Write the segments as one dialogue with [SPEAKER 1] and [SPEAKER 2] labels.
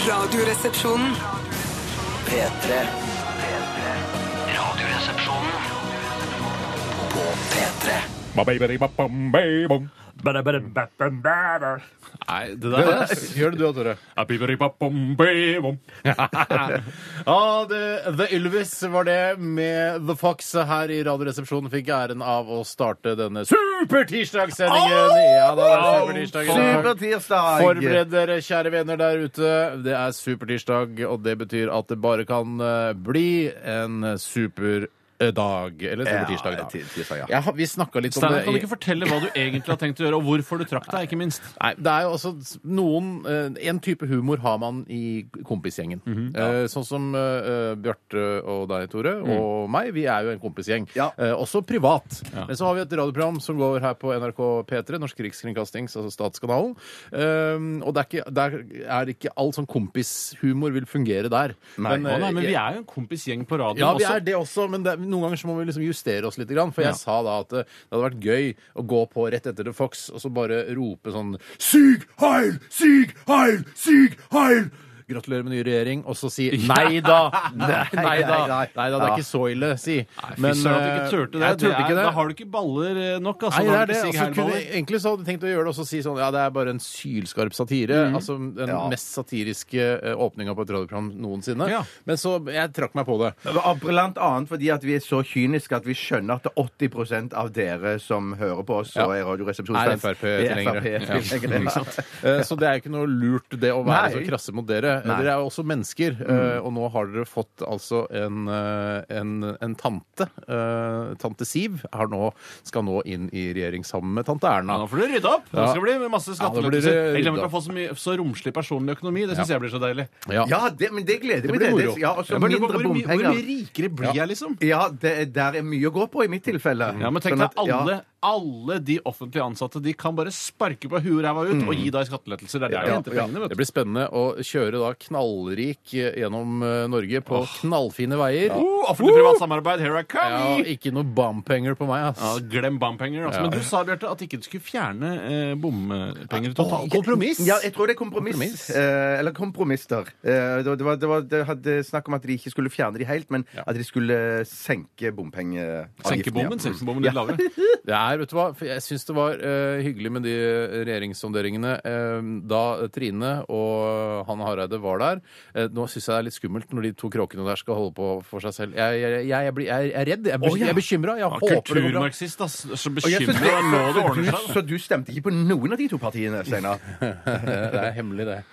[SPEAKER 1] Radioresepsjonen.
[SPEAKER 2] P3 Radioresepsjonen På P3
[SPEAKER 3] Ba-ba-ba-ba-bam-ba-bom.
[SPEAKER 4] Ba-da-ba-da-ba-ba-ba-ba.
[SPEAKER 3] Nei, det der
[SPEAKER 5] Gjør det du da, Tore.
[SPEAKER 3] Ba-ba-ba-ba-bom.
[SPEAKER 5] Ah, det, The Ylvis var det med The Fox her i Radioresepsjonen. Fikk æren av å starte denne supertirsdagssendingen. Ja, da er det supertirsdag i dag.
[SPEAKER 2] Supertirsdag
[SPEAKER 5] Forbered dere, kjære venner der ute. Det er supertirsdag, og det betyr at det bare kan eh, bli en super dag, eller supertirsdag,
[SPEAKER 2] Ja,
[SPEAKER 5] da.
[SPEAKER 2] tirsdag, ja.
[SPEAKER 5] Ja, vi snakka litt om
[SPEAKER 4] Steinar, kan du
[SPEAKER 5] det
[SPEAKER 4] ikke fortelle hva du egentlig har tenkt å gjøre, og hvorfor du trakk deg, ikke minst?
[SPEAKER 5] Nei, det er jo altså noen eh, En type humor har man i kompisgjengen.
[SPEAKER 4] Mhm.
[SPEAKER 5] Eh, Sånn som eh, Bjarte og deg, Tore,
[SPEAKER 4] Mm.
[SPEAKER 5] og meg. Vi er jo en kompisgjeng.
[SPEAKER 2] Ja.
[SPEAKER 5] Eh, også privat. Men så har vi et radioprogram som går her på NRK P3, Norsk Rikskringkasting, altså statskanalen. Eh, og det er ikke, der er ikke all sånn kompishumor vil fungere der.
[SPEAKER 2] Nei.
[SPEAKER 4] Å, nei,
[SPEAKER 5] eh,
[SPEAKER 4] men vi er jo en kompisgjeng på radioen
[SPEAKER 5] ja, vi
[SPEAKER 4] også.
[SPEAKER 5] er det også, men det, er- noen ganger så må vi liksom justere oss litt. Grann, for jeg sa da at eh, det hadde vært gøy å gå på rett etter The Fox og så bare rope sånn Syg heil! Syg heil! Syg heil! Gratulerer med ny regjering, og så si nei da! Nei, nei da!
[SPEAKER 2] nei, nei.
[SPEAKER 5] Nei da, det er ikke så ille, si.
[SPEAKER 4] Fy søren at du ikke
[SPEAKER 5] eh,
[SPEAKER 4] turte det.
[SPEAKER 5] Jeg turte
[SPEAKER 4] er,
[SPEAKER 5] ikke det.
[SPEAKER 4] Da har du ikke baller eh, nok, altså.
[SPEAKER 5] Nei,
[SPEAKER 4] Da
[SPEAKER 5] det
[SPEAKER 4] har
[SPEAKER 5] er
[SPEAKER 4] du
[SPEAKER 5] det.
[SPEAKER 4] ikke
[SPEAKER 5] Altså, kunne,
[SPEAKER 4] sigheilballer.
[SPEAKER 5] egentlig så hadde jeg tenkt å gjøre det og så si sånn Ja, det er bare en sylskarp satire.
[SPEAKER 4] Mhm.
[SPEAKER 5] Altså den
[SPEAKER 2] Ja.
[SPEAKER 5] mest satiriske eh, åpninga på et radioprogram noensinne.
[SPEAKER 4] Ja.
[SPEAKER 5] Men så Jeg trakk meg på det.
[SPEAKER 2] Og Blant annet fordi at vi er så kyniske at vi skjønner at 80 av dere som hører på oss og
[SPEAKER 5] Ja.
[SPEAKER 2] er
[SPEAKER 5] Er
[SPEAKER 2] radioresepsjonsfans,
[SPEAKER 5] Frp-tilhengere.
[SPEAKER 2] Frp-tilhengere.
[SPEAKER 5] Eh, Så det er ikke noe lurt det å være
[SPEAKER 2] Nei.
[SPEAKER 5] så krasse mot dere. Eh,
[SPEAKER 2] Nei. Mm.
[SPEAKER 5] Dere er jo også mennesker, eh, og nå har dere fått altså en, eh, en, en tante. eh, Tante Siv har nå, skal nå inn i regjering sammen med tante
[SPEAKER 4] Ja,
[SPEAKER 5] Erna.
[SPEAKER 4] nå får du rydde opp! Nå
[SPEAKER 5] Ja.
[SPEAKER 4] skal det bli masse
[SPEAKER 5] Ja, nå blir det
[SPEAKER 4] skattelettelser. Jeg
[SPEAKER 5] rydda
[SPEAKER 4] glemmer ikke
[SPEAKER 5] opp.
[SPEAKER 4] å få så, mye, så romslig personlig økonomi. Det syns jeg blir så deilig.
[SPEAKER 2] Ja, det, men det gleder vi
[SPEAKER 5] blir
[SPEAKER 2] til.
[SPEAKER 5] moro.
[SPEAKER 2] Ja, og så
[SPEAKER 4] Jeg bare lurer på
[SPEAKER 2] mindre
[SPEAKER 4] hvor, mye- hvor mye
[SPEAKER 2] bompenger.
[SPEAKER 4] rikere blir jeg, liksom?
[SPEAKER 2] Ja, det, der er mye å gå på i mitt tilfelle.
[SPEAKER 4] Ja, men tenk
[SPEAKER 2] Sånn
[SPEAKER 4] deg,
[SPEAKER 2] at- ja.
[SPEAKER 4] alle, alle de offentlig ansatte de kan bare sparke på huet og ræva ut og gi deg skattelettelser. Det er der de
[SPEAKER 5] Ja,
[SPEAKER 4] henter
[SPEAKER 5] ja.
[SPEAKER 4] pengene, vet
[SPEAKER 5] Det
[SPEAKER 4] du.
[SPEAKER 5] blir spennende å kjøre da knallrik eh, gjennom eh, Norge på knallfine veier.
[SPEAKER 4] Oh, Offentlig-privat samarbeid, here I come!
[SPEAKER 5] Ja, ikke noe bompenger på meg,
[SPEAKER 4] Ja,
[SPEAKER 5] ass.
[SPEAKER 4] glem bompenger. Altså. Men du sa, Bjarte, at ikke du skulle fjerne eh, bompenger totalt.
[SPEAKER 5] Kompromiss!
[SPEAKER 2] Ja, jeg tror det er kompromiss.
[SPEAKER 5] Kompromiss.
[SPEAKER 2] Eh, eller kompromisser. Eh, det, var- det, var, det, var, det hadde snakk om at de ikke skulle fjerne de helt, men at de skulle senke bompengeavgiften.
[SPEAKER 4] Senke bommen, senke bommen litt lavere.
[SPEAKER 5] Det er, vet du hva, for Jeg syns det var eh, hyggelig med de regjeringssonderingene eh, da Trine og Hanne Hareide var der. Eh, nå syns jeg det er litt skummelt når de to kråkene der skal holde på for seg selv. Jeg, jeg, jeg, jeg, blir, jeg er redd. Jeg, blir-
[SPEAKER 2] Å, ja.
[SPEAKER 5] jeg er bekymra. Jeg håper det går bra.
[SPEAKER 4] Kulturmarxist, ass. Så
[SPEAKER 2] Og jeg synes
[SPEAKER 4] bekymret
[SPEAKER 2] det-
[SPEAKER 4] deg nå det
[SPEAKER 2] så du-
[SPEAKER 4] ordner seg. da.
[SPEAKER 2] Så du stemte ikke på noen av de to partiene, Steinar?
[SPEAKER 5] Eh, Det er hemmelig, det.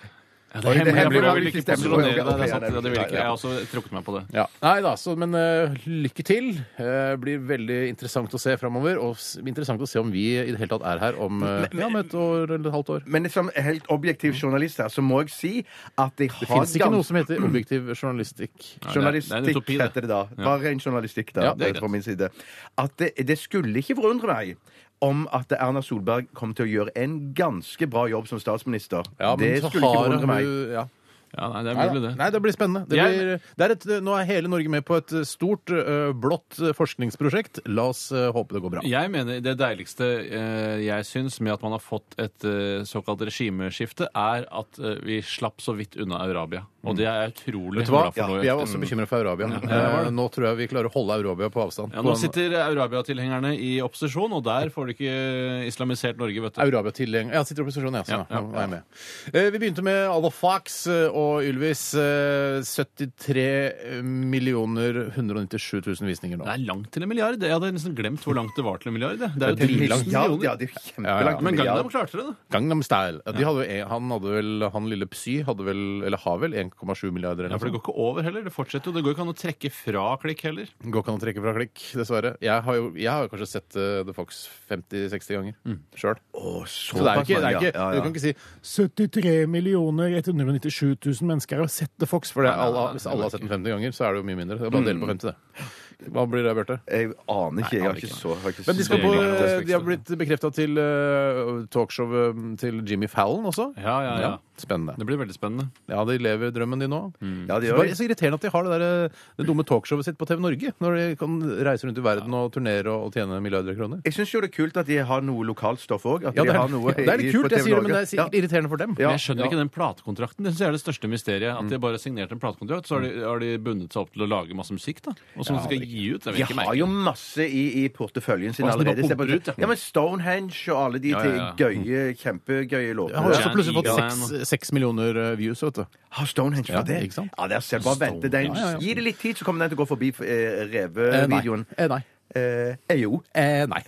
[SPEAKER 4] Ja,
[SPEAKER 2] Oi,
[SPEAKER 4] det
[SPEAKER 2] det
[SPEAKER 4] hemmelig,
[SPEAKER 2] hemmelig
[SPEAKER 4] for jeg
[SPEAKER 2] var
[SPEAKER 4] vil
[SPEAKER 2] ikke
[SPEAKER 4] ikke
[SPEAKER 2] stemmen.
[SPEAKER 4] posisjonere deg.
[SPEAKER 2] Ok,
[SPEAKER 4] Det
[SPEAKER 2] ok,
[SPEAKER 4] er sant,
[SPEAKER 2] ja, det
[SPEAKER 4] det vil
[SPEAKER 2] beklager
[SPEAKER 4] ikke.
[SPEAKER 2] jeg.
[SPEAKER 4] Jeg har også trukket meg på det.
[SPEAKER 5] Ja. Nei da, så, men eh, lykke til. Eh, blir veldig interessant å se framover. Og s- interessant å se om vi i det hele tatt er her om, eh, ja, om et år eller et halvt år.
[SPEAKER 2] Men som helt objektiv journalist her, så må jeg si at jeg har
[SPEAKER 5] Det fins ikke
[SPEAKER 2] gans-
[SPEAKER 5] noe som heter objektiv journalistikk.
[SPEAKER 4] Nei, det er- det er en
[SPEAKER 2] Journalistikk
[SPEAKER 4] utopi, det.
[SPEAKER 2] heter det da. Bare ren journalistikk da, eh,
[SPEAKER 5] Ja, det er greit.
[SPEAKER 2] fra min side. At det, det skulle ikke forundre meg om at Erna Solberg kom til å gjøre en ganske bra jobb som statsminister.
[SPEAKER 5] Ja, men
[SPEAKER 2] det
[SPEAKER 5] så
[SPEAKER 2] skulle ikke
[SPEAKER 5] har
[SPEAKER 2] forundre meg.
[SPEAKER 5] hun- Ja.
[SPEAKER 4] Ja, nei, det er
[SPEAKER 5] Nei,
[SPEAKER 4] mulig,
[SPEAKER 5] da.
[SPEAKER 4] det.
[SPEAKER 5] Nei, det blir spennende. Det
[SPEAKER 4] Jeg-
[SPEAKER 5] blir, det er et, nå er hele Norge med på et eh, stort, ø, blått eh, forskningsprosjekt. La oss ø, håpe det går bra.
[SPEAKER 4] Jeg mener Det deiligste eh, jeg syns med at man har fått et eh, såkalt regimeskifte, er at eh, vi slapp så vidt unna Eurabia. Og det er jeg utrolig
[SPEAKER 5] Vet du hva?
[SPEAKER 4] glad for nå. i
[SPEAKER 5] Vi er
[SPEAKER 4] ettertid.
[SPEAKER 5] jo også bekymra for Eurabia. Eh, nå tror jeg vi klarer å holde Eurabia på avstand.
[SPEAKER 4] Ja, nå sitter Eurabia-tilhengerne i opposisjon, og der får de ikke eh, islamisert Norge, vet du.
[SPEAKER 5] Eurabia-tilgjeng... Ja, sitter i opposisjon, ja.
[SPEAKER 4] Ja,
[SPEAKER 5] Sånn, ja,
[SPEAKER 4] ja.
[SPEAKER 5] Nå er jeg med. Eh, Vi begynte med Alva Fax eh, og Ylvis. eh, 73 millioner 197 000 visninger nå.
[SPEAKER 4] Det er langt til en milliard. Jeg hadde nesten glemt hvor langt det var til en milliard. jeg. Det er
[SPEAKER 5] Det er
[SPEAKER 4] jo
[SPEAKER 5] dritlangt.
[SPEAKER 4] 1000
[SPEAKER 2] Ja,
[SPEAKER 4] millioner.
[SPEAKER 2] ja, det er
[SPEAKER 5] Ja, ja.
[SPEAKER 2] kjempelangt.
[SPEAKER 4] Men
[SPEAKER 2] milliard.
[SPEAKER 4] Gangnam klarte det, da.
[SPEAKER 5] Gangnam Style. Ja, De hadde jo, en- han hadde vel, han lille Psy hadde vel, eller har vel, 1,7 milliarder eller
[SPEAKER 4] Ja,
[SPEAKER 5] noe
[SPEAKER 4] for det går
[SPEAKER 5] sånt.
[SPEAKER 4] ikke over heller. Det fortsetter jo. Det går ikke an å trekke fra klikk heller.
[SPEAKER 5] Går ikke an å trekke fra klikk, dessverre. Jeg har jo, jeg har jo kanskje sett eh, The Fox 50-60 ganger sjøl.
[SPEAKER 2] Å,
[SPEAKER 5] Så det er jo
[SPEAKER 2] såpass
[SPEAKER 5] ikke, det er
[SPEAKER 2] mange,
[SPEAKER 5] ikke
[SPEAKER 2] ja,
[SPEAKER 5] Du
[SPEAKER 2] ja,
[SPEAKER 5] kan
[SPEAKER 2] ja.
[SPEAKER 5] ikke si 73 millioner 197 000 mennesker har sett The Fox. For det,
[SPEAKER 4] Nei, nei,
[SPEAKER 5] er alle,
[SPEAKER 4] nei,
[SPEAKER 5] hvis alle har sett den 50 ganger, så er det jo mye mindre. Det er bare å dele på 50, det. Hva blir det, Bjarte?
[SPEAKER 2] Jeg aner ikke. Jeg har ikke så har ikke
[SPEAKER 5] Men de,
[SPEAKER 2] så-
[SPEAKER 5] skal på,
[SPEAKER 4] Det er
[SPEAKER 5] de har blitt bekrefta eh, til eh, talkshowet til Jimmy Fallon også.
[SPEAKER 4] Ja, ja, ja.
[SPEAKER 5] Spennende.
[SPEAKER 4] Det Mm. blir veldig spennende.
[SPEAKER 5] Ja, de lever drømmen de nå.
[SPEAKER 2] Ja, det
[SPEAKER 5] Det er
[SPEAKER 2] gjør
[SPEAKER 5] bare så irriterende at de har det, der, eh, det dumme talkshowet sitt på TV Norge. Når de kan reise rundt i verden og turnere og, og tjene milliarder av kroner.
[SPEAKER 2] Jeg syns jo det er kult at de har noe lokalt stoff òg.
[SPEAKER 5] Ja, det, er, det er litt kult, jeg sier det, men det er sikkert irriterende for dem.
[SPEAKER 2] Ja. Mm.
[SPEAKER 4] Men jeg skjønner ikke den platekontrakten. Det synes jeg er det største mysteriet. At de bare har signert en platekontrakt, så har de, har de bundet seg opp til å lage masse musikk, da. Og som de skal gi ut. Det
[SPEAKER 2] De
[SPEAKER 4] virker
[SPEAKER 2] har
[SPEAKER 4] merkelig.
[SPEAKER 2] jo masse i, i porteføljen sin
[SPEAKER 4] Og som de bare
[SPEAKER 2] allerede. Se på-
[SPEAKER 4] pumper ut, ja.
[SPEAKER 2] ja, men Stonehenge og alle de
[SPEAKER 4] Ja, ja, ja.
[SPEAKER 2] til gøye, kjempegøye låter.
[SPEAKER 5] Jeg har også
[SPEAKER 4] Ja, ja,
[SPEAKER 5] plutselig
[SPEAKER 4] ja,
[SPEAKER 5] fått seks- seks millioner eh, views, vet du.
[SPEAKER 2] Har Stonehenge
[SPEAKER 5] Ja,
[SPEAKER 2] for det?
[SPEAKER 5] ikke sant?
[SPEAKER 2] Ja, det er selv bare vente den.
[SPEAKER 5] Ja, ja, ja.
[SPEAKER 2] Gi det litt tid, så kommer den til å gå forbi eh,
[SPEAKER 5] Eh,
[SPEAKER 2] revevideoen.
[SPEAKER 5] Eh, nei.
[SPEAKER 2] Eh, eh, jo.
[SPEAKER 5] Eh, nei.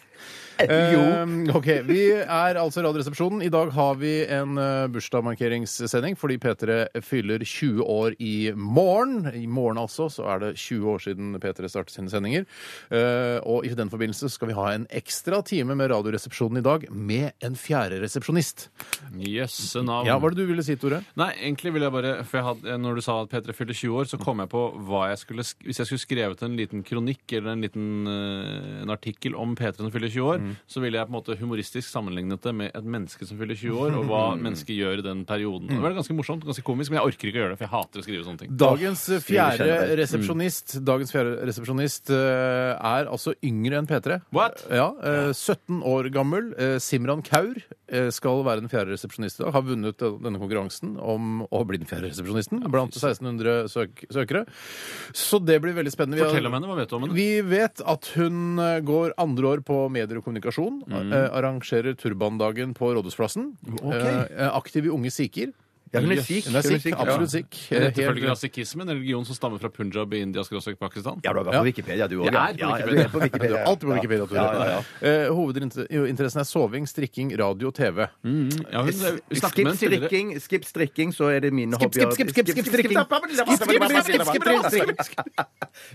[SPEAKER 2] Eh, jo.
[SPEAKER 5] Eh, OK. Vi er altså Radioresepsjonen. I dag har vi en eh, bursdagsmarkeringssending fordi P3 fyller 20 år i morgen. I morgen altså, så er det 20 år siden P3 startet sine sendinger. Eh, og i den forbindelse skal vi ha en ekstra time med Radioresepsjonen i dag med en fjerde resepsjonist.
[SPEAKER 4] Jøsse navn.
[SPEAKER 5] Ja, hva er det du ville si, Tore?
[SPEAKER 4] Nei, egentlig ville jeg bare For jeg hadde, når du sa at P3 fylte 20 år, så kom jeg på hva jeg skulle sk- Hvis jeg skulle skrevet en liten kronikk eller en liten eh, en artikkel om P3 som fyller 20 år,
[SPEAKER 2] Mm.
[SPEAKER 4] så ville jeg på en måte humoristisk sammenlignet det med et menneske som fyller 20 år, og hva mennesket gjør i den
[SPEAKER 2] Mm.
[SPEAKER 4] perioden. Det var ganske morsomt, ganske komisk, men jeg orker ikke å gjøre det, for jeg hater å skrive sånne ting.
[SPEAKER 5] Dagens
[SPEAKER 2] kjenner
[SPEAKER 5] fjerde
[SPEAKER 2] deg.
[SPEAKER 5] resepsjonist Dagens fjerde resepsjonist eh, er altså yngre enn P3.
[SPEAKER 4] What?
[SPEAKER 5] Ja, eh, 17 år gammel. eh, Simran Kaur eh, skal være den fjerde resepsjonist i dag. Har vunnet den- denne konkurransen om å bli den fjerde resepsjonisten blant 1600 søk søkere. Så det blir veldig spennende. Vi har-
[SPEAKER 4] Fortell om henne. Hva vet du om henne?
[SPEAKER 5] vi vet at hun eh, går andre år på medier og kommunikasjon.
[SPEAKER 4] Mm.
[SPEAKER 5] eh, Arrangerer Turbandagen på Rådhusplassen. Eh, Aktiv i Unge Sikher.
[SPEAKER 2] Ja, hun er
[SPEAKER 4] Yes.
[SPEAKER 2] sikh.
[SPEAKER 5] Hun er sikh,
[SPEAKER 2] ja.
[SPEAKER 5] absolutt sikh. Eh,
[SPEAKER 4] Dette følger
[SPEAKER 5] helt-
[SPEAKER 4] rasikismen, en religion som stammer fra Punjab i India skråstrek Pakistan.
[SPEAKER 2] Ja, du har vært
[SPEAKER 5] Ja.
[SPEAKER 2] på Wikipedia, du òg.
[SPEAKER 4] Jeg er på
[SPEAKER 2] Ja,
[SPEAKER 4] Wikipedia.
[SPEAKER 2] du er på Wikipedia.
[SPEAKER 5] Du er alltid på Wikipedia. Tore.
[SPEAKER 2] Ja, ja, ja.
[SPEAKER 5] Eh, hovedinteressen er soving, strikking, radio og TV.
[SPEAKER 4] Ja, hun, vi snakket
[SPEAKER 2] Skip
[SPEAKER 4] med henne tidligere.
[SPEAKER 2] strikking, skip strikking, så er det mine
[SPEAKER 5] Skip,
[SPEAKER 2] hobbyer.
[SPEAKER 5] skip, skip, skip, skip, strikking. Skip, skip, skip, skip, skip, skip, skip.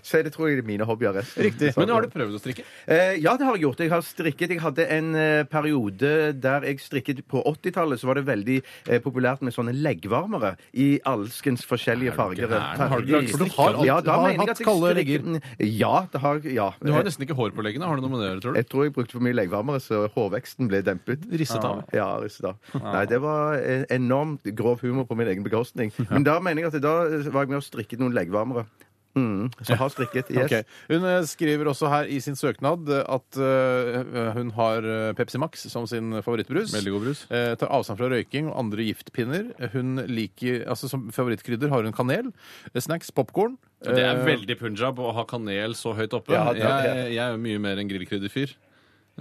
[SPEAKER 2] Så det tror jeg er mine hobbyer. Riktig.
[SPEAKER 4] Men har du prøvd å strikke?
[SPEAKER 2] Eh, ja, det har jeg gjort. Jeg har strikket. Jeg hadde en eh, periode der jeg strikket på 80-tallet. Så var det veldig eh, populært med sånne leggvarmere i alskens forskjellige farger.
[SPEAKER 4] gæren? Har du ikke- for du
[SPEAKER 5] har alltid-
[SPEAKER 2] ja, da
[SPEAKER 5] har
[SPEAKER 2] mener jeg
[SPEAKER 5] hatt
[SPEAKER 2] at jeg
[SPEAKER 5] kalde
[SPEAKER 2] strikker- Ja, det har jeg. Ja.
[SPEAKER 4] Du har nesten ikke hår på leggene. Har du noe med det å gjøre, tror du?
[SPEAKER 2] Jeg tror jeg brukte for mye leggvarmere, så hårveksten ble dempet.
[SPEAKER 4] Risset av.
[SPEAKER 2] Ja, ristet av. Nei, det var en enormt grov humor på min egen bekostning. Men da mener jeg at da var jeg med og strikket noen leggvarmere. Mm, så har strikket. Yes.
[SPEAKER 5] Ok. Hun eh, skriver også her i sin søknad eh, at eh, hun har eh, Pepsi Max som sin favorittbrus.
[SPEAKER 4] Veldig god brus.
[SPEAKER 5] Eh, tar avstand fra røyking og andre giftpinner. Hun liker, altså Som favorittkrydder har hun kanel, eh, snacks, eh, popkorn.
[SPEAKER 4] Det er veldig punjab å ha kanel så høyt oppe.
[SPEAKER 2] eh, Ja, det er det.
[SPEAKER 4] jeg, jeg er jo mye mer en grillkrydderfyr.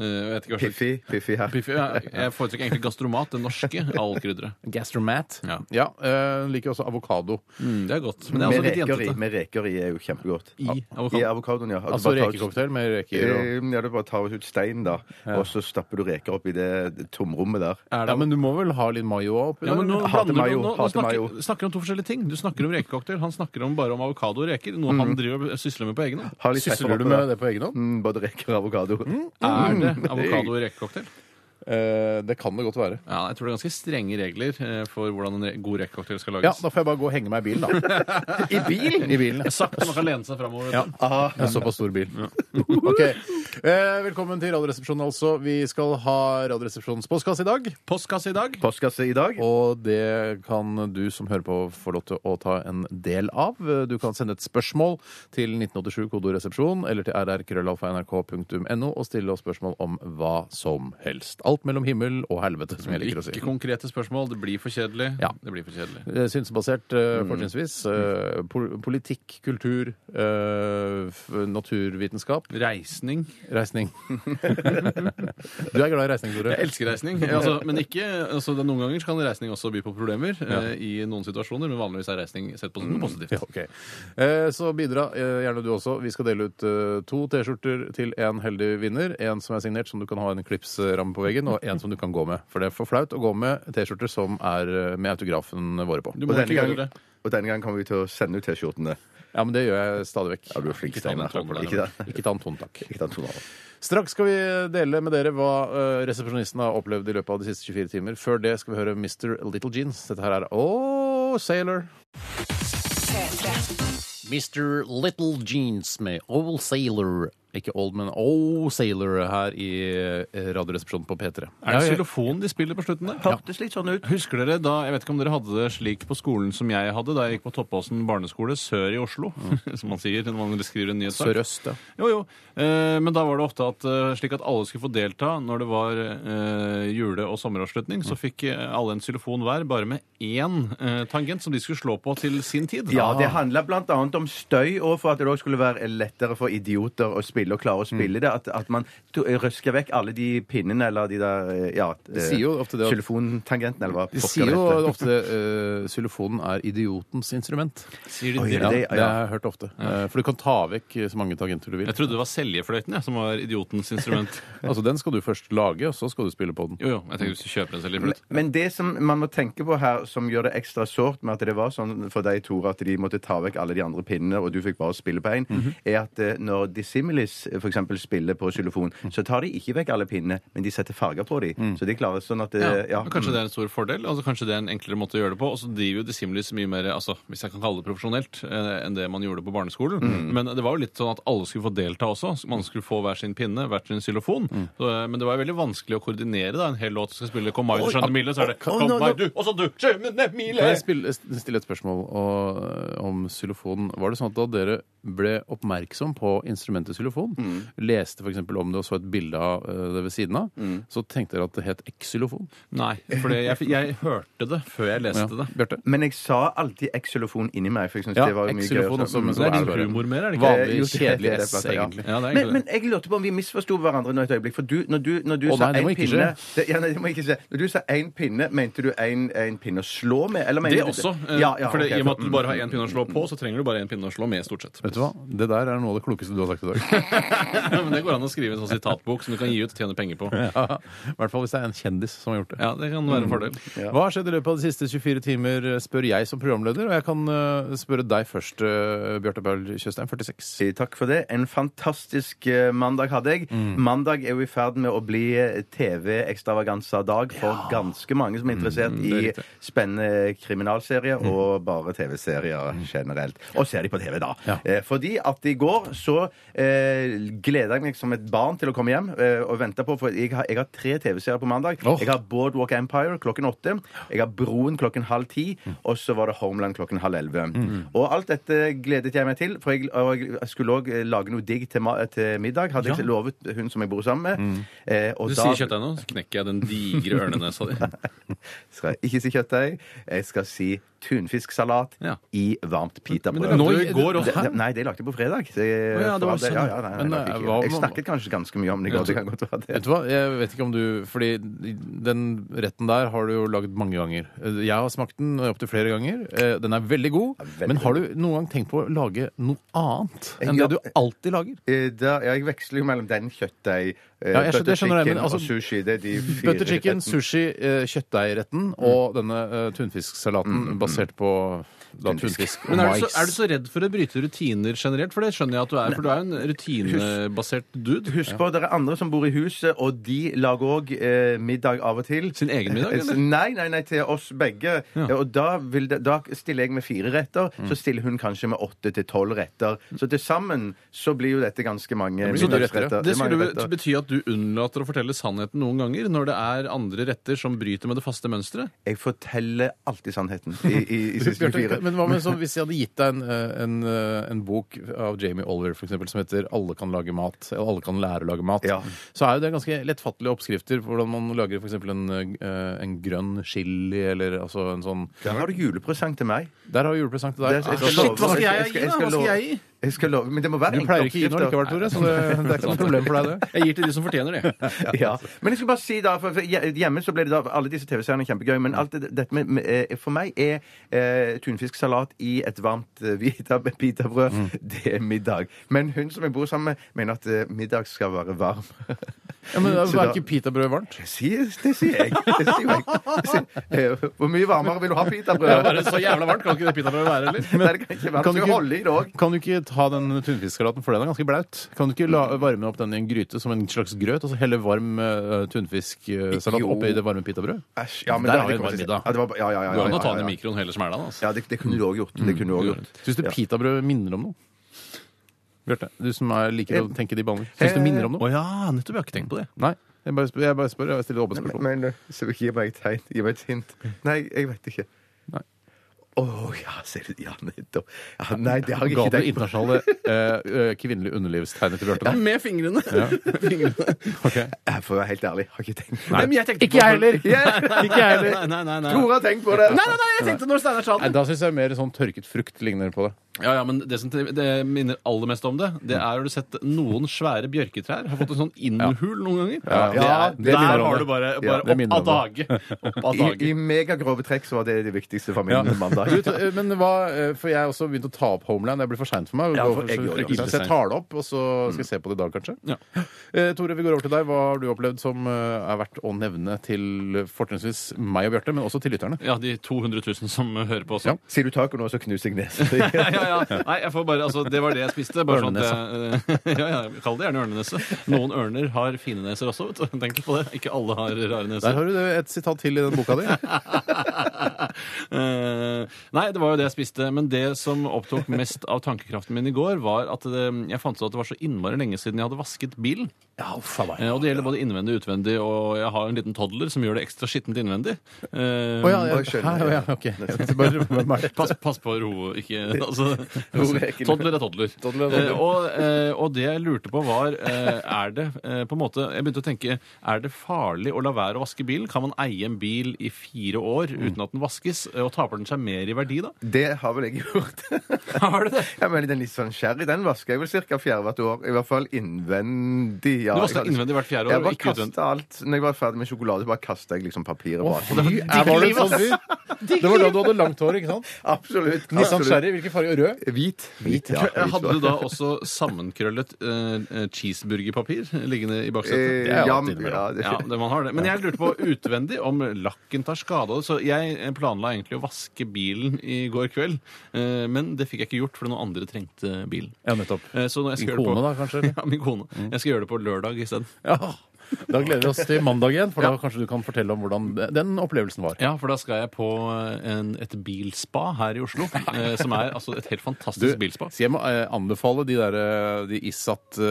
[SPEAKER 4] Eh, jeg vet ikke hva slags-
[SPEAKER 2] Piffi, piffi her.
[SPEAKER 4] Piffi, ja. Jeg foretrekker egentlig gastromat, det norske allkrydderet.
[SPEAKER 5] Gastromat. Ja.
[SPEAKER 4] Ja.
[SPEAKER 5] eh, hun liker også avokado.
[SPEAKER 4] Mm, det er godt. Men det er
[SPEAKER 2] Med
[SPEAKER 4] altså litt
[SPEAKER 2] reker, i,
[SPEAKER 4] jentete.
[SPEAKER 2] med reker i er jo kjempegodt.
[SPEAKER 4] I avokado.
[SPEAKER 2] I avokadoen, ja. At du
[SPEAKER 5] Altså
[SPEAKER 2] bare tar ut-
[SPEAKER 5] rekecocktail med reker og
[SPEAKER 2] Eh, Ja, du bare tar ut stein, da, og så stapper du reker opp i det det tomrommet der.
[SPEAKER 5] ja, Men du må vel ha litt mayo oppi
[SPEAKER 4] Ja, men nå
[SPEAKER 2] Hater
[SPEAKER 4] blander du,
[SPEAKER 2] mayo,
[SPEAKER 4] nå, nå
[SPEAKER 2] hater mayo.
[SPEAKER 4] snakker, snakker du om to forskjellige ting. Du snakker om rekecocktail, han snakker om bare om avokado og reker. Noe han driver og sysler med på egen hånd.
[SPEAKER 2] Mm. Har litt pepper
[SPEAKER 5] Sysler du
[SPEAKER 2] oppi
[SPEAKER 5] med
[SPEAKER 2] der.
[SPEAKER 5] det på egen hånd?
[SPEAKER 2] Mm, både reker og avokado.
[SPEAKER 4] Er det
[SPEAKER 2] Mm.
[SPEAKER 4] avokado i rekecocktail?
[SPEAKER 5] Eh, det kan det godt være.
[SPEAKER 4] Ja, jeg tror det er ganske strenge regler eh, for hvordan en re god rekecocktail skal
[SPEAKER 5] Ja,
[SPEAKER 4] lages.
[SPEAKER 5] da får jeg bare gå og henge meg i bilen, da.
[SPEAKER 2] I bilen?
[SPEAKER 5] I bilen.
[SPEAKER 4] Sakte, man kan lene seg framover.
[SPEAKER 5] Ja. En såpass stor bil. Ok. Eh, velkommen til Radioresepsjonen, altså. Vi skal ha Radioresepsjonens postkasse i dag.
[SPEAKER 4] Postkasse i dag.
[SPEAKER 2] Postkasse i dag.
[SPEAKER 5] Og det kan du som hører på, få lov til å ta en del av. Du kan sende et spørsmål til 1987 kodoresepsjon eller til rrkrøllalfa.nrk.no og stille oss spørsmål om hva som helst. Alt mellom himmel og helvete, som jeg liker å si.
[SPEAKER 4] Ikke konkrete spørsmål. Det blir for kjedelig.
[SPEAKER 5] Ja.
[SPEAKER 4] Det blir for kjedelig.
[SPEAKER 5] Eh, Synsbasert,
[SPEAKER 4] Mm.
[SPEAKER 5] eh, fortrinnsvis. Eh, pol politikk, kultur, eh, f- naturvitenskap,
[SPEAKER 4] Reisning.
[SPEAKER 5] reisning. du er glad i reisning, Tore?
[SPEAKER 4] Jeg elsker reisning. Altså, men ikke, altså, det er noen ganger så kan reisning også by på problemer eh, i noen situasjoner, men vanligvis er reisning sett på som noe positivt.
[SPEAKER 5] Ja, ok. Eh, Så bidra eh, gjerne du også. Vi skal dele ut eh, to T-skjorter til en heldig vinner. En som er signert, som du kan ha en klipsramme på veggen, og en som du kan gå med. For det er for flaut å gå med T-skjorter som er eh, med autografen våre på.
[SPEAKER 4] Du
[SPEAKER 2] Og
[SPEAKER 4] må
[SPEAKER 2] denne,
[SPEAKER 4] ikke gjøre
[SPEAKER 2] gangen,
[SPEAKER 4] det.
[SPEAKER 2] og denne gangen kommer vi til å sende ut T-skjortene.
[SPEAKER 5] Ja, men det gjør jeg stadig vekk.
[SPEAKER 2] Ja, du er flink,
[SPEAKER 4] Ikke ta den
[SPEAKER 2] Steinar.
[SPEAKER 4] tonen der,
[SPEAKER 2] Ikke det?
[SPEAKER 5] Ikke ta en ton, takk.
[SPEAKER 2] Ikke ta den tonen av.
[SPEAKER 5] Straks skal vi dele med dere hva eh, resepsjonisten har opplevd i løpet av de siste 24 timer. Før det skal vi høre Mr. Little Jeans. Dette her er Oh, Sailor. Mr. Little Jeans med Old Sailor Ikke Old, men Oh Sailor her i eh, Radioresepsjonen på
[SPEAKER 4] Er det
[SPEAKER 5] P3. Ja, ja.
[SPEAKER 4] xylofon de spiller på slutten der?
[SPEAKER 2] Hørtes litt sånn ut.
[SPEAKER 4] Husker dere da, Jeg vet ikke om dere hadde det slik på skolen som jeg hadde da jeg gikk på Toppåsen barneskole sør i Oslo, som man sier når man skriver en nyhetssak.
[SPEAKER 5] Sørøst, ja.
[SPEAKER 4] Jo, jo. Eh, men da var det ofte at, eh, slik at alle skulle få delta når det var eh, jule- og sommeravslutning. Så fikk eh, alle en xylofon hver, bare med én eh, tangent som de skulle slå på til sin tid.
[SPEAKER 2] Ja, det handla bl.a. om støy, og for at det òg skulle være lettere for idioter å spille og klare å spille det. At, at man to- røsker vekk alle de pinnene eller de der eh, ja,
[SPEAKER 5] De sier jo ofte det at-
[SPEAKER 2] Xylofontangentene, eller hva
[SPEAKER 5] De
[SPEAKER 2] pokker
[SPEAKER 5] sier
[SPEAKER 2] det
[SPEAKER 5] jo
[SPEAKER 2] heter.
[SPEAKER 5] ofte uh, xylofonen er idiotens instrument.
[SPEAKER 4] Sier de
[SPEAKER 2] Oi,
[SPEAKER 4] det?
[SPEAKER 2] ja.
[SPEAKER 5] det, har jeg hørt ofte. Eh, for du kan ta vekk så mange tangenter du vil.
[SPEAKER 4] Jeg trodde det var seljefløyten jeg, som var idiotens instrument.
[SPEAKER 5] Altså, Den skal du først lage, og så skal du spille på den.
[SPEAKER 4] Jo, jo, jeg tenker hvis du kjøper en seljefløyt.
[SPEAKER 2] Men det som man må tenke på her, som gjør det ekstra sårt med at det var sånn for deg, Tore, at de måtte ta vekk alle de andre pinnene, og du fikk bare spille på én, er at eh, når Dissimilis eh, for eksempel spiller på xylofon, så tar de ikke vekk alle pinnene, men de setter farger på de. Så de klarer sånn at eh,
[SPEAKER 4] Ja,
[SPEAKER 2] ja.
[SPEAKER 4] men Kanskje det er en stor fordel? altså Kanskje det er en enklere måte å gjøre det på? Og så driver jo Dissimilis mye mer altså, hvis jeg kan kalle det profesjonelt eh, enn det man gjorde på barneskolen.
[SPEAKER 2] Mm.
[SPEAKER 4] Men det var jo litt sånn at alle skulle få delta også. så Man skulle få hver sin pinne, hvert sin xylofon.
[SPEAKER 2] Mm.
[SPEAKER 4] Så, eh, Men det var jo veldig vanskelig å koordinere da, en hel låt som skal spille 'Kom meg, du
[SPEAKER 2] ah,
[SPEAKER 4] skjønne mile', så er det 'Kom meg, du, og så du, skjønne
[SPEAKER 5] Kan
[SPEAKER 4] mile'.
[SPEAKER 5] jeg spille, stille et spørsmål og, eh, om xylofonen? Var det sånn at da dere ble oppmerksom på instrumentet xylofon, leste f.eks. om det og så et bilde av eh, det ved siden av, så tenkte dere at det het xylofon?
[SPEAKER 4] Nei, for det- jeg, jeg hørte det før jeg leste det.
[SPEAKER 5] Bjarte?
[SPEAKER 2] Men jeg sa alltid xylofon inni meg, for jeg syns
[SPEAKER 5] Ja,
[SPEAKER 2] det var jo mye
[SPEAKER 5] xylofon
[SPEAKER 2] gøyere.
[SPEAKER 5] også, men så
[SPEAKER 4] Det er
[SPEAKER 5] det
[SPEAKER 4] litt
[SPEAKER 5] bare-
[SPEAKER 4] humor mer, er det ikke?
[SPEAKER 5] Vanlig
[SPEAKER 2] Jo, det-
[SPEAKER 5] kjedelig
[SPEAKER 2] det- det-
[SPEAKER 5] S,
[SPEAKER 2] det- ja.
[SPEAKER 5] egentlig.
[SPEAKER 4] Ja, det er
[SPEAKER 2] men,
[SPEAKER 4] egentlig
[SPEAKER 2] men
[SPEAKER 4] det.
[SPEAKER 2] jeg lurte på om vi misforsto hverandre nå et øyeblikk. For du, når du, når du
[SPEAKER 5] Å,
[SPEAKER 2] sa
[SPEAKER 5] nei, det må
[SPEAKER 2] én
[SPEAKER 5] ikke
[SPEAKER 2] pinne det, ja, nei, det må ikke skje. Når du sa én pinne, mente du én pinne å slå med? Eller mener
[SPEAKER 4] Det
[SPEAKER 2] du
[SPEAKER 4] også. eh,
[SPEAKER 2] Ja, ja,
[SPEAKER 4] for det,
[SPEAKER 2] ok, Mm.
[SPEAKER 4] I og med at
[SPEAKER 2] for-
[SPEAKER 4] du bare har én pinne å slå på, så trenger du bare én pinne å slå med, stort sett.
[SPEAKER 5] Vet du hva? Det der er noe av det klokeste du har sagt i dag.
[SPEAKER 4] Ja, men Det går an å skrive en sånn sitatbok som du kan gi ut og tjene penger på.
[SPEAKER 5] Ja, I hvert fall hvis det er en kjendis som har gjort det.
[SPEAKER 4] Ja, det kan være en fordel.
[SPEAKER 5] Hva har skjedd i løpet av de siste 24 timer, spør jeg som programleder. Og jeg kan eh, spørre deg først, uh, Bjarte Paul Tjøstheim, 46.
[SPEAKER 2] Si Takk for det. En fantastisk eh, mandag hadde jeg. Mandag er jo i ferd med å bli eh, TV-ekstravaganza-dag for ganske mange som er interessert i spennende kriminalserier og bare TV-serier generelt. Og ser de på TV, da. Eh, Fordi at i går så eh, gleda jeg meg som et barn til å komme hjem eh, og vente på, for jeg har, jeg har tre TV-serier på mandag.
[SPEAKER 5] Åh.
[SPEAKER 2] Jeg har Boardwalk Empire klokken åtte. Jeg har Broen klokken halv ti. Og så var det Homeland klokken halv elleve. Og alt dette gledet jeg meg til, for jeg, og jeg skulle òg lage noe digg til, ma- til middag. Hadde jeg lovet hun som jeg bor sammen med. Eh, og
[SPEAKER 4] Mm. Du
[SPEAKER 2] da
[SPEAKER 4] sier kjøttdeig nå, så knekker jeg den digre ørnenesa di.
[SPEAKER 2] skal jeg ikke si kjøttdeig. Jeg skal si tunfisksalat
[SPEAKER 4] Ja.
[SPEAKER 2] i varmt pitabrød.
[SPEAKER 4] Men det lagde du i går også.
[SPEAKER 2] Det- det- Nei, det lagde jeg på fredag. Det,
[SPEAKER 4] ja, det var
[SPEAKER 2] for all del.
[SPEAKER 4] sånn.
[SPEAKER 2] ja, ja, nei, nei,
[SPEAKER 5] Men,
[SPEAKER 2] lagde jeg
[SPEAKER 5] eh,
[SPEAKER 2] ikke.
[SPEAKER 5] hva-
[SPEAKER 2] jeg snakket kanskje ganske mye om det i går. Det kan godt være
[SPEAKER 5] Vet
[SPEAKER 2] det.
[SPEAKER 5] du hva, jeg vet ikke om du Fordi den retten der har du jo lagd mange ganger. Jeg har smakt den opptil flere ganger. Eh, Den er veldig god.
[SPEAKER 2] Ja, veldig Eh,
[SPEAKER 5] men har du noen gang tenkt på å lage noe annet enn
[SPEAKER 2] Ja.
[SPEAKER 5] det du alltid lager?
[SPEAKER 2] Eh, Da, ja, jeg veksler jo mellom den kjøttdeig, eh,
[SPEAKER 5] Ja, jeg skjønner-
[SPEAKER 2] butter
[SPEAKER 5] jeg skjønner det, men
[SPEAKER 2] chicken
[SPEAKER 5] altså-
[SPEAKER 2] og sushi. Det er de fire
[SPEAKER 5] Butter chicken, sushi, eh, kjøttdeigretten
[SPEAKER 2] Mm.
[SPEAKER 5] og denne eh, tunfisksalaten basert på da,
[SPEAKER 2] Tunfisk.
[SPEAKER 5] tunfisk og
[SPEAKER 4] Men er du,
[SPEAKER 5] mais.
[SPEAKER 4] så, er du så redd for å bryte rutiner generelt? For det skjønner jeg at du er, for du er jo en rutinebasert dude.
[SPEAKER 2] Husk på, det er andre som bor i huset, og de lager òg eh, middag av og til. Eh,
[SPEAKER 4] Sin egen middag, eller?
[SPEAKER 2] Nei, nei, nei, til oss begge. Eh, Og da, vil det, da stiller jeg med fire retter, så stiller hun kanskje med åtte til tolv retter. Så til sammen så blir jo dette ganske mange
[SPEAKER 5] blir mye retter, ja.
[SPEAKER 2] middagsretter.
[SPEAKER 4] Det
[SPEAKER 2] er mange
[SPEAKER 4] skulle jo
[SPEAKER 2] retter.
[SPEAKER 4] bety at du unnlater å fortelle sannheten noen ganger når det er andre retter som bryter med det faste mønsteret.
[SPEAKER 2] Jeg forteller alltid sannheten i, i, i siste
[SPEAKER 5] Bjarte,
[SPEAKER 2] fire.
[SPEAKER 5] men hva med sånn, Hvis jeg hadde gitt deg en, eh, en, eh, en bok av Jamie Oliver for eksempel, som heter 'Alle kan lage mat', eller 'Alle kan lære å lage mat',
[SPEAKER 2] Ja.
[SPEAKER 5] så er jo det ganske lettfattelige oppskrifter på hvordan man lager f.eks. En, eh, en grønn chili eller altså en sånn
[SPEAKER 2] Der har du julepresang til meg.
[SPEAKER 5] Der har vi julepresang til deg.
[SPEAKER 2] Det- jeg
[SPEAKER 5] Ah,
[SPEAKER 2] skal
[SPEAKER 5] shit,
[SPEAKER 2] love-
[SPEAKER 5] hva skal jeg-
[SPEAKER 4] jeg gi, da? Hva skal jeg gi?
[SPEAKER 2] Jeg skal love, Men det må være
[SPEAKER 5] Du
[SPEAKER 2] enkle
[SPEAKER 5] pleier ikke å gi noe
[SPEAKER 2] oppskrifter.
[SPEAKER 5] likevel, Tore, så det, det er ikke noe problem for deg, det.
[SPEAKER 4] Jeg gir til de som fortjener det.
[SPEAKER 2] ja. Men jeg skal bare si da, for for hje- hjemme så ble det da, alle disse TV-seriene er kjempegøy, men alt det, dette med, med, eh, for meg er eh, tunfisksalat i et varmt eh, vita- pitabrød,
[SPEAKER 5] Mm.
[SPEAKER 2] det er middag. Men hun som jeg bor sammen med, mener at eh, middag skal være varm.
[SPEAKER 5] Ja, men altså,
[SPEAKER 2] Så
[SPEAKER 5] Er
[SPEAKER 2] da-
[SPEAKER 5] ikke pitabrød varmt?
[SPEAKER 2] Det sier, det sier jeg. Det sier jeg. Det sier, eh, hvor mye varmere vil du ha pitabrød?
[SPEAKER 4] Bare så jævla varmt kan ikke det pitabrødet være, eller?
[SPEAKER 2] Nei, det kan ikke være.
[SPEAKER 5] Kan
[SPEAKER 2] Du
[SPEAKER 5] du
[SPEAKER 2] skal
[SPEAKER 5] ikke-
[SPEAKER 2] jo holde i det òg.
[SPEAKER 5] Kan du ikke ta den tunfisksalaten, for den er ganske blaut? Kan du ikke la, varme opp den i en gryte som en slags grøt, og så helle varm uh, tunfisksalat
[SPEAKER 2] Jo.
[SPEAKER 5] oppi det varme pitabrødet?
[SPEAKER 2] Æsj. Ja, men
[SPEAKER 5] Der
[SPEAKER 2] da-
[SPEAKER 5] har vi
[SPEAKER 2] det kommer
[SPEAKER 5] en
[SPEAKER 2] til-
[SPEAKER 5] middag.
[SPEAKER 2] Ja, det var, ja, ja, ja,
[SPEAKER 4] Går
[SPEAKER 2] ja,
[SPEAKER 4] an å ta
[SPEAKER 2] ja,
[SPEAKER 4] den i
[SPEAKER 2] ja.
[SPEAKER 4] mikroen hele smæla, altså.
[SPEAKER 5] Mm.
[SPEAKER 2] Ja, det, det kunne du òg gjort. Det kunne du også gjort.
[SPEAKER 5] Syns du pitabrød minner om noe? Bjarte, du som er, liker å tenke de baner. Syns du minner om
[SPEAKER 2] Eh,
[SPEAKER 5] noe?
[SPEAKER 4] Å ja, nettopp. Jeg har ikke tenkt på det.
[SPEAKER 5] Nei? Jeg bare spør, jeg, bare spør, jeg stiller åpent spørsmål.
[SPEAKER 2] Men, men så gi meg et tegn. Gi meg et hint. Nei, jeg vet ikke.
[SPEAKER 5] Nei.
[SPEAKER 2] Å ja, ser du. Ja, nettopp. Ja, nei, det har jeg
[SPEAKER 5] Ga du
[SPEAKER 2] ikke
[SPEAKER 5] det
[SPEAKER 2] tenkt på.
[SPEAKER 5] internasjonale eh, eh, kvinnelige underlivstegnet til Bjarte? nå?
[SPEAKER 1] Med fingrene. fingrene.
[SPEAKER 5] Ok.
[SPEAKER 2] Jeg får være helt ærlig, har ikke tenkt på
[SPEAKER 1] Nei,
[SPEAKER 2] det.
[SPEAKER 1] men jeg tenkte
[SPEAKER 5] Ikke jeg heller! Ikke jeg heller.
[SPEAKER 4] Nei, nei, nei, nei.
[SPEAKER 2] Tore har tenkt på det!
[SPEAKER 1] Nei, nei, nei, jeg tenkte når Steinar sa
[SPEAKER 5] Nei,
[SPEAKER 1] det.
[SPEAKER 5] Da syns jeg mer sånn tørket frukt ligner på det.
[SPEAKER 4] Ja, ja, men Det som det minner aller mest om det, det er har du sett noen svære bjørketrær har fått en sånn innhul noen ganger.
[SPEAKER 5] Ja,
[SPEAKER 2] ja,
[SPEAKER 4] det
[SPEAKER 2] det
[SPEAKER 4] er,
[SPEAKER 2] minner
[SPEAKER 4] der
[SPEAKER 2] om
[SPEAKER 4] har
[SPEAKER 2] det.
[SPEAKER 4] du bare,
[SPEAKER 2] Ja,
[SPEAKER 4] bare
[SPEAKER 5] det minner
[SPEAKER 4] opp av
[SPEAKER 5] om
[SPEAKER 4] dage. Opp av
[SPEAKER 2] I, I
[SPEAKER 4] dage.
[SPEAKER 2] megagrove trekk så var det det viktigste for min mandag.
[SPEAKER 5] Du, t- men hva, eh, for Jeg har også begynt å ta opp Homeland. Det blir for seint for meg.
[SPEAKER 2] Ja, for
[SPEAKER 5] Så-
[SPEAKER 2] jeg gjør det.
[SPEAKER 5] så, jeg tar det opp, og så skal jeg se på det i dag, kanskje.
[SPEAKER 4] Ja.
[SPEAKER 5] Eh, Tore, vi går over til deg. Hva har du opplevd som eh, er verdt å nevne til eh, fortrinnsvis meg og Bjarte, men også til lytterne?
[SPEAKER 4] Ja, de 200 000 som hører på også.
[SPEAKER 5] Ja.
[SPEAKER 4] Ja.
[SPEAKER 2] Sier du taco nå, så knuser jeg nesen din.
[SPEAKER 4] Ja, ja, Nei, jeg får bare, altså, det var det jeg spiste. Bare sånn at jeg, ja, ja, Kall det gjerne ørnenese. Noen ørner har fine neser også, vet du. Tenk litt på det. Ikke alle har rare
[SPEAKER 5] Der
[SPEAKER 4] neser.
[SPEAKER 5] har du det, et sitat til i den boka di.
[SPEAKER 4] Eh, Nei, det var jo det jeg spiste. Men det som opptok mest av tankekraften min i går, var at det, jeg fant ut at det var så innmari lenge siden jeg hadde vasket bilen. Eh, Og det gjelder både innvendig og utvendig. Og jeg har en liten toddler som gjør det ekstra skittent innvendig. Eh,
[SPEAKER 5] Å ja, ja,
[SPEAKER 2] Oi, skjønner.
[SPEAKER 5] Hæ, å ja, ok. Jeg tenkte bare, hvem er det?
[SPEAKER 4] Pass, pass på ro, ikke altså,
[SPEAKER 2] Ro er ikke-
[SPEAKER 4] Toddler er toddler.
[SPEAKER 2] Toddler er toddler.
[SPEAKER 4] Eh, og, eh, og det jeg lurte på, var eh, Er det eh, på en måte Jeg begynte å tenke Er det farlig å la være å vaske bilen? Kan man eie en bil i fire år uten at den vaskes? Eh, Og taper den seg mer i verdi da?
[SPEAKER 2] Det har vel jeg gjort.
[SPEAKER 4] Har det det?
[SPEAKER 2] Jeg mener, den litt sånn sherry, den vasker jeg vel ca. fjerde hvert år. I hvert fall innvendig. Ja.
[SPEAKER 4] Du vasker innvendig hvert fjerde år,
[SPEAKER 2] Jeg bare
[SPEAKER 4] ikke utvendig.
[SPEAKER 2] kastet alt. Når jeg var ferdig med sjokolade, bare kasta jeg liksom papiret bak.
[SPEAKER 5] Fy, er- var du en sånn fyr? Det var da du hadde langt hår, ikke sant?
[SPEAKER 2] Absolutt.
[SPEAKER 5] Nissan
[SPEAKER 2] absolutt.
[SPEAKER 5] Sherry, hvilken farge? Rød?
[SPEAKER 2] Hvit. Hvit, ja.
[SPEAKER 4] Hadde du da også sammenkrøllet eh, eh, cheeseburgerpapir liggende i baksetet?
[SPEAKER 2] Eh,
[SPEAKER 5] Jeg har
[SPEAKER 2] ja,
[SPEAKER 5] hatt innimellom.
[SPEAKER 2] ja, det-
[SPEAKER 4] Ja, det, man har det. Men jeg lurte på utvendig om lakken tar skade av det. Så jeg planla egentlig å vaske bilen i går kveld, eh, men det fikk jeg ikke gjort fordi noen andre trengte bilen.
[SPEAKER 5] Ja, nettopp.
[SPEAKER 4] Eh, Så når jeg
[SPEAKER 5] Din
[SPEAKER 4] skal gjøre
[SPEAKER 5] kone,
[SPEAKER 4] det
[SPEAKER 5] da,
[SPEAKER 4] på
[SPEAKER 5] kanskje?
[SPEAKER 4] ja, min kone.
[SPEAKER 2] Mm.
[SPEAKER 4] Jeg skal gjøre det på lørdag isteden.
[SPEAKER 5] Ja. Da gleder vi oss til mandag igjen, for da kanskje du kan fortelle om hvordan den opplevelsen var.
[SPEAKER 4] Ja, for da skal jeg på eh, en, et bilspa her i Oslo, eh, som er altså et helt fantastisk bilspa.
[SPEAKER 5] så jeg må eh, anbefale de der eh, de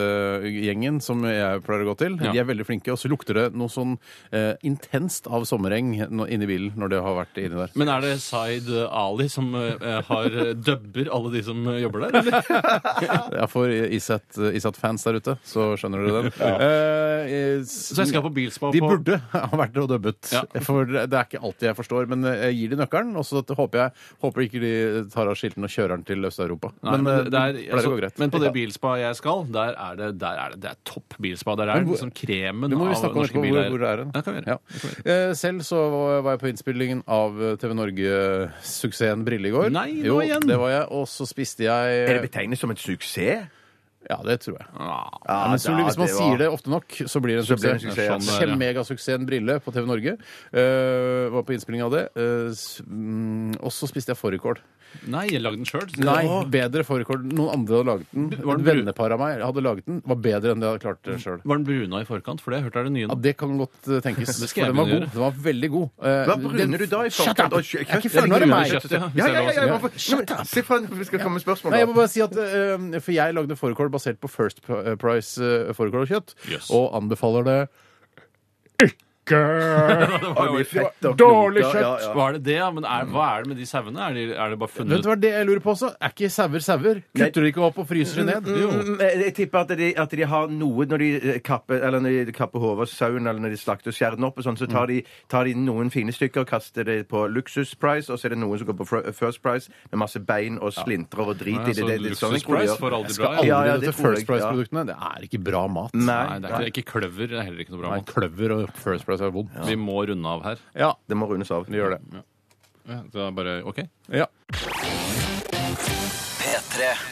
[SPEAKER 5] ISAT-gjengen som jeg pleier å gå til.
[SPEAKER 4] Ja.
[SPEAKER 5] De er veldig flinke, og så lukter det noe sånn eh, intenst av sommereng nå- inni bilen når det har vært inni der.
[SPEAKER 4] Men er det Zaid Ali som eh, har dubber alle de som eh, jobber der, eller?
[SPEAKER 5] Ja, For ISAT- ISAT-fans der ute, så skjønner dere den. Eh, eh, s-
[SPEAKER 4] Så jeg skal på bilspa
[SPEAKER 5] De
[SPEAKER 4] på
[SPEAKER 5] burde ha vært og dubbet.
[SPEAKER 4] Ja.
[SPEAKER 5] For det det er ikke alltid jeg forstår. Men eh, jeg gir de nøkkelen, og så håper jeg håper ikke de tar av skiltene og kjører den til Øst-Europa.
[SPEAKER 4] Nei, men,
[SPEAKER 5] eh,
[SPEAKER 4] det er,
[SPEAKER 5] pleier å
[SPEAKER 4] altså,
[SPEAKER 5] gå greit.
[SPEAKER 4] men på det
[SPEAKER 5] Ja.
[SPEAKER 4] bilspa jeg skal, der er det, der er det, det er topp bilspa. Der er
[SPEAKER 5] Men hvor-
[SPEAKER 4] liksom kremen
[SPEAKER 5] Du må vi
[SPEAKER 4] av
[SPEAKER 5] snakke om
[SPEAKER 4] norske
[SPEAKER 5] etterpå
[SPEAKER 4] biler.
[SPEAKER 5] hvor, hvor er den.
[SPEAKER 4] Ja, kan vi gjøre.
[SPEAKER 5] Ja. Eh, Selv så var jeg på innspillingen av TV Norge-suksessen Brille i går.
[SPEAKER 4] Nei, nå
[SPEAKER 5] jo,
[SPEAKER 4] igjen.
[SPEAKER 5] Det var jeg, og så spiste jeg
[SPEAKER 2] Er det betegnet som en suksess?
[SPEAKER 5] Ja, det tror jeg.
[SPEAKER 4] Ah,
[SPEAKER 2] Ja,
[SPEAKER 5] Men så,
[SPEAKER 2] da,
[SPEAKER 5] hvis man
[SPEAKER 2] var-
[SPEAKER 5] sier det ofte nok, så blir det en
[SPEAKER 2] Så blir det
[SPEAKER 5] suksess.
[SPEAKER 2] en suksess, ja.
[SPEAKER 4] Sånn er det.
[SPEAKER 5] Kjemmegasuksessen Brille på TV Norge. Eh, var på innspilling av det. Eh, s- mm, og så spiste jeg fårikål.
[SPEAKER 4] Nei, jeg lagde den sjøl.
[SPEAKER 5] Nei, bedre fårikål. Noen andre hadde laget den.
[SPEAKER 4] Var den brun?
[SPEAKER 5] Et vennepar av meg hadde laget den. Var bedre enn det jeg hadde klart eh, det sjøl.
[SPEAKER 4] Var den bruna i forkant? For det jeg hørte er det nye
[SPEAKER 5] Ja,
[SPEAKER 4] nå.
[SPEAKER 5] det kan godt eh, tenkes.
[SPEAKER 4] Det skal jeg
[SPEAKER 5] for den var
[SPEAKER 4] begynne
[SPEAKER 5] god.
[SPEAKER 4] å gjøre.
[SPEAKER 5] Den var veldig god. Eh,
[SPEAKER 2] Hva bruner du da i forkant? Og kjø-
[SPEAKER 5] er ikke
[SPEAKER 2] kjøtt-
[SPEAKER 5] ferdig med
[SPEAKER 2] Ja,
[SPEAKER 5] meg.
[SPEAKER 2] ja,
[SPEAKER 4] Kjøttet,
[SPEAKER 2] ja,
[SPEAKER 4] hvis jeg
[SPEAKER 2] ja,
[SPEAKER 4] lov å si.
[SPEAKER 2] ja, hvorfor- Nå, men Se for vi skal komme med spørsmål.
[SPEAKER 5] Nei, jeg må
[SPEAKER 2] da.
[SPEAKER 5] bare si at eh, For jeg lagde fårikål basert på First Price uh, fårikål og kjøtt,
[SPEAKER 4] Yes.
[SPEAKER 5] og anbefaler det
[SPEAKER 4] Det
[SPEAKER 2] Ja,
[SPEAKER 4] var jo-
[SPEAKER 2] mye fett og
[SPEAKER 5] Dårlig
[SPEAKER 2] knoter, ja, ja.
[SPEAKER 4] Var det det, ja? Men er, hva er det med de sauene? Er, de- er det bare
[SPEAKER 5] Vet
[SPEAKER 4] funnet
[SPEAKER 5] du hva det jeg lurer på også? Er ikke sauer sauer? Kutter de ikke opp og fryser de ned?
[SPEAKER 2] Mm, Jeg tipper at de, at de har noe når de eh, kapper Eller når de kapper hodet av sauen, eller når de slakter og skjærer den opp, og sånn, så
[SPEAKER 5] Mm.
[SPEAKER 2] tar de, tar de noen fine stykker og kaster det på Luxus Price, og så er det noen som går på fr- First Price med masse bein og slintrer og drit
[SPEAKER 4] Nei,
[SPEAKER 2] i
[SPEAKER 4] altså,
[SPEAKER 2] det. det, det, det sånn
[SPEAKER 4] Luxus
[SPEAKER 2] jeg tror de
[SPEAKER 4] Price
[SPEAKER 2] gjør.
[SPEAKER 4] får aldri
[SPEAKER 5] Skal
[SPEAKER 4] bra.
[SPEAKER 5] aldri
[SPEAKER 4] ja.
[SPEAKER 2] Ja, ja,
[SPEAKER 5] dette
[SPEAKER 2] det tror jeg,
[SPEAKER 5] First Price-produktene. Det er ikke bra mat.
[SPEAKER 4] Nei,
[SPEAKER 2] Nei,
[SPEAKER 4] det er ikke, ikke kløver. Det er heller ikke noe bra.
[SPEAKER 5] Nei,
[SPEAKER 4] mat.
[SPEAKER 5] kløver og First Price er vondt.
[SPEAKER 4] Vi må runde av her.
[SPEAKER 5] Ja,
[SPEAKER 2] det må rundes av.
[SPEAKER 5] vi gjør det.
[SPEAKER 4] Ja, det er bare, ok
[SPEAKER 5] Ja.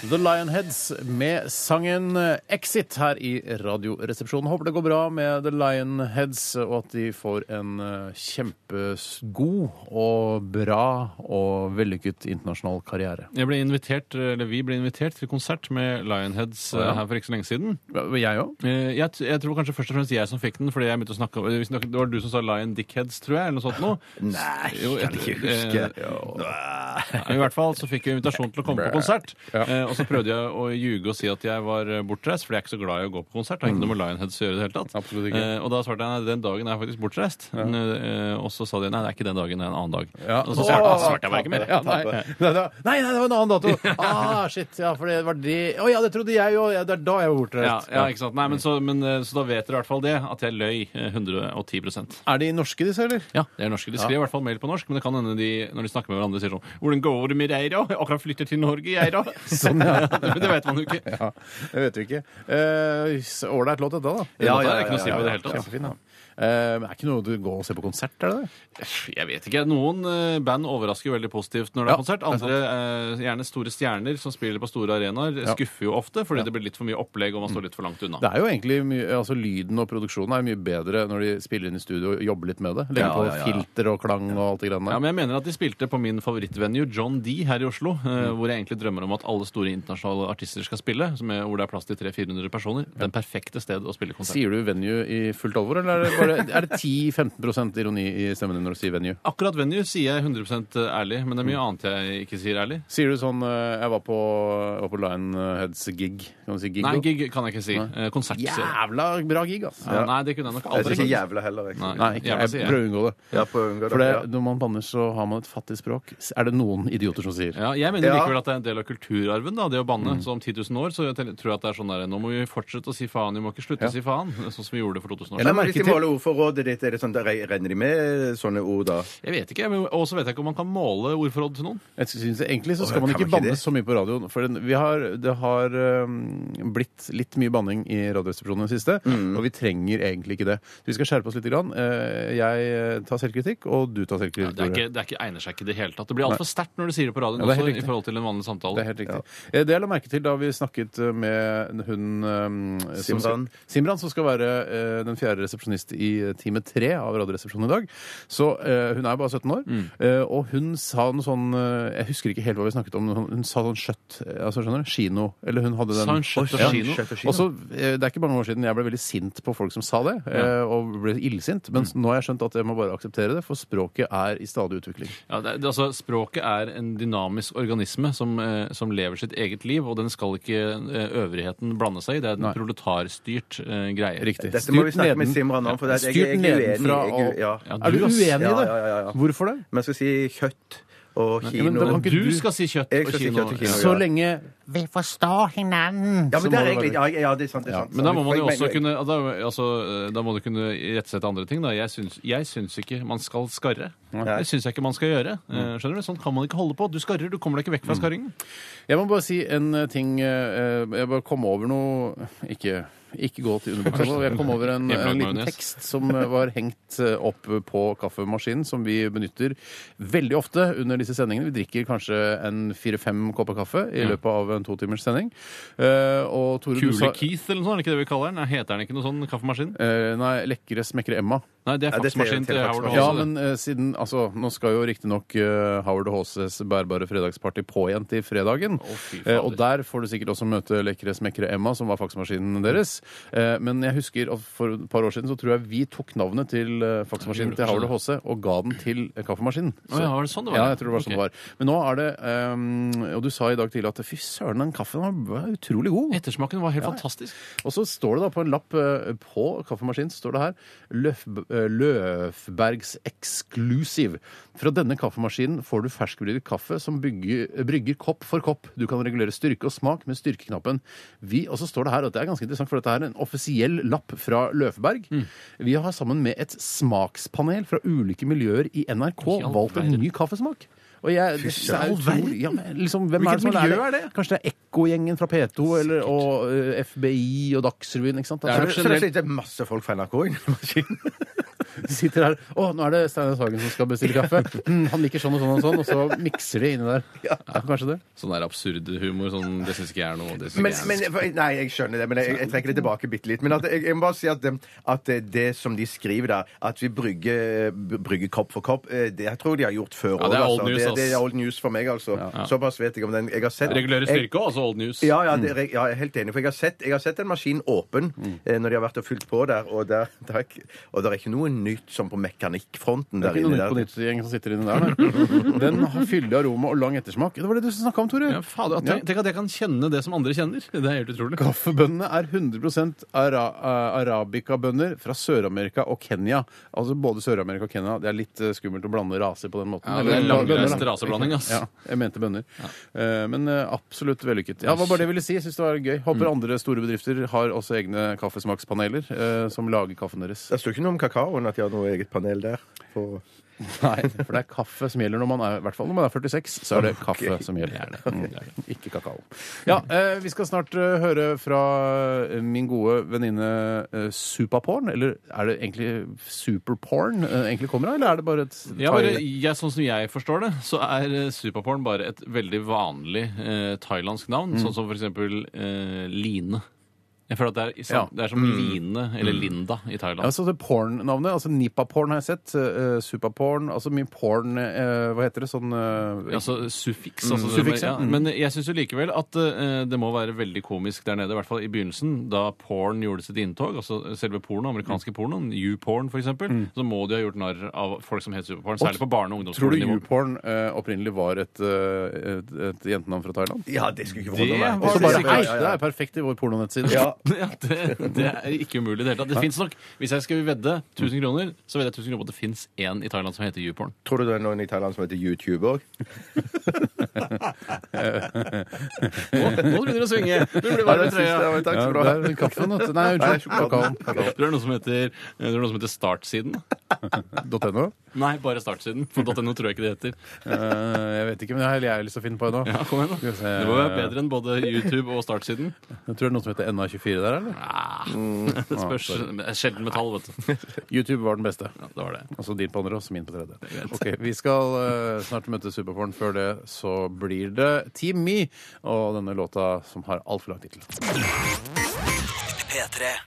[SPEAKER 5] The Lionheads med sangen Exit her i Radioresepsjonen. Håper det går bra med The Lionheads, og at de får en eh, kjempegod og bra og vellykket internasjonal karriere.
[SPEAKER 4] Jeg ble invitert, eller Vi ble invitert til konsert med Lionheads eh, her for ikke så lenge siden.
[SPEAKER 5] Jeg òg.
[SPEAKER 4] Eh, Jeg, t- jeg tror kanskje først og fremst jeg som fikk den, fordi jeg begynte å snakke om vi snakket- Det var du som sa Lion Dickheads, tror jeg, eller noe sånt noe.
[SPEAKER 2] Nei,
[SPEAKER 4] Jo,
[SPEAKER 2] kan
[SPEAKER 4] jeg-
[SPEAKER 2] ikke huske.
[SPEAKER 4] eh, I hvert fall så fikk vi invitasjon til å komme på konsert. konsert. Eh, og så prøvde jeg å ljuge og si at jeg var eh, bortreist, for jeg er ikke så glad i å gå på konsert. Det har ikke noe med Lionheads å gjøre i det hele tatt.
[SPEAKER 5] Absolutt ikke.
[SPEAKER 4] Eh, og da svarte jeg nei, den dagen er jeg faktisk bortreist. Eh, og så sa de nei, det er ikke den dagen, det er en annen dag.
[SPEAKER 5] Ja.
[SPEAKER 4] Og så svarte, svarte jeg bare ikke mer.
[SPEAKER 5] Ja, nei. Nei, det var- nei, nei, det var en annen dato! Ah, shit, ja, for det var det Å ja, det trodde jeg jo! Ja, det er da jeg var
[SPEAKER 4] Ja,
[SPEAKER 5] bortreist.
[SPEAKER 4] ja, ikke sant? Nei, men så, men, eh, så da vet dere i hvert fall det, at jeg løy eh, 110
[SPEAKER 5] Er de norske, disse, eller?
[SPEAKER 4] Ja, de er norske. De skriver i hvert fall mail på norsk, men det kan hende de når de snakker med hverandre sier sånn 'Hvordan går det med deg, da? Jeg akkurat flytter til Norge, jeg, da.'
[SPEAKER 5] Sånn, ja.
[SPEAKER 4] Men det vet man jo ikke.
[SPEAKER 5] ja. Det vet vi ikke. Eh, Ålreit låt, dette, da.
[SPEAKER 4] Ja,
[SPEAKER 2] Ja,
[SPEAKER 4] ja,
[SPEAKER 2] ja,
[SPEAKER 4] det er ikke noe å si
[SPEAKER 2] ja,
[SPEAKER 4] på i det
[SPEAKER 2] ja,
[SPEAKER 4] hele tatt.
[SPEAKER 5] Kjempefin, da. Eh, men er ikke noe du går og ser på konsert, er det det?
[SPEAKER 4] Jeg vet ikke. Noen eh, band overrasker jo veldig positivt når det er
[SPEAKER 5] Ja,
[SPEAKER 4] konsert. Andre, eh, gjerne store stjerner som spiller på store arenaer, skuffer jo ofte fordi det blir litt for mye opplegg og man står litt for langt unna.
[SPEAKER 5] Det er jo egentlig mye, altså Lyden og produksjonen er mye bedre når de spiller inn i studio og jobber litt med det. Legger
[SPEAKER 2] Ja,
[SPEAKER 5] på
[SPEAKER 2] ja, ja.
[SPEAKER 5] filter og klang og alt det
[SPEAKER 4] Ja,
[SPEAKER 5] greiene der.
[SPEAKER 4] men jeg mener at de spilte på min favorittvenue, John D, her i Oslo. eh, Hvor jeg egentlig drømmer om at alle store internasjonale artister skal spille. Som er, hvor det er plass til 300-400 personer. Den perfekte sted å spille konsert.
[SPEAKER 5] Sier du venue i fullt alvor, eller er det, bare- er det 10-15 ironi i stemmen din når du sier venue?
[SPEAKER 4] Akkurat venue sier jeg 100 ærlig, men det er mye annet jeg ikke sier ærlig.
[SPEAKER 5] Sier du sånn eh, Jeg var på, jeg var på Lionheads gig. Kan du si gig?
[SPEAKER 4] Nei,
[SPEAKER 5] da?
[SPEAKER 4] gig kan jeg ikke si. Eh, Konsert sier jeg.
[SPEAKER 5] Jævla bra gig, ass.
[SPEAKER 4] Ja, Nei, det kunne jeg nok
[SPEAKER 2] Jeg sier
[SPEAKER 4] aldri
[SPEAKER 2] ikke
[SPEAKER 4] sagt.
[SPEAKER 2] jævla heller. Jeg.
[SPEAKER 4] Nei,
[SPEAKER 5] Nei, ikke,
[SPEAKER 4] jævla
[SPEAKER 5] jeg
[SPEAKER 4] sier jeg.
[SPEAKER 5] prøver å unngå det.
[SPEAKER 2] Ja, prøv å unngå
[SPEAKER 5] For det,
[SPEAKER 2] det. ja.
[SPEAKER 5] når man banner, så har man et fattig språk. Er det noen idioter som sier?
[SPEAKER 4] Ja, jeg mener
[SPEAKER 2] Ja.
[SPEAKER 4] likevel at det er en del av kulturarven, da, det å banne. Så om 10 000 år så jeg tror jeg at det er sånn der Nå må vi fortsette å si faen, vi må ikke slutte å si faen. Sånn som vi gjorde det for 2000 år siden.
[SPEAKER 2] Nei, men
[SPEAKER 5] merke
[SPEAKER 2] Hvis de
[SPEAKER 5] til-
[SPEAKER 2] måler ordforrådet ditt, er det sånn, da re- renner de med sånne ord da?
[SPEAKER 4] Jeg vet ikke, men også vet jeg ikke om man kan måle ordforråd til noen.
[SPEAKER 5] Jeg synes egentlig så skal
[SPEAKER 2] Åh,
[SPEAKER 5] man
[SPEAKER 2] kan
[SPEAKER 5] ikke
[SPEAKER 2] man ikke
[SPEAKER 5] banne
[SPEAKER 2] det?
[SPEAKER 5] så mye på radioen. For den- vi har, det har øhm, blitt litt mye banning i Radioresepsjonen i det siste,
[SPEAKER 2] Mm.
[SPEAKER 5] og vi trenger egentlig ikke det. Så vi skal skjerpe oss litt. Grann. Eh, Jeg tar selvkritikk, og du tar selvkritikk.
[SPEAKER 4] Det, er
[SPEAKER 5] Tore.
[SPEAKER 4] ikke, det er ikke, egner seg ikke i det hele tatt. Det blir altfor sterkt når du sier det på radioen
[SPEAKER 5] Ja, det er helt
[SPEAKER 4] også, i
[SPEAKER 5] riktig.
[SPEAKER 4] forhold til en vanlig
[SPEAKER 5] Det
[SPEAKER 4] samtale.
[SPEAKER 5] er helt riktig. Eh, Det jeg la merke til da vi snakket eh, med hun ehm, som-
[SPEAKER 2] Simran.
[SPEAKER 5] Simran, som skal være eh, den fjerde resepsjonist i eh, time tre av Radioresepsjonen i dag. Så eh, hun er jo bare 17 år,
[SPEAKER 4] Mm.
[SPEAKER 5] eh, og hun sa noe sånn eh, Jeg husker ikke helt hva vi snakket om, men hun- hun sa sånn skjøtt eh, altså skjønner du, kino, eller hun hadde den
[SPEAKER 4] Sa hun skjøtt og
[SPEAKER 5] Ja.
[SPEAKER 4] kino?
[SPEAKER 2] Skjøtt og
[SPEAKER 5] Og så, eh, Det er ikke mange år siden jeg ble veldig sint på folk som sa det, eh, og ble illsint,
[SPEAKER 4] Mm.
[SPEAKER 5] men nå har jeg skjønt at jeg må bare akseptere det, for språket er i stadig utvikling.
[SPEAKER 4] Ja, det, er- det, altså, språket er en dynamisk organisme som, eh, som lever sitt eget liv, og den skal ikke eh, øvrigheten blande seg i. Det er en
[SPEAKER 5] Nei.
[SPEAKER 4] proletarstyrt eh, greie.
[SPEAKER 5] Riktig.
[SPEAKER 2] Dette må vi
[SPEAKER 5] Styrt
[SPEAKER 2] snakke med
[SPEAKER 5] neden-
[SPEAKER 2] Simran om, for det er- jeg,
[SPEAKER 5] Styrt
[SPEAKER 2] jeg, jeg er
[SPEAKER 5] nedenfra
[SPEAKER 2] uenig. Jeg,
[SPEAKER 5] og-
[SPEAKER 2] er u- ja.
[SPEAKER 4] Ja,
[SPEAKER 5] Er du
[SPEAKER 4] ass.
[SPEAKER 5] uenig i det?
[SPEAKER 2] Ja, ja, ja, ja.
[SPEAKER 5] Hvorfor det?
[SPEAKER 2] Men jeg skal si kjøtt og
[SPEAKER 5] men
[SPEAKER 2] kino.
[SPEAKER 5] det var ikke-
[SPEAKER 4] Du
[SPEAKER 5] du-
[SPEAKER 4] skal si kjøtt
[SPEAKER 2] Jeg
[SPEAKER 4] og
[SPEAKER 2] skal si
[SPEAKER 4] kino.
[SPEAKER 2] kjøtt og kino,
[SPEAKER 4] Ja.
[SPEAKER 5] Så
[SPEAKER 2] ja.
[SPEAKER 5] lenge
[SPEAKER 6] Vi forstår hinanden.
[SPEAKER 2] Ja,
[SPEAKER 5] så må
[SPEAKER 2] men det er
[SPEAKER 5] det
[SPEAKER 2] egentlig ja, ja, det er sant. det er sant.
[SPEAKER 4] Men da må man jo
[SPEAKER 2] Jeg
[SPEAKER 4] også
[SPEAKER 2] mener-
[SPEAKER 4] kunne da, altså, da må du kunne rettsette andre ting. Da. Jeg, syns, jeg syns ikke man skal skarre. Det syns jeg ikke man skal gjøre. Eh, Skjønner du? Sånn kan man ikke holde på. Du skarrer, du kommer deg ikke vekk
[SPEAKER 2] Mm.
[SPEAKER 4] fra skarringen.
[SPEAKER 5] Jeg må bare si en eh, ting eh, Jeg bare kom over noe Ikke, ikke gå til underbuksa nå. Jeg kom over en, en liten tekst som eh, var hengt eh, opp på kaffemaskinen, som vi benytter veldig ofte under disse sendingene. Vi drikker kanskje en fire-fem kopper kaffe i løpet av en to timers sending. Eh, Og Tore, du sa
[SPEAKER 4] Kule-Keith eller noe sånt, er det ikke det vi kaller den? Heter den ikke noe sånn kaffemaskin?
[SPEAKER 5] eh, Nei, lekre smekre Emma.
[SPEAKER 4] Nei, det er
[SPEAKER 2] Ja, det er
[SPEAKER 4] faksmaskin til
[SPEAKER 2] faksmaskin.
[SPEAKER 4] Howard Hawes.
[SPEAKER 5] Ja,
[SPEAKER 4] det.
[SPEAKER 5] men eh, siden Altså, nå skal jo riktignok uh, Howard Haases bærbare fredagsparty på igjen til fredagen.
[SPEAKER 4] fy fader.
[SPEAKER 5] Eh, og der får du sikkert også møte lekre smekkere Emma, som var faksmaskinen deres. Eh, men jeg husker at for et par år siden så tror jeg vi tok navnet til eh, faksmaskinen til Howard Haase og ga den til eh, kaffemaskinen.
[SPEAKER 4] Å ja, var det sånn det var?
[SPEAKER 5] Ja, jeg tror det var
[SPEAKER 4] Ok.
[SPEAKER 5] sånn det var. Men nå er det eh, Og du sa i dag tidlig at fy søren, den kaffen var var utrolig god.
[SPEAKER 4] Ettersmaken var helt fantastisk.
[SPEAKER 5] Og så står det da på en lapp eh, på kaffemaskinen så står det her Løf, eh, Løfbergs Exclusive. Fra denne kaffemaskinen får du ferskbrygget kaffe som bygger, brygger kopp for kopp. Du kan regulere styrke og smak med styrkeknappen. Vi, og så står det her, og det er ganske interessant, for dette er en offisiell lapp fra Løfberg. Vi har sammen med et smakspanel fra ulike miljøer i NRK
[SPEAKER 4] I all
[SPEAKER 5] valgt en
[SPEAKER 4] verden.
[SPEAKER 5] ny kaffesmak. Og jeg, det, det er utrolig, ja, men liksom, hvem
[SPEAKER 2] Hvilket
[SPEAKER 5] er det som
[SPEAKER 2] miljø
[SPEAKER 5] lærer
[SPEAKER 2] er det?
[SPEAKER 5] Kanskje det er Ekkogjengen fra P2 eller, og eh, FBI og Dagsrevyen. ikke sant?
[SPEAKER 2] Så
[SPEAKER 5] Altså,
[SPEAKER 2] det- så det sitter masse folk fra NRK i den maskinen.
[SPEAKER 5] de sitter her Å, nå er det Steinar Sagen som skal bestille kaffe. Mm, han liker sånn og sånn og sånn, og så mikser de inni der. Ja. kanskje det.
[SPEAKER 4] Sånn der absurd humor. Sånn, det syns ikke jeg er noe. Det synes
[SPEAKER 2] Men,
[SPEAKER 4] ikke jeg er
[SPEAKER 2] men,
[SPEAKER 4] noe.
[SPEAKER 2] nei, jeg skjønner det, men jeg, jeg trekker det tilbake bitte litt. Men at, jeg, jeg må bare si at, um, at eh, det som de skriver der, at vi brygger, brygger kopp for kopp, eh, det jeg tror de har gjort før.
[SPEAKER 4] Ja, det er
[SPEAKER 2] også,
[SPEAKER 4] old
[SPEAKER 2] altså.
[SPEAKER 4] news,
[SPEAKER 2] det, det
[SPEAKER 4] ass.
[SPEAKER 2] er old news for meg, altså. Såpass vet jeg om den. Jeg har sett
[SPEAKER 4] Regulere
[SPEAKER 2] jeg-
[SPEAKER 4] styrke, altså old news.
[SPEAKER 2] Ja, ja, det, er- ja, jeg er helt enig. For jeg har sett, jeg har sett en maskin åpen eh, når de har vært og fylt på der, og der, der, er ikke- og der er ikke noe nytt som på mekanikkfronten
[SPEAKER 5] Det er
[SPEAKER 2] der
[SPEAKER 5] ikke noe
[SPEAKER 2] inne.
[SPEAKER 5] nytt på
[SPEAKER 2] der.
[SPEAKER 5] nytt-gjeng som sitter inni der. nei. Den har fyldig aroma og lang ettersmak. Det var det du snakka om, Tore.
[SPEAKER 4] Ja, fader, at- tenk, tenk at jeg kan kjenne det som andre kjenner. Det er helt utrolig.
[SPEAKER 5] Kaffebøndene er 100 ara eh, arabikabønder fra Sør-Amerika og Kenya. Altså både Sør-Amerika og Kenya. Det er litt eh, skummelt å blande raser på den måten.
[SPEAKER 4] Ja, det er
[SPEAKER 5] Eller-
[SPEAKER 4] langreist
[SPEAKER 5] bønder, da.
[SPEAKER 4] raseblanding, ass.
[SPEAKER 5] Ja, jeg mente bønder. Eh, Men eh, absolutt vellykket. Ja, det var bare det jeg ville si. Jeg synes det var gøy.
[SPEAKER 4] Mm.
[SPEAKER 5] Håper andre store bedrifter har også egne kaffesmakspaneler eh, som lager kaffen deres.
[SPEAKER 2] Det står ikke noe om kakaoen, at de har noe eget panel der. For...
[SPEAKER 5] Nei, for det er kaffe som gjelder når man er, i hvert fall når man er 46, så er det kaffe som gjelder. Mm. Ikke kakao. Ja, eh, vi skal snart eh, høre fra eh, min gode venninne eh, Supaporn, eller er det egentlig Superporn eh, egentlig kommer av, eller er det bare et
[SPEAKER 4] Ja, bare, jeg, sånn som jeg forstår det, så er eh, superporn bare et veldig vanlig eh, thailandsk navn. Sånn som for eksempel eh, Line. Jeg føler at det er, i sam-
[SPEAKER 5] Ja.
[SPEAKER 4] det er som Line eller Linda i
[SPEAKER 5] Ja,
[SPEAKER 4] Thailand.
[SPEAKER 5] så det porn-navnet, altså Nipaporn har jeg sett, eh, Supaporn, altså mye porn, eh, hva heter det, sånn... eh,
[SPEAKER 4] Altså suffiks. Altså, det-
[SPEAKER 5] Suffiks, Mm.
[SPEAKER 4] ja.
[SPEAKER 5] ja.
[SPEAKER 4] Men jeg syns jo likevel at eh, det må være veldig komisk der nede, i hvert fall i begynnelsen, da porn gjorde sitt inntog. Altså selve porno, amerikanske pornoen, U-porn f.eks., eksempel så må de ha gjort narr av folk som het superporn. Særlig på barne- og
[SPEAKER 5] Mm. Tror du
[SPEAKER 4] ungdomsskolenivå.
[SPEAKER 5] U-porn eh, opprinnelig var et, eh, et, et jentenavn fra Thailand?
[SPEAKER 2] Ja, det skulle ikke
[SPEAKER 4] Det
[SPEAKER 2] forundre meg.
[SPEAKER 4] var
[SPEAKER 5] Så
[SPEAKER 4] det
[SPEAKER 5] bare,
[SPEAKER 4] sikkert.
[SPEAKER 5] hei, det er perfekt i vår pornonettside.
[SPEAKER 2] Ja,
[SPEAKER 4] Ja, det, det er ikke umulig i det hele tatt. Det fins nok. Hvis jeg skal vedde 1000 kroner, så vedder jeg 1000 kroner på at det fins én i Thailand som heter YouPorn.
[SPEAKER 2] Tror du det er noen i Thailand som heter YouTube òg?
[SPEAKER 4] Nå, nå begynner det å svinge! Du blir varm i trøya.
[SPEAKER 2] Takk
[SPEAKER 5] Ja,
[SPEAKER 2] skal du
[SPEAKER 5] det
[SPEAKER 2] ha.
[SPEAKER 5] er kaffen, vet du. Nei,
[SPEAKER 2] Nei,
[SPEAKER 5] unnskyld.
[SPEAKER 2] sjokoladen.
[SPEAKER 4] Tror du det er noe som heter, tror du det er noe som heter Startsiden?
[SPEAKER 5] Kakaoen.no.
[SPEAKER 4] Nei, bare Startsiden. For .no tror jeg ikke det heter.
[SPEAKER 5] Eh, jeg vet ikke, men det har jeg lyst til å finne på ennå.
[SPEAKER 4] Ja, kom igjen da.
[SPEAKER 5] Skal vi se.
[SPEAKER 4] Det må være bedre enn både YouTube og Startsiden.
[SPEAKER 5] Jeg tror det er noe som heter NA24 der, eller?
[SPEAKER 4] Ah, det spørs. Det er Sjelden metall, vet du.
[SPEAKER 5] YouTube var den beste.
[SPEAKER 4] Ja, det var det.
[SPEAKER 5] Altså din på andre og min på tredje. Ok, Vi skal eh, snart møte Superporn. Før det så blir det Team Me og denne låta som har altfor lang tittel.
[SPEAKER 7] P3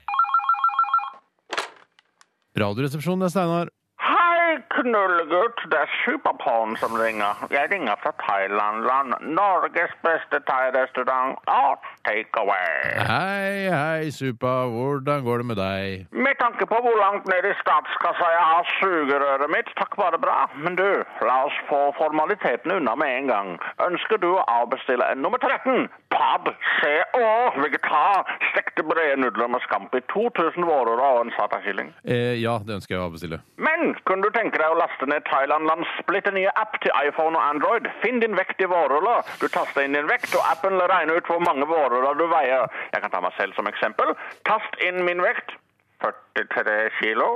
[SPEAKER 5] Radioresepsjonen, det er Steinar.
[SPEAKER 8] Hei, knullegutt. Det er Superporn som ringer. Jeg ringer fra Thailand-land. Norges beste thai-restaurant. Art takeaway.
[SPEAKER 5] Hei, hei, Supa. Hvordan går det med deg?
[SPEAKER 8] Med tanke på hvor langt ned i statskassa jeg har sugerøret mitt, takk bare bra. Men du, la oss få formalitetene unna med en gang. Ønsker du å avbestille en nummer 13? Pab, CO, vegetar, stekte brede nudler med scampi, 2000 vårer og en satakylling.
[SPEAKER 5] Eh, ja, det ønsker jeg å avbestille.
[SPEAKER 8] Men kunne du tenke deg å laste ned Thailand-lands splitter nye app til iPhone og Android? Finn din vekt i vårruller. Du taster inn din vekt, og appen regner ut hvor mange vårruller du veier. Jeg kan ta meg selv som eksempel. Tast inn min vekt. 43 kilo.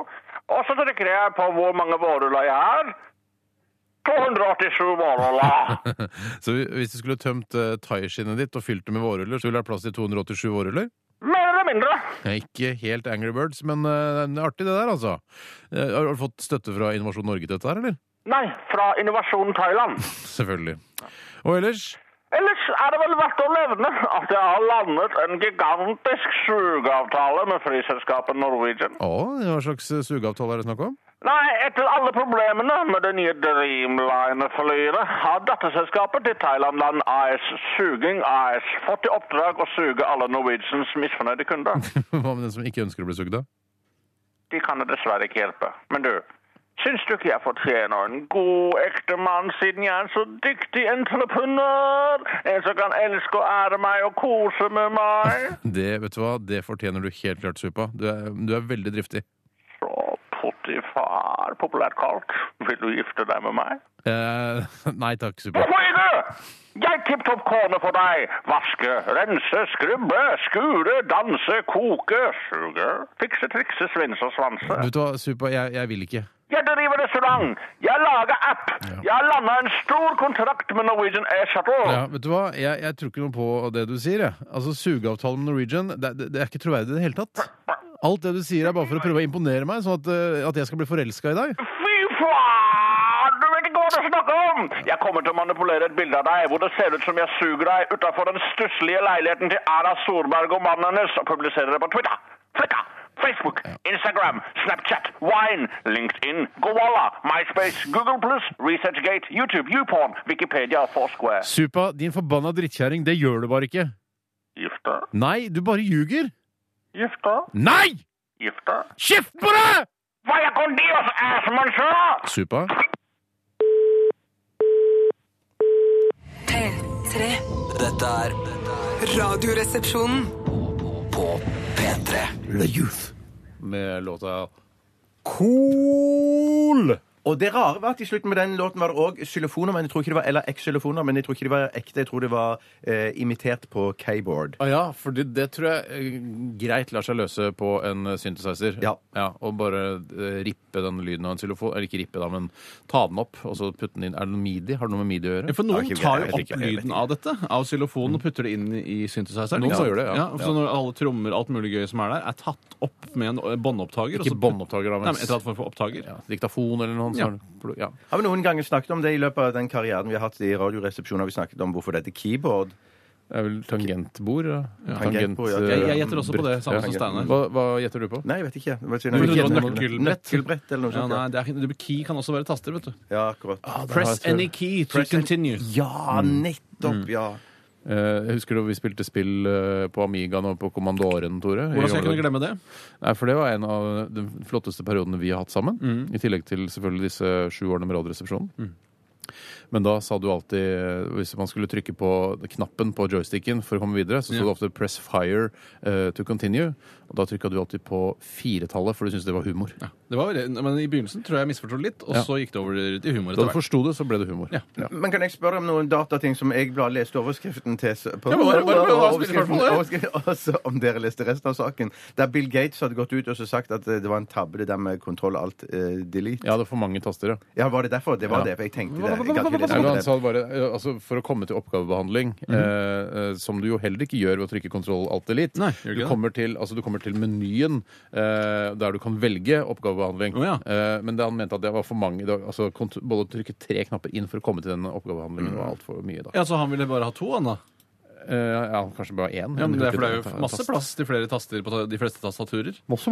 [SPEAKER 8] Og så trykker jeg på hvor mange vårruller jeg har. 287 vårruller.
[SPEAKER 5] Så hvis du skulle tømt uh, thaiskinnet ditt og fylt det med vårruller, så ville det vært plass til 287 vårruller?
[SPEAKER 8] Mer eller mindre.
[SPEAKER 5] Nei, Ikke helt Angry Birds, men eh, det er artig det der, altså. Eh, har du fått støtte fra Innovasjon Norge til dette her, eller?
[SPEAKER 8] Nei, fra Innovasjon Thailand.
[SPEAKER 5] Selvfølgelig. Og ellers?
[SPEAKER 8] Ellers er det vel verdt å nevne at jeg har landet en gigantisk sugeavtale med flyselskapet Norwegian.
[SPEAKER 5] Å, hva slags eh, sugeavtale er det snakk om?
[SPEAKER 8] Nei, etter alle problemene med det nye Dreamliner-flyet har datterselskapet til Thailandland AS Suging AS fått i oppdrag å suge alle Norwegians misfornøyde kunder.
[SPEAKER 5] Hva med den som ikke ønsker å bli sugd av?
[SPEAKER 8] De kan jeg dessverre ikke hjelpe. Men du, syns du ikke jeg fortjener en god ektemann siden jeg er en så dyktig entreprenør? En som kan elske og ære meg og kose med meg?
[SPEAKER 5] Det, vet du hva, det fortjener du helt klart, Supa. Du er, du er veldig driftig.
[SPEAKER 8] Så Potifar, populært kalt, vil du gifte deg med meg?
[SPEAKER 5] Eh, nei takk, Supa.
[SPEAKER 8] Hvorfor ikke? Jeg tippet opp kornet for deg. Vaske, rense, skrubbe, skure, danse, koke, suge, fikse, trikse, svinse og svanse.
[SPEAKER 5] Vet du hva, Supa, jeg, jeg vil ikke.
[SPEAKER 8] Jeg driver restaurant. Jeg lager app. Jeg landa en stor kontrakt med Norwegian Air Shuttle.
[SPEAKER 5] Ja, vet du hva, jeg, jeg tror ikke noe på det du sier, jeg. Altså, sugeavtalen med Norwegian, det, det, det er ikke troverdig i det hele tatt. Alt det du sier er bare for å prøve å imponere meg, sånn at, eh, at jeg skal bli forelska i deg.
[SPEAKER 8] Fy faen! Du vet ikke hva du snakker om! Jeg kommer til å manipulere et bilde av deg hvor det ser ut som jeg suger deg utafor den stusslige leiligheten til Erna Solberg og mannen hennes og publiserer det på Twitter, Flickr, Facebook, Instagram, Snapchat, Wine, LinkedIn, Gowalla, MySpace, Google+, ResearchGate, YouTube, YouPorn, Wikipedia og Foursquare.
[SPEAKER 5] Supa, din forbanna drittkjerring, det gjør du bare ikke.
[SPEAKER 8] Gifte?
[SPEAKER 5] Nei, du bare ljuger.
[SPEAKER 8] Gifte?
[SPEAKER 5] Nei!
[SPEAKER 8] Gifte?
[SPEAKER 5] Kjeft på deg!
[SPEAKER 8] Vaya con Dios, Asmundsjø!
[SPEAKER 5] Supa.
[SPEAKER 7] P3.
[SPEAKER 9] Dette er
[SPEAKER 7] Radioresepsjonen.
[SPEAKER 9] på P3.
[SPEAKER 5] Med låta Cool!
[SPEAKER 2] Og det rare var at i slutten med den låten var det òg xylofoner, men jeg tror ikke det var, eller xylofoner, men jeg tror ikke det var ekte. Jeg tror det var eh, imitert på keyboard.
[SPEAKER 5] Ah, ja, for det, det tror jeg eh, greit lar seg løse på en eh, synthesizer.
[SPEAKER 2] Ja.
[SPEAKER 5] og bare eh, rippe den lyden av en xylofon. Eller ikke rippe, da, men ta den opp og så putte den inn. Er det noe midi? Har det noe med midi å gjøre?
[SPEAKER 4] For noen
[SPEAKER 2] ikke-
[SPEAKER 4] tar
[SPEAKER 2] jeg
[SPEAKER 4] jo
[SPEAKER 2] vet
[SPEAKER 4] opp
[SPEAKER 2] ikke, jeg vet
[SPEAKER 4] lyden av dette, av xylofonen, og putter det inn i synthesizeren.
[SPEAKER 5] Noen
[SPEAKER 4] ikke sant?
[SPEAKER 5] gjør det, ja.
[SPEAKER 4] så når alle trommer, alt mulig gøy som er der, er tatt opp med en båndopptaker og
[SPEAKER 5] Ikke
[SPEAKER 4] så-
[SPEAKER 5] båndopptaker, da,
[SPEAKER 4] Nei, men
[SPEAKER 5] men
[SPEAKER 4] et eller annet form for opptaker.
[SPEAKER 5] ja, diktafon eller noe
[SPEAKER 4] Ja.
[SPEAKER 5] sånt. Ja.
[SPEAKER 2] Har vi noen ganger snakket om det i løpet av den karrieren vi har hatt i Radioresepsjonen? Har vi snakket om hvorfor det heter keyboard?
[SPEAKER 5] Det er vel tangentbord? Ja.
[SPEAKER 2] Tangentbord, ja.
[SPEAKER 5] eh,
[SPEAKER 4] Jeg, jeg gjetter også på det, samme som
[SPEAKER 5] ja.
[SPEAKER 4] Steinar.
[SPEAKER 5] Hva, hva gjetter du på?
[SPEAKER 2] Nei, jeg vet ikke. Hva sier
[SPEAKER 4] Du
[SPEAKER 2] jeg?
[SPEAKER 4] ville
[SPEAKER 5] gjetter
[SPEAKER 4] dra
[SPEAKER 5] noe.
[SPEAKER 4] nøkkelbrett.
[SPEAKER 2] Nøkkelbrett eller noe
[SPEAKER 4] Ja,
[SPEAKER 2] sånt.
[SPEAKER 4] nei,
[SPEAKER 2] Ja,
[SPEAKER 4] det er, ikke- det- key kan også være taster, vet du.
[SPEAKER 2] ja akkurat.
[SPEAKER 5] Mm.
[SPEAKER 4] Press any key to continue.
[SPEAKER 2] Ja,
[SPEAKER 5] Mm.
[SPEAKER 2] nettopp, ja.
[SPEAKER 5] Eh, husker du vi spilte spill eh, på Amigaen og på Kommandoren, Tore?
[SPEAKER 4] Hvordan skal jeg kunne
[SPEAKER 5] I gamle dager?
[SPEAKER 4] glemme det?
[SPEAKER 5] Nei, for det var en av de flotteste periodene vi har hatt sammen.
[SPEAKER 4] Mm.
[SPEAKER 5] I tillegg til selvfølgelig disse sju årene med Radioresepsjonen. Men da sa du alltid, eh, hvis man skulle trykke på knappen på joysticken for å komme videre, så sto det ofte 'press fire eh, to continue'. Og da trykka du alltid på firetallet, for du syntes det var humor.
[SPEAKER 4] det var, veldig- men I begynnelsen tror jeg jeg misforsto litt, og
[SPEAKER 5] Ja.
[SPEAKER 4] så gikk det over til humor.
[SPEAKER 5] Da
[SPEAKER 4] etter
[SPEAKER 5] du
[SPEAKER 4] hvert.
[SPEAKER 5] forsto det, så ble det humor.
[SPEAKER 4] Ja.
[SPEAKER 2] Men kan jeg spørre om noen datating som jeg bare leste overskriften til? s- På,
[SPEAKER 4] Ja, bare- bare- bare- bare spille
[SPEAKER 2] overskriften,
[SPEAKER 4] spørsmålet.
[SPEAKER 2] overskriften- også om dere leste resten av saken. Der Bill Gates hadde gått ut og så sagt at eh, det var en tabbe, det der med kontroll alt eh, delete.
[SPEAKER 5] Jeg hadde for mange taster, ja.
[SPEAKER 2] Ja, var det derfor? Det var
[SPEAKER 5] Ja.
[SPEAKER 2] det, for jeg tenkte det. Jeg kan ikke
[SPEAKER 5] Nei, men han
[SPEAKER 2] lese
[SPEAKER 5] sa bare, eh, altså, for å komme til oppgavebehandling,
[SPEAKER 4] Mhm.
[SPEAKER 5] eh, eh, som du jo heller ikke gjør ved å trykke kontroll alt elite
[SPEAKER 4] Nei, gjør ikke
[SPEAKER 5] du,
[SPEAKER 4] det.
[SPEAKER 5] kommer til, altså, du kommer til menyen eh, der du kan velge oppgavebehandling.
[SPEAKER 4] Å, ja.
[SPEAKER 5] Eh, men det han mente at det var for mange. Det var, altså, kont- både å trykke tre knapper inn for å komme til den oppgavebehandlingen var altfor mye. Da.
[SPEAKER 4] Mm. Ja, Så han ville bare ha to, han da?
[SPEAKER 5] Eh, ja, kanskje bare én.
[SPEAKER 4] Ja, men det er, for det er
[SPEAKER 5] Ta-
[SPEAKER 4] jo masse
[SPEAKER 5] tast-
[SPEAKER 4] plass til flere taster på ta- de fleste tastaturer.
[SPEAKER 5] Masse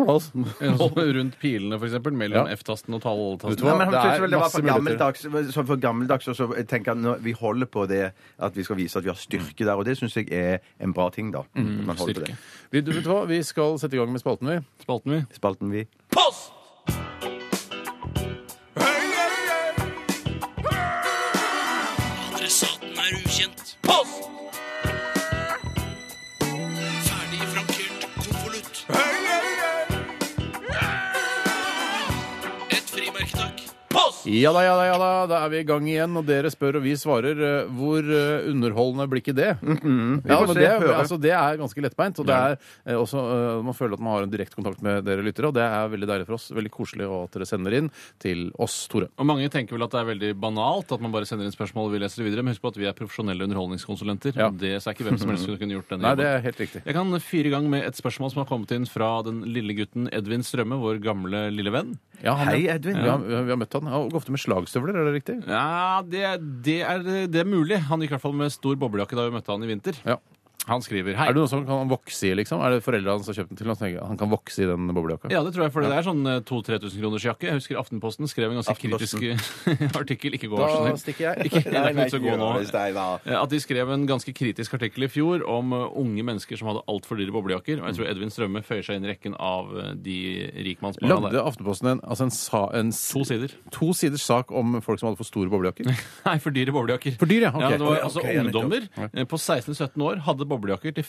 [SPEAKER 5] plass.
[SPEAKER 4] Rundt pilene, for eksempel. Mellom
[SPEAKER 5] Ja.
[SPEAKER 4] F-tasten og tall-tasten.
[SPEAKER 5] Vet du
[SPEAKER 2] Nei,
[SPEAKER 5] hva?
[SPEAKER 2] men han
[SPEAKER 5] Det
[SPEAKER 2] syntes
[SPEAKER 5] er
[SPEAKER 2] vel det var
[SPEAKER 5] masse
[SPEAKER 2] for
[SPEAKER 5] muligheter.
[SPEAKER 2] gammeldags, så for gammeldags og så tenker han nå, vi holder på det at vi skal vise at vi har styrke der, og det syns jeg er en bra ting, da.
[SPEAKER 4] Mm,
[SPEAKER 2] At man holder på det.
[SPEAKER 5] Vi, du, vet du hva? vi skal sette i gang med spalten, vi.
[SPEAKER 4] Spalten vi.
[SPEAKER 2] Spalten vi.
[SPEAKER 10] Adressaten er ukjent. Post! Ferdig frankert konvolutt. Et frimerke, takk. Post!
[SPEAKER 5] Ja da, ja da, ja da. Da er vi i gang igjen, og dere spør, og vi svarer. eh, Hvor eh, underholdende blir ikke det? ja,
[SPEAKER 2] Mm-hmm. får
[SPEAKER 5] men
[SPEAKER 2] se,
[SPEAKER 5] det, er-
[SPEAKER 2] høre.
[SPEAKER 5] altså, det er ganske lettbeint. Og det er eh, også eh, Man føler at man har en direkte kontakt med dere lyttere, og det er veldig deilig for oss. Veldig koselig og at dere sender inn til oss, Tore.
[SPEAKER 4] Og mange tenker vel at det er veldig banalt at man bare sender inn spørsmål og vi leser det videre, men husk på at vi er profesjonelle underholdningskonsulenter.
[SPEAKER 5] Ja.
[SPEAKER 4] Det så er ikke hvem som helst som kunne gjort denne
[SPEAKER 5] Nei, det
[SPEAKER 4] jobben.
[SPEAKER 5] er helt riktig.
[SPEAKER 4] Jeg kan fyre i gang med et spørsmål som har kommet inn fra den lille gutten Edvin Strømme, vår gamle lille venn.
[SPEAKER 5] Ja, han-
[SPEAKER 2] Hei, Edvin.
[SPEAKER 5] Ja, vi har- vi har møtt han. Han går ofte med slagstøvler, er det riktig?
[SPEAKER 4] Ja, det, det, er, det er mulig. Han gikk i hvert fall med stor boblejakke da vi møtte han i vinter.
[SPEAKER 5] Ja.
[SPEAKER 4] Han skriver hei.
[SPEAKER 5] Er det noe som kan vokse i, liksom? Er det foreldrene hans som har kjøpt den til ham? Han kan vokse i den boblejakka?
[SPEAKER 4] Ja, det tror jeg, for det er sånn 2000-3000 kroners jakke. Jeg husker Aftenposten skrev en ganske kritisk artikkel. Ikke gå, vær så
[SPEAKER 5] Da
[SPEAKER 4] snill.
[SPEAKER 5] stikker jeg.
[SPEAKER 4] Ikke, det er ikke noe som går nå.
[SPEAKER 2] Steinar.
[SPEAKER 4] Eh, At de skrev en ganske kritisk artikkel i fjor om eh, unge mennesker som hadde altfor dyre boblejakker. Og jeg tror Edvin Strømme føyer seg inn i rekken av eh, de rikmannsbarna
[SPEAKER 5] Lagde
[SPEAKER 4] der.
[SPEAKER 5] Aftenposten en, altså en, sa, en s-
[SPEAKER 4] To sider.
[SPEAKER 5] to siders sak om folk som hadde for store boblejakker?
[SPEAKER 4] Nei, for dyre boblejakker.
[SPEAKER 5] For dyre, ja, ok.
[SPEAKER 4] ja, det var, altså,
[SPEAKER 2] Ok, jeg
[SPEAKER 4] ungdommer eh, på 16-17 år hadde boblejakker til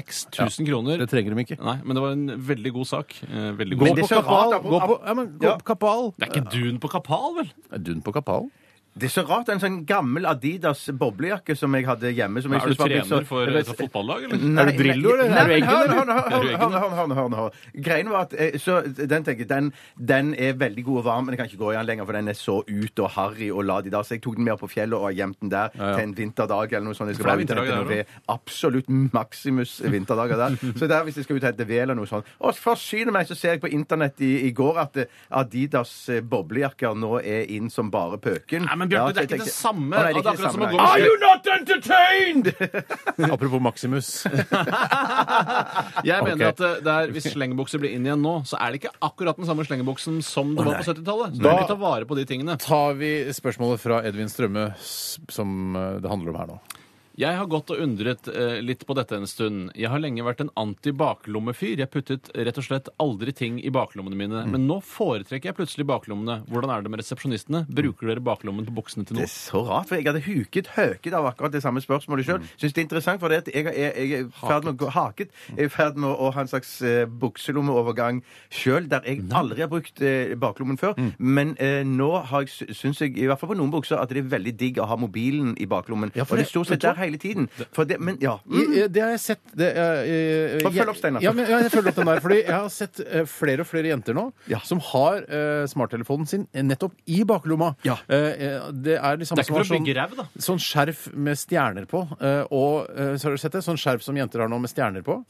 [SPEAKER 4] 5000-6000 kroner.
[SPEAKER 5] Det trenger de ikke.
[SPEAKER 4] Nei, men det var en veldig god sak. Eh, Veldig
[SPEAKER 5] Gå
[SPEAKER 4] god.
[SPEAKER 5] på
[SPEAKER 2] er så rart,
[SPEAKER 5] kapal!
[SPEAKER 2] da, på-
[SPEAKER 5] Gå på, ja, men, gå
[SPEAKER 2] Ja.
[SPEAKER 5] på kapal.
[SPEAKER 4] Det er ikke dun på kapal, vel?
[SPEAKER 5] Er Dun på kapal?
[SPEAKER 2] Det er så rart. En sånn gammel Adidas boblejakke som jeg hadde hjemme. Som jeg
[SPEAKER 4] Er du
[SPEAKER 2] synes var blitt så-
[SPEAKER 4] trener for altså, et fotballag, eller?
[SPEAKER 2] Nei,
[SPEAKER 5] Er du Drillo, eller? Er
[SPEAKER 2] Nei,
[SPEAKER 5] du
[SPEAKER 2] men
[SPEAKER 5] Eggen,
[SPEAKER 2] hør,
[SPEAKER 5] eller?
[SPEAKER 2] hør, hør, hør, hør, hør, hør, hør, hør. Greien var at eh, så, Den tenker jeg, den, den er veldig god og varm, men jeg kan ikke gå i den lenger, for den er så ut og harry og la de der. Så jeg tok den med opp på fjellet og har gjemt den der til en vinterdag eller noe sånt. Jeg skal
[SPEAKER 4] For
[SPEAKER 2] bare
[SPEAKER 4] det er
[SPEAKER 2] ut og hente
[SPEAKER 4] vinterdager
[SPEAKER 2] noe ved. Absolutt maksimus vinterdager der. Så der hvis jeg skal ut og hente ved eller noe sånt. Og forsyne meg, så ser jeg på internett i, i går at eh, Adidas eh, boblejakker nå er inn som bare pøken.
[SPEAKER 4] Nei, men
[SPEAKER 2] Ja,
[SPEAKER 4] Bjarte,
[SPEAKER 2] så
[SPEAKER 4] det er
[SPEAKER 2] jeg
[SPEAKER 4] ikke det
[SPEAKER 2] tenkte-
[SPEAKER 4] samme.
[SPEAKER 2] Å, nei,
[SPEAKER 4] Og det er akkurat som å gå
[SPEAKER 2] nei.
[SPEAKER 4] med
[SPEAKER 2] Are you
[SPEAKER 5] not entertained? Apropos Maximus.
[SPEAKER 4] Jeg mener
[SPEAKER 5] Ok.
[SPEAKER 4] at eh, det er, hvis slengebukser blir inn igjen nå, så er det ikke akkurat den samme slengebuksen som det var på 70-tallet. Så da
[SPEAKER 5] Da-
[SPEAKER 4] må vi ta vare på de tingene.
[SPEAKER 5] Tar vi spørsmålet fra Edvin Strømme s- som eh, det handler om her nå.
[SPEAKER 4] Jeg har gått og undret eh, litt på dette en stund. Jeg har lenge vært en anti-baklommefyr. Jeg puttet rett og slett aldri ting i baklommene
[SPEAKER 5] Mm.
[SPEAKER 4] mine. Men nå foretrekker jeg plutselig baklommene. Hvordan er det med resepsjonistene? Bruker dere baklommen på buksene til
[SPEAKER 2] Det
[SPEAKER 4] noe?
[SPEAKER 2] er så rart, for jeg hadde huket høket av akkurat det samme spørsmålet sjøl.
[SPEAKER 5] Mm.
[SPEAKER 2] Syns det er interessant, for det at jeg, jeg, jeg er i ferd med å gå haket. Jeg er i ferd med å ha en slags eh, bukselommeovergang sjøl, der jeg aldri har brukt eh, baklommen før.
[SPEAKER 5] Mm.
[SPEAKER 2] Men eh, nå har jeg, syns jeg, i hvert fall på noen bukser, at det er veldig digg å ha mobilen i baklommen.
[SPEAKER 5] Ja, for
[SPEAKER 2] for og det
[SPEAKER 5] det-
[SPEAKER 2] er stort sett der hele tiden. For det, men ja. Mm.
[SPEAKER 5] I- eh, Det har jeg sett det, eh, eh,
[SPEAKER 2] Bare følg
[SPEAKER 5] jeg-
[SPEAKER 2] opp, Steinar.
[SPEAKER 5] Ja, men, ja, jeg følger opp den der, fordi jeg har sett eh, flere og flere jenter nå
[SPEAKER 2] Ja.
[SPEAKER 5] som har eh, smarttelefonen sin eh, nettopp i baklomma.
[SPEAKER 2] Ja.
[SPEAKER 5] Eh, eh, det er de samme
[SPEAKER 4] Det er ikke
[SPEAKER 5] som har
[SPEAKER 4] for å
[SPEAKER 5] sånn,
[SPEAKER 4] bygge ræv, da.
[SPEAKER 5] sånn skjerf med stjerner på. eh, og eh, så har du sett det? Sånn skjerf som jenter har nå med stjerner på.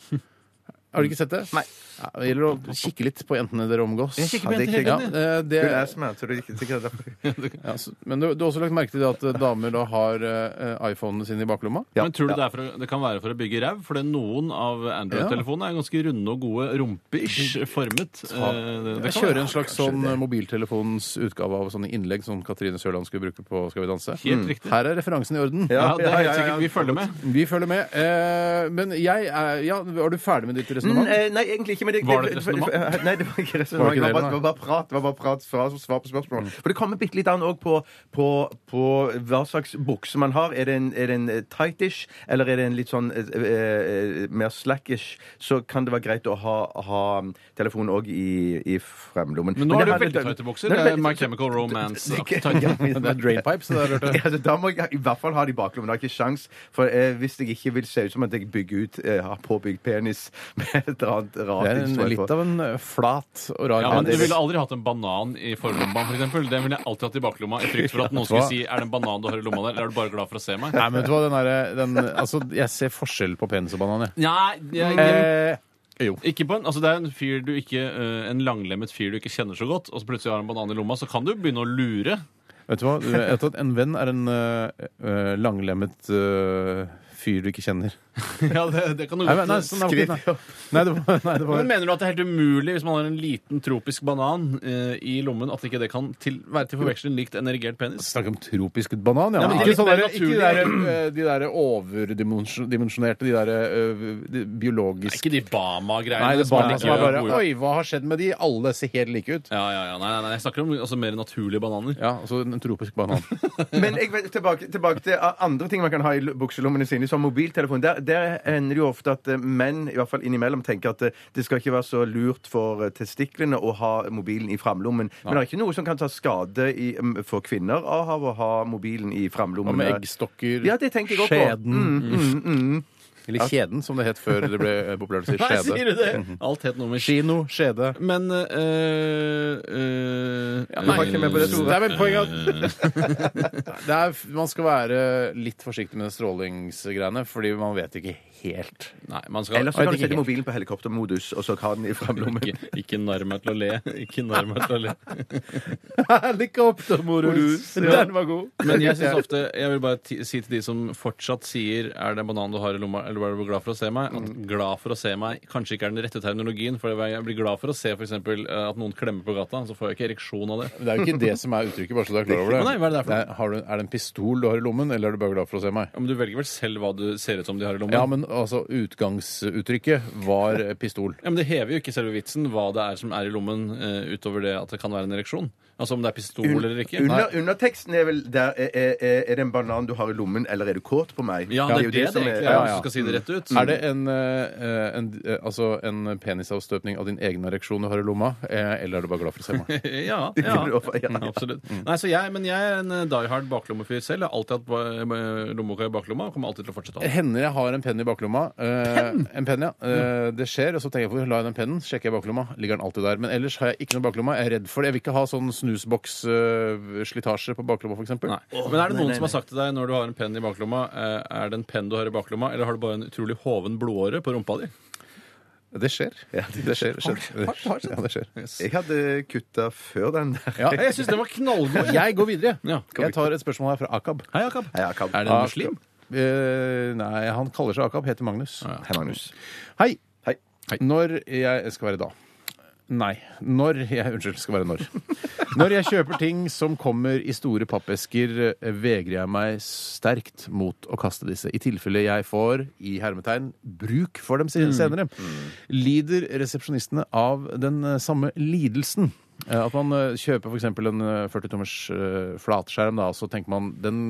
[SPEAKER 5] Har du ikke sett det? Nei. Ja, det gjelder å kikke litt på jentene dere omgås.
[SPEAKER 2] Jeg kikker på jenter hele
[SPEAKER 5] Ja,
[SPEAKER 2] tiden,
[SPEAKER 5] eh, det,
[SPEAKER 2] Hun er som jeg, så du ikke sikkert derfor.
[SPEAKER 5] ja, så- men du, du har også lagt merke til det at eh, damer da har eh, iPhonene sine i baklomma?
[SPEAKER 4] Men tror du det, er for, å- det kan være for å bygge ræv? Fordi noen av Android-telefonene er ganske runde og gode, rumpe-ish formet. Eh, det- det
[SPEAKER 5] Jeg
[SPEAKER 4] kan
[SPEAKER 5] kjører
[SPEAKER 4] være
[SPEAKER 5] en slags sånn mobiltelefonens utgave av sånne innlegg som Katrine Sørland skulle bruke på Skal vi danse. Mm.
[SPEAKER 4] Helt riktig.
[SPEAKER 5] Her er referansen i orden.
[SPEAKER 4] Ja, det er helt
[SPEAKER 2] Ja, ja, ja, ja.
[SPEAKER 4] sikkert. Vi følger med.
[SPEAKER 5] Vi følger med. Eh, men jeg er Ja, var du ferdig med ditt
[SPEAKER 4] Mm,
[SPEAKER 5] resonnement?
[SPEAKER 4] eh,
[SPEAKER 2] Nei, Mm, eh, nei, egentlig ikke. Men det,
[SPEAKER 4] Var det et resonnement?
[SPEAKER 2] Nei, det var ikke
[SPEAKER 5] Var det
[SPEAKER 2] resonnement.
[SPEAKER 5] ikke
[SPEAKER 2] Det var
[SPEAKER 5] det,
[SPEAKER 2] bare,
[SPEAKER 5] nei?
[SPEAKER 2] det var bare prat. Det var bare prat svar, som svar på spørsmål.
[SPEAKER 4] Mm.
[SPEAKER 2] For det kommer bitte litt an òg på, på, på hva slags bukse man har. Er det en, er det en eh, tightish, eller er det en litt sånn eh, eh, mer slackish, så kan det være greit å ha, ha mm, telefonen òg i, i fremlommen.
[SPEAKER 4] Men nå har du
[SPEAKER 2] det her-
[SPEAKER 4] veldig tighte bukser.
[SPEAKER 2] Nå
[SPEAKER 4] Det
[SPEAKER 2] er
[SPEAKER 4] er
[SPEAKER 2] det
[SPEAKER 4] My
[SPEAKER 2] veldig-
[SPEAKER 4] Chemical
[SPEAKER 2] Ikke-
[SPEAKER 4] Romance.
[SPEAKER 5] Det er drainpipes, det der, hørte jeg.
[SPEAKER 2] Ja, så da må jeg i hvert fall ha det i baklommen. Jeg har ikke sjans, for eh, hvis jeg ikke vil se ut som at jeg bygger ut, eh, har påbygd penis med et eller annet rart
[SPEAKER 5] Det er en,
[SPEAKER 2] innslag på.
[SPEAKER 5] litt av en eh, flat og rar
[SPEAKER 4] Ja, men Du
[SPEAKER 5] penis.
[SPEAKER 4] ville aldri hatt en banan i forlomma, for eksempel. Den ville jeg alltid hatt i baklomma i frykt for at noen skulle si 'er det en banan du har i lomma der', eller er du bare glad for å se meg?
[SPEAKER 5] Nei, men vet du hva, den derre- den, altså, jeg ser forskjell på penis og banan, jeg.
[SPEAKER 4] Nei, jeg,
[SPEAKER 5] Eh,
[SPEAKER 4] ikke på en, altså Det er en fyr du ikke eh, En langlemmet fyr du ikke kjenner så godt, og så plutselig har han en banan i lomma, så kan du begynne å lure.
[SPEAKER 5] vet du hva, Du vet at en venn er en eh, eh, langlemmet eh, fyr du ikke kjenner.
[SPEAKER 4] Ja, det, det kan du
[SPEAKER 5] Nei, men-
[SPEAKER 4] godt
[SPEAKER 5] nei, sånn er det ikke, nei. Nei, det var, nei, det var
[SPEAKER 4] men Mener du at det er helt umulig hvis man har en liten tropisk banan eh, i lommen, at ikke det kan til, være til forveksling likt en erigert penis?
[SPEAKER 5] Snakke om tropisk banan, ja.
[SPEAKER 4] Ja, men
[SPEAKER 5] ikke
[SPEAKER 4] litt
[SPEAKER 5] sånn
[SPEAKER 4] mer
[SPEAKER 5] der, ikke de
[SPEAKER 4] naturlig.
[SPEAKER 5] der, eh, de der overdimensjonerte, de der eh, de
[SPEAKER 4] Er
[SPEAKER 5] biologiske
[SPEAKER 4] ikke de Bama-greiene?
[SPEAKER 5] Nei, det er
[SPEAKER 4] som er
[SPEAKER 5] bare,
[SPEAKER 4] like
[SPEAKER 5] som er bare
[SPEAKER 4] gode?
[SPEAKER 5] Oi, hva har skjedd med de? Alle ser helt like ut.
[SPEAKER 4] Ja, ja, ja, nei, nei, nei, Jeg snakker om altså, mer naturlige bananer.
[SPEAKER 5] Ja, altså en tropisk banan.
[SPEAKER 2] Men jeg vet, tilbake, tilbake til eh, andre ting man kan ha i l- bukselommene sine, som mobiltelefon. Der, der ender det jo ofte at eh, menn i hvert fall innimellom tenker at eh, det skal ikke være så lurt for eh, testiklene å ha mobilen i framlommen. Men det er ikke noe som kan ta skade i, mm, for kvinner av å ha mobilen i
[SPEAKER 5] Hva
[SPEAKER 2] framlommen.
[SPEAKER 5] med eggstokker?
[SPEAKER 2] Ja, det tenker jeg også på.
[SPEAKER 5] skjeden. Mm, Eller kjeden, som det het før det ble eh, populært å si
[SPEAKER 4] Nei,
[SPEAKER 5] skjede. Mhm.
[SPEAKER 4] sier du det? Alt het noe med ski.
[SPEAKER 5] Kino, skjede.
[SPEAKER 4] Men øh, øh,
[SPEAKER 5] Nei,
[SPEAKER 2] var ikke med på det, Tore.
[SPEAKER 5] det er vel poenget at det er, Man skal være litt forsiktig med strålingsgreiene, fordi man vet ikke helt.
[SPEAKER 4] Nei, man skal
[SPEAKER 2] Eller så
[SPEAKER 5] Jeg
[SPEAKER 2] kan du
[SPEAKER 5] vet ikke
[SPEAKER 2] sette mobilen på helikoptermodus, og så ha den i framlommen.
[SPEAKER 4] ikke, ikke narr meg til å le. Ikke narr meg til å le.
[SPEAKER 5] Helikoptermorus! Den var god.
[SPEAKER 4] Men jeg synes ofte, jeg vil bare ti- si til de som fortsatt sier 'er det en banan du har i lomma', eller 'er du glad for å se meg', at 'glad for å se meg' kanskje ikke er den rette terminologien. For jeg blir glad for å se f.eks. at noen klemmer på gata, så får jeg ikke ereksjon av det.
[SPEAKER 5] Men Det er jo ikke det som er uttrykket, bare så du er klar over det.
[SPEAKER 4] Nei, hva er det der for noe?
[SPEAKER 5] er, har du, er det en pistol du har i lommen, eller er du bare glad for å se meg?
[SPEAKER 4] Ja, Men du velger vel selv hva du ser ut som de har i lomma?
[SPEAKER 5] Ja, men altså, utgangsuttrykket var eh, pistol.
[SPEAKER 4] Ja, men Det hever jo ikke selve vitsen hva det er som er i lommen, eh, utover det at det kan være en ereksjon. Altså om det er pistol
[SPEAKER 2] Un-
[SPEAKER 4] eller ikke.
[SPEAKER 2] Under, underteksten er vel der er, er, er det en banan du har i lommen, eller er du kåt på meg?
[SPEAKER 4] Ja, det er
[SPEAKER 2] jo
[SPEAKER 4] det det
[SPEAKER 2] som
[SPEAKER 4] egentlig er,
[SPEAKER 5] ja, ja. Mm.
[SPEAKER 4] hvis du skal si det rett ut.
[SPEAKER 5] Er det en, eh, en, eh, altså en penisavstøpning av din egen ereksjon du har i lomma, eh, eller er du bare glad for å se meg?
[SPEAKER 4] ja, ja. Mm,
[SPEAKER 2] kunne du også- ja, ja.
[SPEAKER 4] absolutt. Nei, så jeg, men jeg er en eh, die hard baklommefyr selv. Jeg har alltid hatt ba- eh, lommeboka i baklomma og kommer alltid til å fortsette å ha den.
[SPEAKER 5] Hender jeg har en penn i baklomma. eh, En penn, ja. Eh, Det skjer. Og så tenker jeg hvor la jeg den pennen? Sjekker jeg baklomma, ligger den alltid der. Men ellers har jeg ikke noe baklomma. Jeg er redd for det. Jeg vil ikke ha sånn snusboksslitasje på baklomma, f.eks.
[SPEAKER 4] Nei. Men er det noen som har sagt til deg når du har en penn i baklomma, eh, er det en penn du har i baklomma, eller har du bare en utrolig hoven blodåre på rumpa di?
[SPEAKER 5] Det skjer. det skjer. skjer. Ja, det skjer.
[SPEAKER 2] Jeg hadde kutta før den der.
[SPEAKER 5] Ja,
[SPEAKER 4] Jeg syns den var knallgod. jeg.
[SPEAKER 5] Jeg går videre.
[SPEAKER 4] Ja.
[SPEAKER 5] Jeg tar et spørsmål her fra Akab.
[SPEAKER 4] Hei, Jakob.
[SPEAKER 2] Nei, jeg kan-
[SPEAKER 4] Er det en muslim?
[SPEAKER 5] Eh, nei, han kaller seg Akab. Heter Magnus.
[SPEAKER 2] Hei, Magnus.
[SPEAKER 5] Hei.
[SPEAKER 2] Hei.
[SPEAKER 5] Når jeg skal være da Nei. Når jeg, Unnskyld, det skal være når. Når jeg kjøper ting som kommer i store pappesker, eh, vegrer jeg meg sterkt mot å kaste disse. I tilfelle jeg får, i hermetegn, bruk for dem sen- senere. Lider resepsjonistene av den eh, samme lidelsen? Eh, At man eh, kjøper f.eks. en eh, 40-tommers eh, flatskjerm, da, og så tenker man den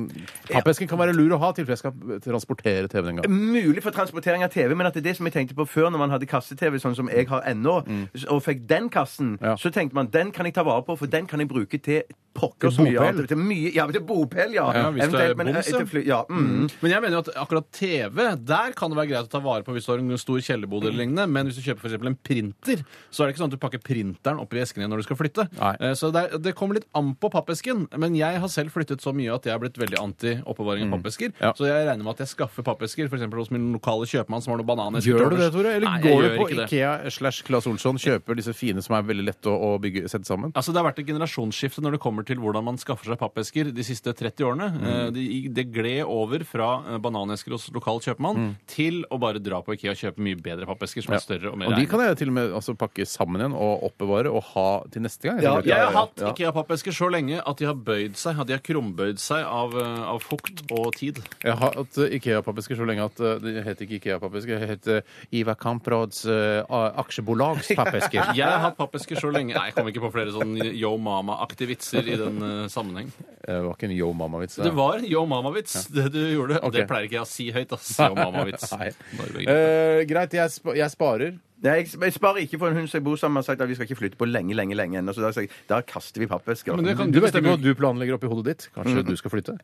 [SPEAKER 5] pappesken kan være lur å ha i tilfelle jeg skal transportere TV-en en gang.
[SPEAKER 2] Mulig for transportering av TV, men at det er det som jeg tenkte på før, når man hadde kasse-TV, sånn som jeg har ennå,
[SPEAKER 4] Mm.
[SPEAKER 2] s- og fikk den kassen,
[SPEAKER 5] Ja.
[SPEAKER 2] så tenkte man den kan jeg ta vare på, for den kan jeg bruke til pokker så mye.
[SPEAKER 5] bopel.
[SPEAKER 2] annet. Til mye ja, men til bopel, ja.
[SPEAKER 4] Ja, hvis det er
[SPEAKER 2] Eventuelt, men, eh,
[SPEAKER 4] boms, ja.
[SPEAKER 2] til fly- ja. Mm.
[SPEAKER 4] Men jeg mener jo at akkurat TV, der kan det være greit å ta vare på hvis du har en stor kjellerbod eller lignende, men hvis du kjøper for eksempel en printer, så er det ikke sånn at du pakker printeren opp i esken igjen når du skal flytte.
[SPEAKER 5] Nei.
[SPEAKER 4] Eh, Så det, er- det kommer litt an på pappesken, men jeg har selv flyttet så mye at jeg har blitt veldig anti oppbevaring av pappesker,
[SPEAKER 5] Mm. Ja.
[SPEAKER 4] så jeg regner med at jeg skaffer pappesker, for eksempel hos min lokale kjøpmann som har noen bananer.
[SPEAKER 5] Gjør du det, Tore? Eller
[SPEAKER 4] Nei, jeg
[SPEAKER 5] går du
[SPEAKER 4] gjør
[SPEAKER 5] på
[SPEAKER 4] ikke det.
[SPEAKER 5] Ikea slash Claes Olsson, kjøper disse fine som er veldig lette å, å bygge, sette sammen?
[SPEAKER 4] Altså, Det har vært et generasjonsskifte når det kommer til hvordan man skaffer seg pappesker de siste 30 årene.
[SPEAKER 5] Mm.
[SPEAKER 4] Eh, Det det gled over fra eh, bananesker hos lokal kjøpmann
[SPEAKER 5] Mm.
[SPEAKER 4] til å bare dra på Ikea og kjøpe mye bedre pappesker som er større og mer
[SPEAKER 5] Og de
[SPEAKER 4] egnet.
[SPEAKER 5] kan jeg til og med altså, pakke sammen igjen og oppbevare og ha til neste gang.
[SPEAKER 2] Ja,
[SPEAKER 4] Jeg har hatt
[SPEAKER 5] Ja.
[SPEAKER 4] Ikea-pappesker så lenge at de har bøyd seg, at de har krumbøyd seg av, eh, av fukt og tid.
[SPEAKER 5] Jeg har hatt eh, Ikea-pappesker så lenge at eh, det heter ikke Ikea-pappesker, det heter eh, Ivar Kamprads eh, a- aksjebolagspappesker.
[SPEAKER 4] Jeg har hatt pappesker så lenge Nei, jeg kom ikke på flere sånn Yo Mama-aktige vitser i den eh, sammenheng.
[SPEAKER 5] Det var ikke en yo mama-vits.
[SPEAKER 4] Det var en Yo Mama-vits, det du gjorde.
[SPEAKER 5] Ok.
[SPEAKER 4] Det pleier ikke jeg å si høyt, ass. Yo Mama-vits.
[SPEAKER 5] Nei.
[SPEAKER 4] Bare begynn.
[SPEAKER 5] Eh, greit, jeg, sp jeg sparer.
[SPEAKER 2] Nei, jeg, jeg sparer ikke for en hund som jeg bor sammen med. har sagt at vi skal ikke flytte på lenge, lenge, lenge ennå. Så da, har jeg sagt, da kaster vi pappesker.
[SPEAKER 4] Men det kan Mm.
[SPEAKER 5] Du vet
[SPEAKER 4] bestemmer
[SPEAKER 5] ikke
[SPEAKER 4] jo
[SPEAKER 5] hva du planlegger oppi hodet ditt? Kanskje du skal flytte?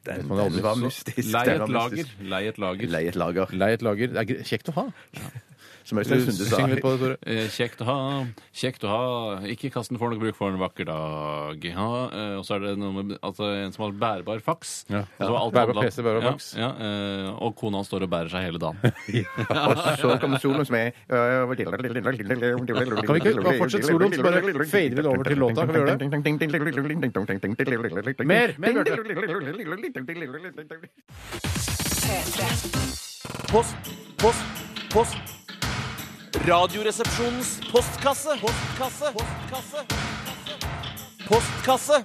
[SPEAKER 2] den,
[SPEAKER 5] man aldri
[SPEAKER 2] den var
[SPEAKER 5] så-
[SPEAKER 2] mystisk.
[SPEAKER 4] Lei
[SPEAKER 2] den
[SPEAKER 4] et
[SPEAKER 2] var
[SPEAKER 4] lager.
[SPEAKER 2] mystisk.
[SPEAKER 4] Lei et lager.
[SPEAKER 2] Lei et lager.
[SPEAKER 5] Leie et lager. Det er gre- kjekt å ha.
[SPEAKER 2] Som Øystein Sunde sa.
[SPEAKER 5] Syng litt på det, Tore.
[SPEAKER 4] Eh, kjekt å ha, kjekt å ha. Ikke kast den for noe bruk for en vakker dag. Ja, eh, og så er det noe med altså, en som har bærbar faks.
[SPEAKER 5] Ja.
[SPEAKER 4] Og så var alt
[SPEAKER 5] Bærbar
[SPEAKER 4] handlet-
[SPEAKER 5] PC, bærbar faks.
[SPEAKER 4] Ja, ja, eh, og kona hans står og bærer seg hele dagen.
[SPEAKER 2] Og så kommer soloen som er
[SPEAKER 5] Kan vi ikke bare fortsette soloen, så bare fader vi det over til låta? Kan vi gjøre det? Mer, mer,
[SPEAKER 7] P3.
[SPEAKER 10] Post, post, post. Radioresepsjonens postkasse. Postkasse. Postkasse. Postkasse.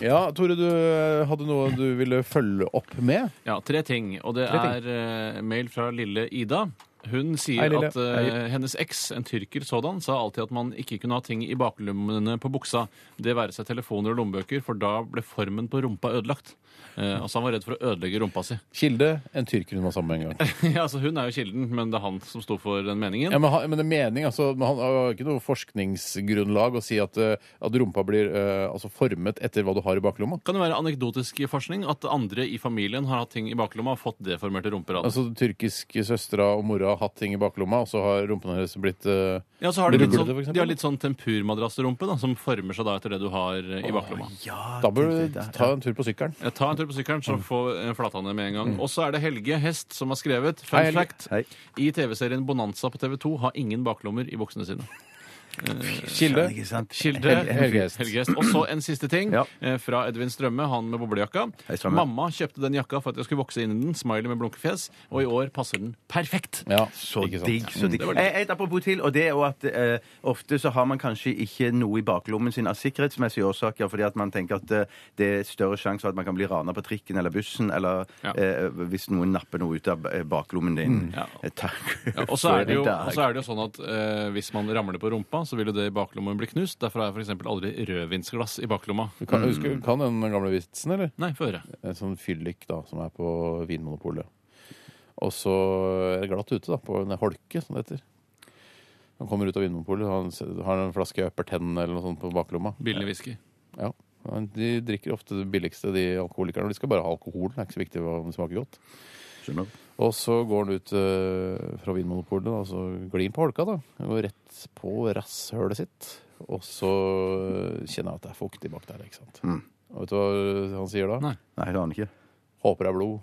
[SPEAKER 5] Ja, Tore, du eh, hadde noe du ville følge opp med.
[SPEAKER 4] Ja, tre ting. Og det
[SPEAKER 5] Tre
[SPEAKER 4] er eh, mail fra lille Ida. Hun sier
[SPEAKER 5] Hei, Lille.
[SPEAKER 4] at eh,
[SPEAKER 5] Hei.
[SPEAKER 4] hennes eks, en tyrker sådan, sa alltid at man ikke kunne ha ting i baklommene på buksa, det være seg telefoner og lommebøker, for da ble formen på rumpa ødelagt. Eh, altså han var redd for å ødelegge rumpa si.
[SPEAKER 5] Kilde, en tyrker hun var sammen med en gang.
[SPEAKER 4] Ja, altså Hun er jo kilden, men det er han som sto for den meningen.
[SPEAKER 5] Ja, men, han, men det er mening, altså, men han har jo ikke noe forskningsgrunnlag å si at, eh, at rumpa blir eh, altså formet etter hva du har i baklomma.
[SPEAKER 4] Kan det være anekdotisk forskning at andre i familien har hatt ting i baklomma og fått deformerte rumper av det?
[SPEAKER 5] Altså tyrkiske søstera og mora har hatt ting i baklomma, og så har rumpene hennes blitt eh,
[SPEAKER 4] Ja, så har de, litt
[SPEAKER 5] ruglete,
[SPEAKER 4] sånn,
[SPEAKER 5] for eksempel.
[SPEAKER 4] de har litt sånn tempurmadrassrumpe da, som former seg da etter det du har eh, i baklomma.
[SPEAKER 2] Ah,
[SPEAKER 5] Da bør du ta en tur på sykkelen.
[SPEAKER 4] Eh, Ta en tur på sykkelen,
[SPEAKER 5] Mm.
[SPEAKER 4] så få eh, flathane med en gang. Og så er det Helge Hest som har skrevet Fun
[SPEAKER 5] Hei, Helge.
[SPEAKER 4] fact. I TV-serien Bonanza på TV2 har ingen baklommer i buksene sine.
[SPEAKER 5] Kilde.
[SPEAKER 4] Kilde,
[SPEAKER 5] Helge Hest.
[SPEAKER 4] Helge Hest. Og så en siste ting
[SPEAKER 2] Ja.
[SPEAKER 4] eh, fra Edvin Strømme, han med boblejakka.
[SPEAKER 2] Hei, Strømme.
[SPEAKER 4] Mamma kjøpte den jakka for at jeg skulle vokse inn i den. Smiley med blunkefjes. Og i år passer den perfekt.
[SPEAKER 5] Ja,
[SPEAKER 2] Så
[SPEAKER 5] ikke sant.
[SPEAKER 2] digg. så digg. Eh, Et apropos til, og det er jo at eh, ofte så har man kanskje ikke noe i baklommen sin av sikkerhetsmessige årsaker, fordi at man tenker at eh, det er større sjanse for at man kan bli rana på trikken eller bussen, eller
[SPEAKER 4] Ja.
[SPEAKER 2] eh, hvis noen napper noe ut av eh, baklommen din.
[SPEAKER 4] Ja.
[SPEAKER 2] Eh, Takk.
[SPEAKER 4] Ja, og så er det jo,
[SPEAKER 2] for i dag.
[SPEAKER 4] og så er det jo sånn at eh, hvis man ramler på rumpa, så vil jo det i baklommen bli knust. Derfor har jeg f.eks. aldri rødvinsglass i baklomma.
[SPEAKER 5] Du kan, husker,
[SPEAKER 2] Mm.
[SPEAKER 5] du- kan den gamle vitsen, eller?
[SPEAKER 4] Nei, få høre.
[SPEAKER 5] En sånn fyllik da, som er på Vinmonopolet. Og så er det glatt ute da, på en holke, som det heter. Han kommer ut av Vinmonopolet, han s- har en flaske Upperten eller noe sånt på baklomma.
[SPEAKER 4] Billig whisky.
[SPEAKER 5] Ja. Men De drikker ofte det billigste, de alkoholikerne. og De skal bare ha alkohol, det er ikke så viktig hva- om det smaker godt.
[SPEAKER 2] Skjønner.
[SPEAKER 5] Og så går han ut eh, fra Vinmonopolet, da, og så glir han på holka, da. Han går rett på rasshølet sitt. Og så eh, kjenner han at det er fuktig bak der, ikke sant. Og vet du hva han sier da?
[SPEAKER 4] Nei.
[SPEAKER 2] Nei, jeg aner ikke.
[SPEAKER 5] Håper det er blod.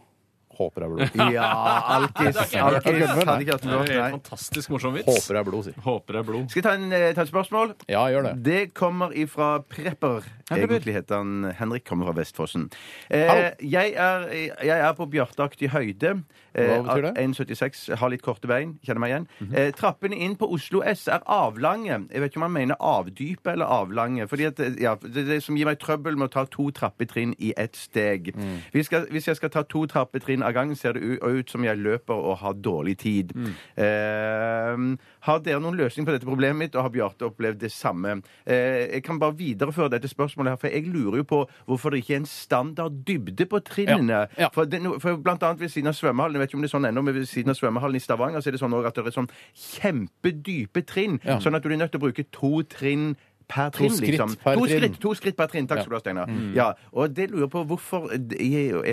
[SPEAKER 5] Håper det er blod.
[SPEAKER 2] Ja, alkis.
[SPEAKER 4] Det har ikke jeg
[SPEAKER 2] alkis.
[SPEAKER 5] hørt.
[SPEAKER 2] Hadde ikke hatt
[SPEAKER 4] Det er
[SPEAKER 2] lov,
[SPEAKER 4] jo
[SPEAKER 2] nei.
[SPEAKER 4] helt fantastisk morsom vits.
[SPEAKER 5] Håper det er blod, sier
[SPEAKER 4] Håper det er blod.
[SPEAKER 2] Skal jeg ta, en, eh, ta et spørsmål?
[SPEAKER 5] Ja, gjør det.
[SPEAKER 2] Det kommer ifra Prepper.
[SPEAKER 4] Prepper.
[SPEAKER 2] Egentlig heter han Henrik, kommer fra Vestfossen.
[SPEAKER 5] Au.
[SPEAKER 2] Eh, jeg, er, jeg er på bjarteaktig høyde. Eh,
[SPEAKER 5] Hva betyr det?
[SPEAKER 2] 1,76, har litt korte bein. Kjenner meg igjen.
[SPEAKER 5] Mhm.
[SPEAKER 2] eh, trappene inn på Oslo S er avlange. Jeg vet ikke om han mener avdype eller avlange. Fordi at, eh, ja, det, er det som gir meg trøbbel med å ta to trappetrinn i ett steg.
[SPEAKER 5] Mm.
[SPEAKER 2] Hvis, skal, hvis jeg skal ta to trappetrinn av gangen, ser det u- ut som jeg løper og har dårlig tid.
[SPEAKER 5] Mm.
[SPEAKER 2] Eh, har dere noen løsning på dette problemet mitt, og har Bjarte opplevd det samme? Eh, jeg kan bare videreføre dette spørsmålet her, for jeg lurer jo på hvorfor det ikke er en standard dybde på trinnene.
[SPEAKER 5] Ja.
[SPEAKER 2] For, det, no- for blant annet ved siden av svømmehallen, jeg vet ikke om det er sånn ennå, men ved siden av svømmehallen i Stavanger så er det sånn også at det er sånn kjempedype trinn,
[SPEAKER 5] Ja.
[SPEAKER 2] sånn at du er nødt til å bruke to trinn per trinn,
[SPEAKER 5] skritt
[SPEAKER 2] liksom.
[SPEAKER 5] per
[SPEAKER 2] to,
[SPEAKER 5] trinn. Mm.
[SPEAKER 2] Skritt, to skritt per trinn. Takk skal du ha, Steinar. Ja, og det lurer jeg på hvorfor er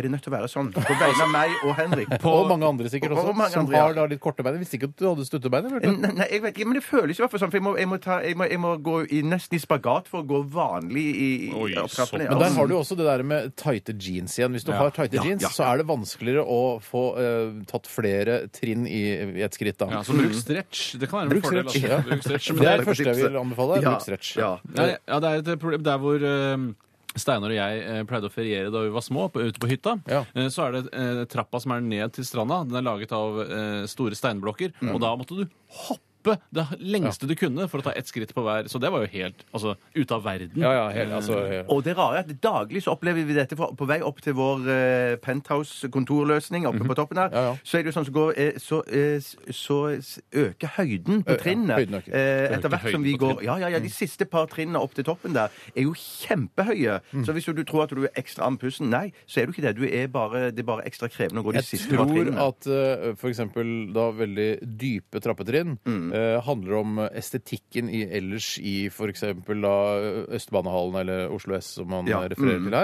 [SPEAKER 2] det nødt til å være sånn på vegne av meg og Henrik.
[SPEAKER 5] og mange andre sikkert
[SPEAKER 2] og- og
[SPEAKER 5] også,
[SPEAKER 2] mange
[SPEAKER 5] som
[SPEAKER 2] andre, ja. Mm,
[SPEAKER 5] har da litt korte bein. Jeg visste ikke at du hadde stuttebein. jeg, Bjarte.
[SPEAKER 2] Nei, nei, jeg vet ikke, men det føles i hvert fall sånn. For jeg må, jeg må, ta, jeg må, jeg må gå i, nesten i spagat for å gå vanlig i i-
[SPEAKER 4] Oi,
[SPEAKER 2] opp trappene.
[SPEAKER 4] såpass.
[SPEAKER 5] Men der har du jo også det der med tighte jeans igjen. Hvis du har tighte jeans, så er det vanskeligere å få eh, tatt flere trinn i, i et skritt, da.
[SPEAKER 4] Ja, så bruk stretch. Det kan være en
[SPEAKER 5] Bruk
[SPEAKER 4] fordel. altså.
[SPEAKER 5] stretch, ja.
[SPEAKER 4] Bruk stretch, men
[SPEAKER 5] Det er
[SPEAKER 4] det
[SPEAKER 5] det første jeg vil anbefale. er
[SPEAKER 2] Ja,
[SPEAKER 5] Bruk stretch.
[SPEAKER 2] ja.
[SPEAKER 4] Nei, ja, det er et problem der hvor eh, Steinar og jeg eh, pleide å feriere da vi var små, på, ute på hytta.
[SPEAKER 5] Ja.
[SPEAKER 4] Eh, Så er det eh, trappa som er ned til stranda. Den er laget av eh, store steinblokker.
[SPEAKER 5] Mm.
[SPEAKER 4] Og da måtte du hoppe det lengste du kunne for å ta ett skritt på hver. Så det var jo helt altså, ute av verden.
[SPEAKER 5] Ja, ja, helt, altså, ja.
[SPEAKER 2] Og det rare er at daglig så opplever vi dette fra- på vei opp til vår eh, penthouse-kontorløsning oppe på toppen her.
[SPEAKER 5] Mhm. Ja, ja.
[SPEAKER 2] Så er det jo sånn som går eh, så, eh, s- så s- øker høyden på trinnene.
[SPEAKER 5] høyden Mhm. øker.
[SPEAKER 2] eh, etter
[SPEAKER 4] Øker
[SPEAKER 2] hvert
[SPEAKER 4] høyden
[SPEAKER 2] som vi
[SPEAKER 4] på
[SPEAKER 2] går
[SPEAKER 4] trinnene.
[SPEAKER 2] Ja, ja, ja. De siste par trinnene opp til toppen der er jo kjempehøye.
[SPEAKER 5] Mhm.
[SPEAKER 2] Så hvis du tror at du er ekstra andpusten, nei, så er du ikke det. Du er bare, det er bare ekstra krevende å gå de
[SPEAKER 5] Jeg
[SPEAKER 2] siste par
[SPEAKER 5] tror
[SPEAKER 2] trinnene.
[SPEAKER 5] at eh, for eksempel da veldig dype trappetrinn
[SPEAKER 4] Mm.
[SPEAKER 5] eh, handler om estetikken i, ellers i for eksempel da Østbanehallen eller Oslo S, som man
[SPEAKER 2] Ja.
[SPEAKER 5] eh,
[SPEAKER 4] Mm.
[SPEAKER 5] refererer til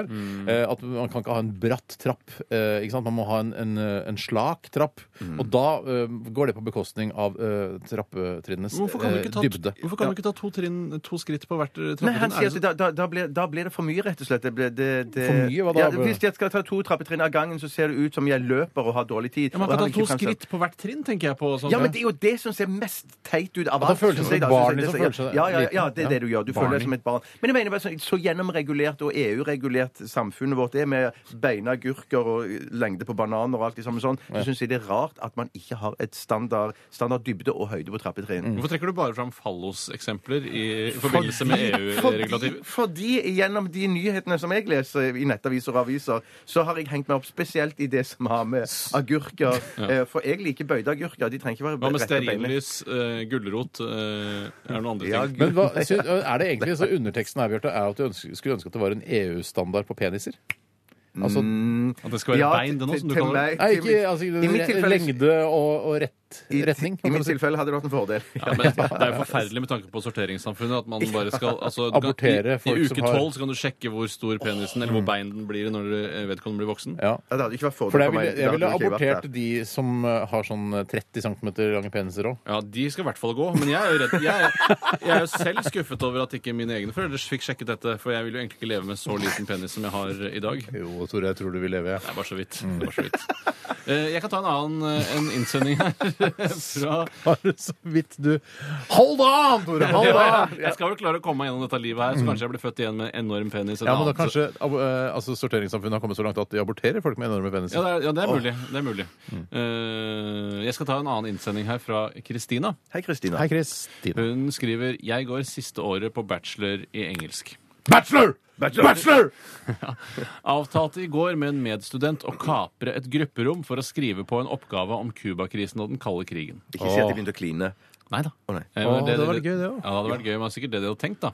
[SPEAKER 5] her. Eh, at man kan ikke ha en bratt trapp. eh, ikke sant? Man må ha en, en, eh, en slak trapp.
[SPEAKER 4] Mm.
[SPEAKER 5] Og da eh, går det på bekostning av eh, trappetrinnenes
[SPEAKER 4] Hvorfor kan, du ikke ta,
[SPEAKER 5] eh, dybde.
[SPEAKER 4] hvorfor kan du ikke ta to, trinn, to skritt på hvert eh,
[SPEAKER 2] Nei, han
[SPEAKER 4] trappetrinn? Er
[SPEAKER 2] sier
[SPEAKER 4] det
[SPEAKER 2] at
[SPEAKER 4] sånn-
[SPEAKER 2] da, da, da, blir, da blir det for mye, rett og slett. Det blir, det, det...
[SPEAKER 5] For mye? Hva da?
[SPEAKER 2] Ja, hvis jeg skal ta to trappetrinn av gangen, så ser det ut som jeg løper og har dårlig tid.
[SPEAKER 4] Ja, man kan
[SPEAKER 2] Og han
[SPEAKER 4] ta
[SPEAKER 2] vil
[SPEAKER 4] to
[SPEAKER 2] ikke fremstå-
[SPEAKER 4] skritt på hvert trinn, tenker jeg på. Sånn.
[SPEAKER 2] Ja, men det er jo det som ser mest teit ut av
[SPEAKER 5] da
[SPEAKER 2] alt.
[SPEAKER 5] føles det
[SPEAKER 2] synes
[SPEAKER 5] som
[SPEAKER 2] jeg,
[SPEAKER 5] et
[SPEAKER 2] da.
[SPEAKER 5] barn,
[SPEAKER 2] Synes jeg-
[SPEAKER 5] liksom, føles det
[SPEAKER 2] Ja, ja, ja,
[SPEAKER 5] liten.
[SPEAKER 2] ja, det er det du gjør. Du føler
[SPEAKER 4] Barnlig.
[SPEAKER 2] deg som et barn. Men jeg mener bare så, så gjennomregulert og EU-regulert samfunnet vårt er med beinagurker og lengde på bananer og alt det samme sånn, så syns jeg det er rart at man ikke har et standard, standard dybde og høyde på trappetrinn.
[SPEAKER 4] Hvorfor trekker du bare fram falloseksempler i forbindelse med E EU-regulativ?
[SPEAKER 2] Fordi, fordi gjennom de nyhetene som jeg leser i nettaviser og aviser, så har jeg hengt meg opp spesielt i det som har med agurker eh, For jeg liker bøyde agurker. De trenger ikke være
[SPEAKER 4] Hva med
[SPEAKER 2] rett og beinlige.
[SPEAKER 4] stearinlys, eh, gulrot eh, Er det noen andre ting?
[SPEAKER 2] Ja,
[SPEAKER 5] Men hva, sy- eh, er det egentlig så underteksten her, Bjarte, er at du ønsker, skulle ønske at det var en EU-standard på peniser? Altså,
[SPEAKER 4] At det skal være bein, det nå,
[SPEAKER 2] til-
[SPEAKER 4] som du
[SPEAKER 2] til
[SPEAKER 4] kaller det?
[SPEAKER 2] meg-
[SPEAKER 5] Nei,
[SPEAKER 2] til
[SPEAKER 5] ikke
[SPEAKER 2] mitt-
[SPEAKER 5] altså,
[SPEAKER 2] I mitt tilfelle-
[SPEAKER 5] lengde og, og rett,
[SPEAKER 2] i-
[SPEAKER 5] retning.
[SPEAKER 2] I
[SPEAKER 5] kan man
[SPEAKER 2] mitt
[SPEAKER 5] si.
[SPEAKER 2] tilfelle hadde det vært en fordel.
[SPEAKER 4] Ja, men det er jo forferdelig med tanke på sorteringssamfunnet. At man bare skal altså, du kan-
[SPEAKER 5] Abortere folk
[SPEAKER 4] I, i
[SPEAKER 5] som
[SPEAKER 4] uke
[SPEAKER 5] har-
[SPEAKER 4] tolv kan du sjekke hvor stor penisen eller hvor bein den blir når eh, vedkommende blir voksen.
[SPEAKER 5] Ja.
[SPEAKER 2] Ja, det hadde ikke vært fordel
[SPEAKER 5] For jeg
[SPEAKER 2] for
[SPEAKER 5] ville,
[SPEAKER 2] meg.
[SPEAKER 5] jeg ville
[SPEAKER 2] Det hadde ikke vært
[SPEAKER 5] abortert de som eh, har sånn eh, 30 cm lange peniser òg.
[SPEAKER 4] Ja, De skal i hvert fall gå. Men jeg er jo redd Jeg er, jeg er jo selv skuffet over at ikke mine egne foreldre fikk sjekket dette. For jeg vil jo egentlig ikke leve med så liten penis som jeg har eh, i dag.
[SPEAKER 5] Jo, Tore, jeg tror du vil leve.
[SPEAKER 4] Det er bare så vidt. Det er bare så vidt. Eh, Jeg kan ta en annen eh, en innsending her fra
[SPEAKER 5] Bare så vidt du Hold on, Tore! Hold
[SPEAKER 4] Ja,
[SPEAKER 5] on!
[SPEAKER 4] Jeg skal vel klare å komme meg gjennom dette livet her, så kanskje jeg blir født igjen med en enorm penis. en
[SPEAKER 5] Mm. Ja, men da
[SPEAKER 4] annen-
[SPEAKER 5] kanskje ab- eh, altså, sorteringssamfunnet har kommet så langt at de aborterer folk med enorme
[SPEAKER 4] ja,
[SPEAKER 5] peniser.
[SPEAKER 4] det er, ja, det er mulig. Det er mulig.
[SPEAKER 5] Mm.
[SPEAKER 4] Eh, jeg skal ta en annen innsending her fra Kristina.
[SPEAKER 2] der. Hei, Kristina.
[SPEAKER 5] Hei, Kristine.
[SPEAKER 4] Hun skriver Jeg går siste året på bachelor i engelsk.
[SPEAKER 5] Bachelor! Bachelor!
[SPEAKER 4] Avtalte i går med en medstudent å kapre et grupperom for å skrive på en oppgave om Cuba-krisen og den kalde krigen.
[SPEAKER 2] Ikke si at jeg begynte å kline.
[SPEAKER 4] Nei da.
[SPEAKER 2] Å, nei.
[SPEAKER 4] Eh,
[SPEAKER 5] Åh, det
[SPEAKER 4] de-
[SPEAKER 5] hadde vært gøy, det også.
[SPEAKER 4] Ja, det hadde vært gøy, men det var sikkert det de hadde tenkt, da.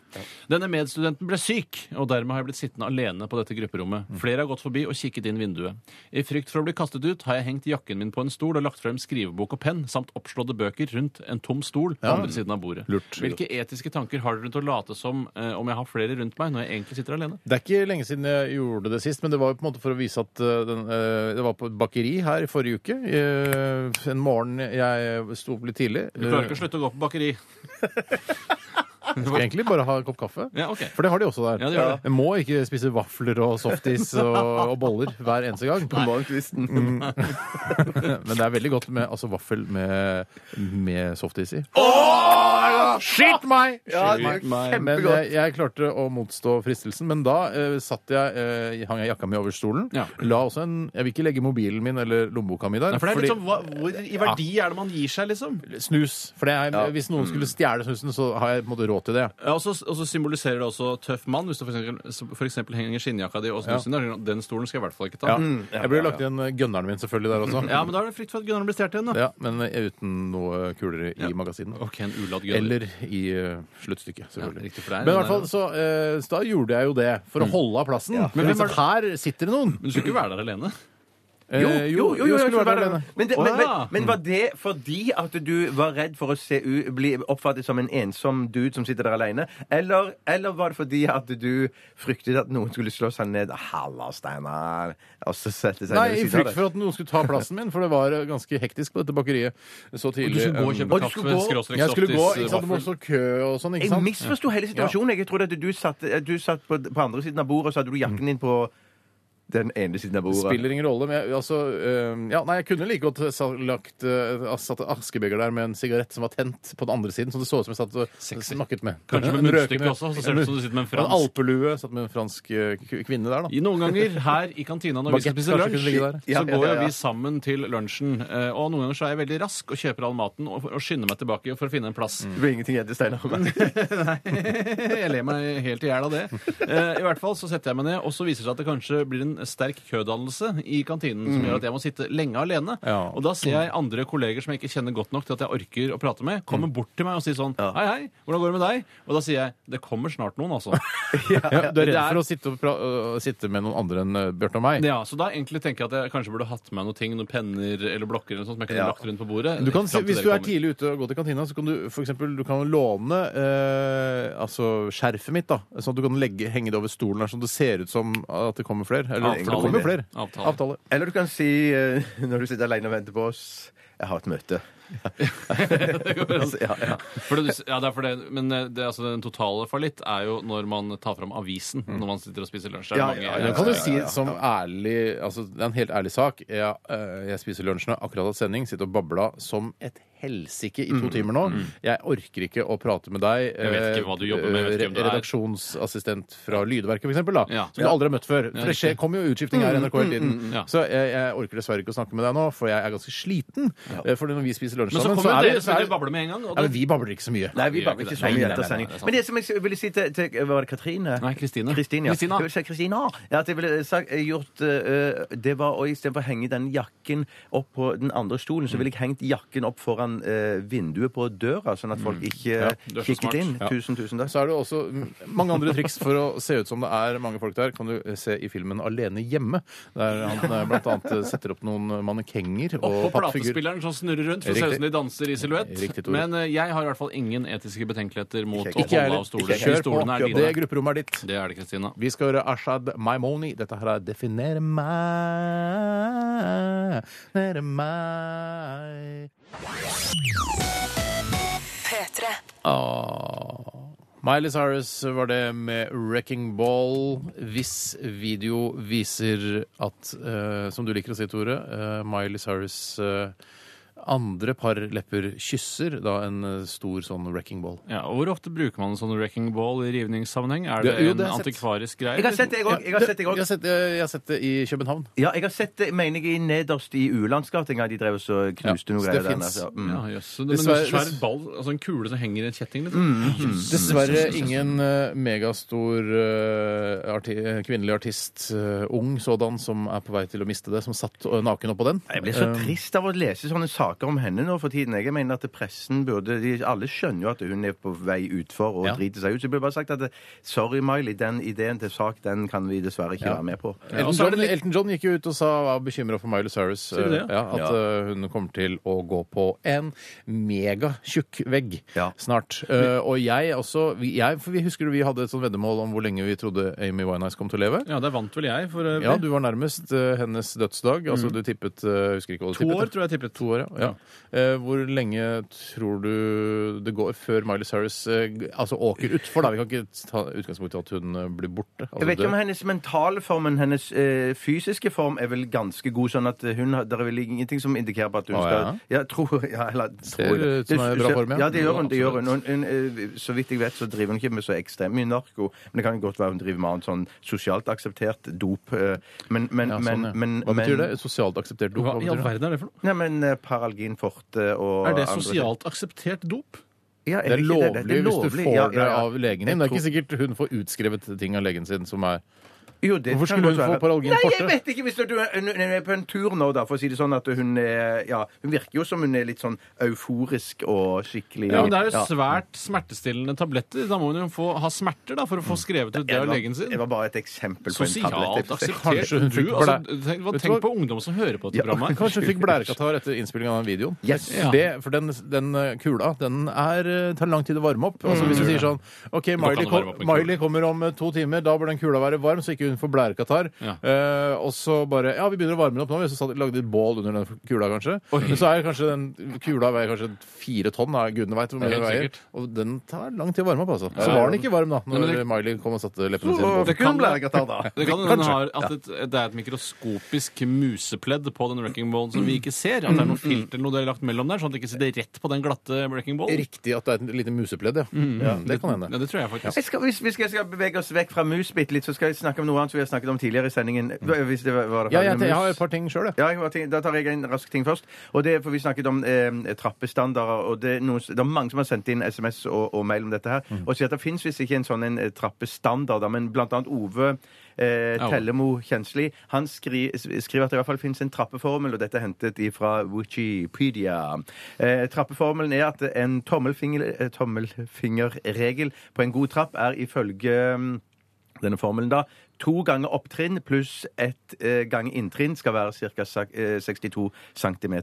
[SPEAKER 4] Denne medstudenten ble syk, og dermed har jeg blitt sittende alene på dette grupperommet.
[SPEAKER 5] Mm.
[SPEAKER 4] Flere har gått forbi og kikket inn vinduet. I frykt for å bli kastet ut har jeg hengt jakken min på en stol og lagt frem skrivebok og penn samt oppslådde bøker rundt en tom stol på andre siden av bordet.
[SPEAKER 5] Lurt.
[SPEAKER 4] Hvilke etiske tanker har dere rundt å late som eh, om jeg har flere rundt meg, når jeg egentlig sitter alene?
[SPEAKER 5] Det er ikke lenge siden jeg gjorde det sist, men det var jo på en måte for å vise at eh, den, eh, det var på et bakeri her i forrige uke. eh, En morgen jeg sto opp litt tidlig.
[SPEAKER 4] Du klarer ikke å slutte å gå på bakeri.
[SPEAKER 5] Skal Eh, egentlig bare ha en kopp kaffe.
[SPEAKER 4] Ja, ok.
[SPEAKER 5] For det har de også der.
[SPEAKER 4] Ja, de har det.
[SPEAKER 5] Jeg må ikke spise vafler og softis og, og boller hver eneste gang.
[SPEAKER 1] På morgenkvisten.
[SPEAKER 2] Mm.
[SPEAKER 5] Mm. Men det er veldig godt med altså, vaffel med, med softis i. Shit meg!
[SPEAKER 1] Ja, det er
[SPEAKER 5] Shit meg. Men eh,
[SPEAKER 1] kjempegodt.
[SPEAKER 5] jeg, jeg klarte å motstå fristelsen, men da eh, satt jeg, eh, hang jeg jakka mi over stolen.
[SPEAKER 4] Ja.
[SPEAKER 5] La også en, jeg vil ikke legge mobilen min eller lommeboka mi der.
[SPEAKER 4] Nei, for det er
[SPEAKER 5] fordi-
[SPEAKER 4] litt sånn, hva, Hvor i verdi er det man gir seg, liksom?
[SPEAKER 5] Snus. For det er, Hvis noen skulle stjele snusen, så har jeg på en måte råd til det.
[SPEAKER 4] Ja, og, så, og så symboliserer det også tøff mann. Hvis du for eksempel- så for eksempel henger skinnjakka di og snusen din, da, Den stolen skal jeg i hvert fall ikke ta.
[SPEAKER 5] Ja.
[SPEAKER 4] Mm, Ja,
[SPEAKER 2] Mm.
[SPEAKER 5] Jeg burde lagt igjen gønneren min selvfølgelig der også.
[SPEAKER 4] men da er det fritt for at Gunnar blir stjålet igjen, da.
[SPEAKER 5] Ja, men eh, uten noe kulere i magasinet.
[SPEAKER 4] Ok, en uladd Gunnar.
[SPEAKER 5] Eller i eh, sluttstykket, selvfølgelig.
[SPEAKER 4] Ja, riktig, for det er- Mm.
[SPEAKER 5] men i hvert fall, så, eh, så da gjorde jeg jo det for å holde av plassen. Men liksom, her sitter det noen.
[SPEAKER 4] Men du skal ikke være der alene.
[SPEAKER 5] Eh,
[SPEAKER 2] Jo, jo, jo, jo,
[SPEAKER 5] jeg
[SPEAKER 2] jeg
[SPEAKER 5] skulle
[SPEAKER 2] skulle
[SPEAKER 5] vært
[SPEAKER 2] være
[SPEAKER 5] alene.
[SPEAKER 2] der. Men, det,
[SPEAKER 4] Å,
[SPEAKER 2] men, men,
[SPEAKER 4] ja.
[SPEAKER 2] men var det fordi at du var redd for å se u, bli oppfattet som en ensom dude som sitter der alene? Eller, eller var det fordi at du fryktet at noen skulle slå seg ned? Halla, Steinar! Og så sette seg
[SPEAKER 5] Nei,
[SPEAKER 2] ned
[SPEAKER 5] i
[SPEAKER 2] ved siden
[SPEAKER 5] frykt
[SPEAKER 2] av deg.
[SPEAKER 5] for at noen skulle ta plassen min, for det var eh, ganske hektisk på dette bakeriet så tidlig.
[SPEAKER 4] skulle gå og kjøpe
[SPEAKER 5] Um,
[SPEAKER 4] kaffe, skråstrek
[SPEAKER 5] Jeg skulle gå,
[SPEAKER 4] softis,
[SPEAKER 5] ikke sant, det må stå kø og sånn, ikke
[SPEAKER 2] Jeg
[SPEAKER 5] sant?
[SPEAKER 2] misforsto hele situasjonen. Jeg trodde at du satt, at du satt på, på andre siden av bordet, og så hadde du jakken din på den ene siden av
[SPEAKER 5] Det
[SPEAKER 2] bordet.
[SPEAKER 5] spiller ingen rolle, men jeg, altså, eh, ja, nei, jeg kunne like godt sa, lagt eh, altså, satt askebeger der med en sigarett som var tent på den andre siden, som det så ut som jeg satt og
[SPEAKER 4] Sexy.
[SPEAKER 5] smakket med.
[SPEAKER 4] Kanskje med
[SPEAKER 5] En
[SPEAKER 4] munnstykke
[SPEAKER 5] røkende-
[SPEAKER 4] også, så ser det ut som du sitter med en fransk.
[SPEAKER 5] En alpelue, satt med en fransk eh, k- kvinne der, da.
[SPEAKER 4] I noen ganger her i kantina når vi skal
[SPEAKER 5] Baguette
[SPEAKER 4] spise
[SPEAKER 5] kanskje kunne
[SPEAKER 4] lunsj,
[SPEAKER 5] ligge der.
[SPEAKER 4] så
[SPEAKER 2] Ja, ja,
[SPEAKER 4] går
[SPEAKER 2] ja,
[SPEAKER 4] jo
[SPEAKER 2] ja.
[SPEAKER 4] vi sammen til lunsjen. eh, Og noen ganger så er jeg veldig rask og kjøper all maten og, og skynder meg tilbake for å finne en plass.
[SPEAKER 2] Det blir ingenting igjen til Steinar.
[SPEAKER 4] Jeg ler meg helt i hjel av det. Eh, I hvert fall så setter jeg meg ned, og så viser det seg at det kanskje blir en sterk kødannelse i kantinen som gjør at jeg må sitte lenge alene.
[SPEAKER 5] Ja.
[SPEAKER 4] Og da ser jeg andre kolleger som jeg ikke kjenner godt nok til at jeg orker å prate med, komme bort til meg og si sånn Hei, hei, hvordan går det med deg? Og da sier jeg Det kommer snart noen, altså.
[SPEAKER 5] Ja, du er
[SPEAKER 4] det
[SPEAKER 5] redd
[SPEAKER 4] er-
[SPEAKER 5] for å sitte, og pra øh, sitte med noen andre enn uh, Bjarte og meg.
[SPEAKER 4] Ja, så da egentlig tenker jeg at jeg kanskje burde hatt med noen ting, noen penner eller blokker eller noe sånt som jeg kunne
[SPEAKER 2] Ja.
[SPEAKER 4] lagt rundt på bordet.
[SPEAKER 5] Du kan,
[SPEAKER 4] fram til
[SPEAKER 5] hvis
[SPEAKER 4] dere
[SPEAKER 5] du er
[SPEAKER 4] kommer.
[SPEAKER 5] tidlig ute og går til kantina, så kan du for eksempel, du kan låne eh, altså skjerfet mitt. da, Sånn at du kan legge, henge det over stolen her, sånn at det ser ut som at det kommer flere. Eller, for det
[SPEAKER 4] Avtale.
[SPEAKER 5] kommer flere.
[SPEAKER 4] Avtale.
[SPEAKER 2] Eller du kan si, eh, når du sitter alene og venter på oss, jeg har et møte. Altså, ja, ja.
[SPEAKER 4] For det, ja, det er for det, men eh, det, altså, den totale fallitt er jo når man tar fram avisen når man sitter og spiser lunsj. Det er
[SPEAKER 2] Ja,
[SPEAKER 4] mange-
[SPEAKER 2] ja,
[SPEAKER 5] Ja,
[SPEAKER 2] ja,
[SPEAKER 5] det kan du si som ærlig altså Det er en helt ærlig sak. Jeg, øh, jeg spiser lunsj nå, akkurat hatt sending, sitter og babla som et helsike i to timer nå. Jeg orker ikke å prate med deg.
[SPEAKER 4] Mm. Jeg vet ikke hva du jobber med, jeg vet ikke hvem du er.
[SPEAKER 5] Redaksjonsassistent fra Lydverket, for eksempel, da,
[SPEAKER 4] Ja. Mm,
[SPEAKER 5] som du aldri har møtt før. For det skjer, kommer jo utskifting her i NRK hele tiden.
[SPEAKER 4] Ja.
[SPEAKER 5] Så jeg, jeg orker dessverre ikke å snakke med deg nå, for jeg er ganske sliten. Eh, For når vi spiser lunsj
[SPEAKER 4] Men så
[SPEAKER 5] sammen,
[SPEAKER 4] kommer
[SPEAKER 5] er
[SPEAKER 4] dere
[SPEAKER 5] vi-
[SPEAKER 4] som vil bable med en gang. Og
[SPEAKER 5] Ja, men
[SPEAKER 4] det,
[SPEAKER 5] vi babler ikke så mye.
[SPEAKER 2] Nei, vi
[SPEAKER 4] gjør
[SPEAKER 2] bare
[SPEAKER 4] ikke det.
[SPEAKER 2] ikke så
[SPEAKER 4] Nei,
[SPEAKER 2] mye
[SPEAKER 4] nei, nei,
[SPEAKER 2] etter
[SPEAKER 4] nei,
[SPEAKER 2] sending.
[SPEAKER 4] det er sant.
[SPEAKER 2] Men det som jeg ville si til, til eh, Var det Katrine?
[SPEAKER 4] Nei, Kristine.
[SPEAKER 2] Kristine, ja.
[SPEAKER 4] Kristina.
[SPEAKER 2] Jeg vil si Kristina. Ja, at jeg ville sagt, eh, gjort eh, Det var å istedenfor å henge den jakken opp på den andre stolen,
[SPEAKER 4] Mm.
[SPEAKER 2] så ville jeg hengt jakken opp foran eh, vinduet på døra, sånn at folk ikke
[SPEAKER 4] Mm.
[SPEAKER 2] eh,
[SPEAKER 4] du er så smart.
[SPEAKER 2] kikket inn. Tusen, tusen takk.
[SPEAKER 5] Så er det også mm, mange andre triks for å se ut som det er mange folk der. Kan du eh, se i filmen 'Alene hjemme', der han eh, blant annet eh, setter opp noen mannekenger
[SPEAKER 4] og
[SPEAKER 5] og
[SPEAKER 4] på
[SPEAKER 5] pappfigurer.
[SPEAKER 4] platespilleren som snurrer rundt, for det ser ut som de danser i
[SPEAKER 5] Riktig,
[SPEAKER 4] silhuett.
[SPEAKER 5] Tore.
[SPEAKER 4] Men eh, jeg har i hvert fall ingen etiske betenkeligheter mot å
[SPEAKER 2] Ikke
[SPEAKER 5] Ikke jeg
[SPEAKER 4] holde av
[SPEAKER 5] heller.
[SPEAKER 4] stoler.
[SPEAKER 5] Ikke
[SPEAKER 4] De
[SPEAKER 5] Kjør på.
[SPEAKER 4] stolene er
[SPEAKER 5] Det
[SPEAKER 4] dine.
[SPEAKER 5] grupperommet er ditt.
[SPEAKER 4] Det er det, Kristina.
[SPEAKER 5] Vi skal høre Ashad Maimoni. Dette her er 'Definer meg'. Nere meg.
[SPEAKER 7] P3.
[SPEAKER 5] Ah. Miley Cyrus var det med 'Wrecking Ball'. Hvis video viser at, eh, som du liker å si, Tore, eh, Miley Cyrus eh, andre par lepper kysser da en eh, stor sånn 'Wrecking Ball'.
[SPEAKER 4] Ja, og hvor ofte bruker man en sånn wrecking ball i rivningssammenheng? Er det,
[SPEAKER 5] Det- jo, det
[SPEAKER 4] en
[SPEAKER 5] har jeg sett.
[SPEAKER 4] antikvarisk greie? liksom?
[SPEAKER 2] Jeg har sett det, jeg òg. Jeg har sett det,
[SPEAKER 5] jeg,
[SPEAKER 2] jeg
[SPEAKER 5] har
[SPEAKER 2] også.
[SPEAKER 5] sett, eh, jeg har sett det i København.
[SPEAKER 2] Ja, jeg har sett det, mener jeg, i nederst i Ulandsgata en gang de drev og så knuste
[SPEAKER 5] Ja,
[SPEAKER 2] noe
[SPEAKER 5] så
[SPEAKER 2] greier
[SPEAKER 5] det
[SPEAKER 2] der.
[SPEAKER 5] finnes.
[SPEAKER 2] altså. Mm.
[SPEAKER 4] Ja, jøss. Men en
[SPEAKER 5] Dessverre-
[SPEAKER 4] svær ball, altså en kule som henger i en kjetting, liksom? Jøss.
[SPEAKER 5] Dessverre ingen eh, megastor eh, arti eh, kvinnelig artist, eh, ung sådan, som er på vei til å miste det, som satt eh, naken oppå den.
[SPEAKER 2] Jeg blir så
[SPEAKER 5] Eh,
[SPEAKER 2] trist av å lese sånne saker om henne nå for tiden. Jeg mener at pressen burde de, Alle skjønner jo at hun er på vei utfor og
[SPEAKER 5] Ja.
[SPEAKER 2] driter seg ut. Så jeg burde bare sagt at eh, sorry, Miley, den ideen til sak den kan vi dessverre ikke være med på.
[SPEAKER 5] Elton,
[SPEAKER 4] og så er
[SPEAKER 5] John,
[SPEAKER 4] det litt-
[SPEAKER 5] Elton John gikk jo ut og sa var bekymra for Miley Cyrus.
[SPEAKER 4] du det,
[SPEAKER 5] eh, Ja, at
[SPEAKER 2] Ja.
[SPEAKER 5] eh, hun kommer til å gå på en megatjukk vegg
[SPEAKER 2] Ja.
[SPEAKER 5] snart. Eh, og jeg også vi- jeg, for vi Husker du vi hadde et sånt veddemål om hvor lenge vi trodde Amy Winehouse kom til å leve?
[SPEAKER 4] Ja, der vant vel jeg. For, øvrig.
[SPEAKER 5] Ja, du var nærmest eh, hennes dødsdag. Altså, du tippet eh, jeg husker ikke hva du
[SPEAKER 4] Mm. to
[SPEAKER 5] tippet.
[SPEAKER 4] år, tror jeg jeg tippet.
[SPEAKER 5] To år, ja. Ja. Eh, hvor lenge tror du det går før Miley Cyrus eh, g- altså åker utfor? da? Vi kan ikke ta utgangspunkt i at hun eh, blir borte. Altså,
[SPEAKER 2] Jeg vet ikke om
[SPEAKER 5] dør.
[SPEAKER 2] hennes mentale form, men hennes eh, fysiske form er vel ganske god. Sånn at hun har, Det er vel ingenting som indikerer på at hun
[SPEAKER 5] Å,
[SPEAKER 2] skal
[SPEAKER 5] ja?
[SPEAKER 2] Ja, tror ja, eller,
[SPEAKER 5] Ser
[SPEAKER 2] tror
[SPEAKER 5] ut som hun er i bra form, ja.
[SPEAKER 2] ja. det gjør hun. det
[SPEAKER 5] Ja,
[SPEAKER 2] gjør hun. hun, hun eh, så vidt jeg vet, så driver hun ikke med så ekstremt mye narko. Men det kan godt være hun driver med annet sånn sosialt akseptert dop. eh, Men, men,
[SPEAKER 5] ja, sånn,
[SPEAKER 2] men,
[SPEAKER 5] ja.
[SPEAKER 2] men
[SPEAKER 5] Hva betyr det?
[SPEAKER 2] men,
[SPEAKER 5] Sosialt akseptert dop?
[SPEAKER 4] Hva
[SPEAKER 5] Hva
[SPEAKER 4] i all
[SPEAKER 5] betyr det?
[SPEAKER 4] verden er det for noe?
[SPEAKER 2] Nei, men eh, Paralgin forte og
[SPEAKER 4] Er det
[SPEAKER 2] andre-
[SPEAKER 4] sosialt akseptert dop?
[SPEAKER 2] Ja,
[SPEAKER 5] Det er
[SPEAKER 2] ikke
[SPEAKER 5] lovlig,
[SPEAKER 2] Det er
[SPEAKER 5] hvis du
[SPEAKER 2] lovlig,
[SPEAKER 5] får
[SPEAKER 2] ja, ja,
[SPEAKER 5] det
[SPEAKER 2] ja.
[SPEAKER 5] av legen din.
[SPEAKER 2] Jeg
[SPEAKER 5] Det er ikke
[SPEAKER 2] tror-
[SPEAKER 5] sikkert hun får utskrevet ting av legen sin som er
[SPEAKER 2] Jo, det
[SPEAKER 5] Hvorfor
[SPEAKER 2] kan
[SPEAKER 5] skulle
[SPEAKER 2] godt
[SPEAKER 5] hun få
[SPEAKER 2] være.
[SPEAKER 5] paralgin
[SPEAKER 2] Nei,
[SPEAKER 5] fortere?
[SPEAKER 2] jeg vet ikke. Hvis du du er, hun er på en tur nå, da, for å si det sånn at hun er Ja, hun virker jo som hun er litt sånn euforisk og skikkelig
[SPEAKER 4] Ja, men Det er jo
[SPEAKER 2] Ja.
[SPEAKER 4] svært smertestillende tabletter. Da må hun jo få, ha smerter da, for å få skrevet ut det av
[SPEAKER 2] var-
[SPEAKER 4] legen sin.
[SPEAKER 2] Det var bare et eksempel på en
[SPEAKER 4] Sosialt
[SPEAKER 2] tablett.
[SPEAKER 4] akseptert
[SPEAKER 5] Kanskje hun
[SPEAKER 4] du?
[SPEAKER 5] fikk
[SPEAKER 4] Altså,
[SPEAKER 5] blæ-
[SPEAKER 4] tenk, hva-
[SPEAKER 5] Vet du
[SPEAKER 4] tenk
[SPEAKER 5] hva?
[SPEAKER 4] på ungdom som hører på dette programmet.
[SPEAKER 5] Kanskje hun fikk blærekatarr etter innspillingen av den videoen.
[SPEAKER 2] Yes.
[SPEAKER 4] Ja.
[SPEAKER 5] Det, for den, den eh, kula den er, eh, tar lang tid å varme opp. Altså, hvis du sier sånn OK,
[SPEAKER 4] an
[SPEAKER 5] Miley,
[SPEAKER 4] å varme
[SPEAKER 5] kom,
[SPEAKER 4] opp en kule.
[SPEAKER 5] Miley kommer om eh, to timer, da bør den kula være varm, så ikke hun får blærekatarr.
[SPEAKER 4] Ja.
[SPEAKER 5] Eh, og så bare Ja, vi begynner å varme den opp nå. Vi så satt, lagde et bål under den kula, kanskje. Men så er kanskje den kula veier kanskje fire tonn, da, gudene veit hvor mye
[SPEAKER 4] Helt
[SPEAKER 5] den veier.
[SPEAKER 4] sikkert.
[SPEAKER 5] Og den tar lang tid å varme opp, altså. Så var den ikke varm da
[SPEAKER 4] Nei,
[SPEAKER 5] når
[SPEAKER 4] men det-
[SPEAKER 5] Miley kom og satte leppene sine på.
[SPEAKER 2] Og
[SPEAKER 4] det kan-
[SPEAKER 2] kun blærekatarr, da.
[SPEAKER 4] Det kan hende hun har at et, det er et mikroskopisk musepledd på den wrecking ballen som vi ikke ser. At det er noe filter eller noe det er lagt mellom der, sånn at det ikke sitter rett på den glatte wrecking ballen.
[SPEAKER 5] Riktig at det er et lite musepledd, ja. ja det kan hende.
[SPEAKER 4] Mm. Ja, det tror jeg faktisk.
[SPEAKER 2] Jeg skal, hvis vi skal, skal bevege oss vekk fra mus bitte litt, så skal jeg snakke om noe annet som vi har snakket om tidligere i sendingen. Hvis det var, var det
[SPEAKER 5] Ja, jeg,
[SPEAKER 2] mus.
[SPEAKER 5] jeg har et par ting sjøl, jeg.
[SPEAKER 2] Ja, jeg bare tenker- Da tar jeg en rask ting først. Og det er for Vi snakket om eh, trappestandarder. og det er, noen, det er mange som har sendt inn SMS og, og mail om dette. her,
[SPEAKER 4] Mm.
[SPEAKER 2] Og sier at det fins visst ikke en sånn en eh, trappestandard, da, men blant annet Ove eh,
[SPEAKER 4] Ja, Ove.
[SPEAKER 2] Tellemo Kjensli han skri, skriver at det i hvert fall fins en trappeformel, og dette er hentet fra Wikipedia. Eh, trappeformelen er at en tommelfinger, eh, tommelfingerregel på en god trapp er ifølge mm, denne formelen da. To ganger opptrinn pluss ett eh, gang inntrinn skal være ca. 62 cm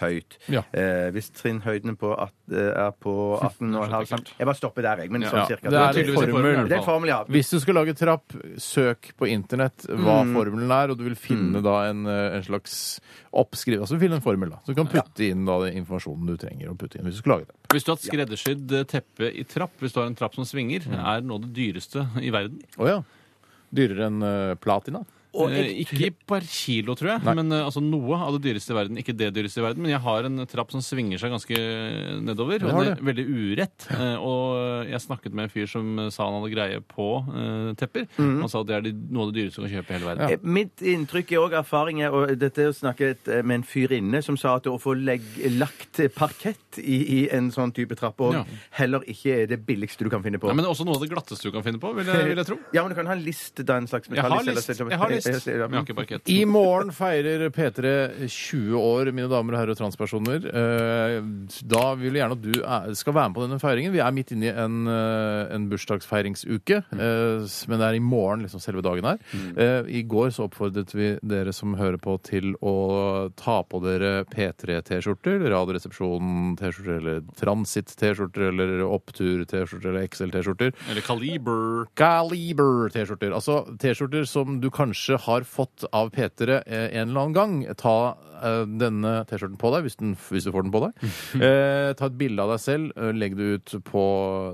[SPEAKER 2] høyt.
[SPEAKER 5] Ja.
[SPEAKER 2] Eh, hvis trinnhøyden på at, eh, er på 18,5 cm Jeg bare stopper der, jeg. Men sånn cirka.
[SPEAKER 5] det er
[SPEAKER 4] Det er tydeligvis en
[SPEAKER 5] formel.
[SPEAKER 4] formel. i hvert
[SPEAKER 2] Det er en
[SPEAKER 4] fall.
[SPEAKER 2] formel, ja.
[SPEAKER 5] Hvis du skal lage trapp, søk på internett hva formelen er, og du vil finne da en, eh, en slags oppskriv. Altså du vil finne en formel, da. Så du kan putte inn da den informasjonen du trenger å putte inn hvis du skal lage det.
[SPEAKER 4] Hvis du har et skreddersydd eh, teppe i trapp, hvis du har en trapp som svinger, er det noe av det dyreste i verden.
[SPEAKER 5] Å ja. Dyrere enn eh, platina?
[SPEAKER 4] Eh, ikke per kilo, tror jeg, men eh, altså noe av det dyreste i verden. Ikke det dyreste i verden, men jeg har en trapp som svinger seg ganske nedover.
[SPEAKER 5] har
[SPEAKER 4] Og det er veldig urett. Eh, Og jeg snakket med en fyr som eh, sa han hadde greie på eh, tepper. Han sa at det er de- noe av det dyreste du kan kjøpe i hele verden.
[SPEAKER 2] Eh, Mitt inntrykk er òg erfaringer og dette er snakket eh, med en fyr inne som sa at å få legg, lagt parkett i, i en sånn type trapp òg
[SPEAKER 4] Ja.
[SPEAKER 2] heller ikke er det billigste du kan finne på. Eh,
[SPEAKER 4] Nei, men det er også noe av det glatteste du kan finne på, vil jeg, vil jeg tro.
[SPEAKER 2] Ja, men du kan ha en list, da. En slags
[SPEAKER 4] Jeg har
[SPEAKER 2] metallist.
[SPEAKER 4] list,
[SPEAKER 2] eller- Eh,
[SPEAKER 4] jeg har list, men
[SPEAKER 2] Ja,
[SPEAKER 4] jeg
[SPEAKER 2] men-
[SPEAKER 4] har ikke parkett.
[SPEAKER 5] I morgen feirer P3 20 år, mine damer og herrer og transpersoner. Eh, Da vil jeg gjerne at du er- skal være med på denne feiringen. Vi er midt inne i en, eh, en bursdagsfeiringsuke, eh, s- men det er i morgen liksom selve dagen her. Eh, I går så oppfordret vi dere som hører på til å ta på dere P3-T-skjorter, Radioresepsjonen-T-skjorter eller Transit-T-skjorter eller Opptur-T-skjorter eller XL-T-skjorter.
[SPEAKER 4] Eller Kaliber.
[SPEAKER 5] Caliber-T-skjorter. Altså T-skjorter som du kanskje har fått av Petere eh, en eller annen gang. Ta eh, denne T-skjorten på deg, hvis, den, hvis du får den på deg. Eh, ta et bilde av deg selv, eh, legg det ut på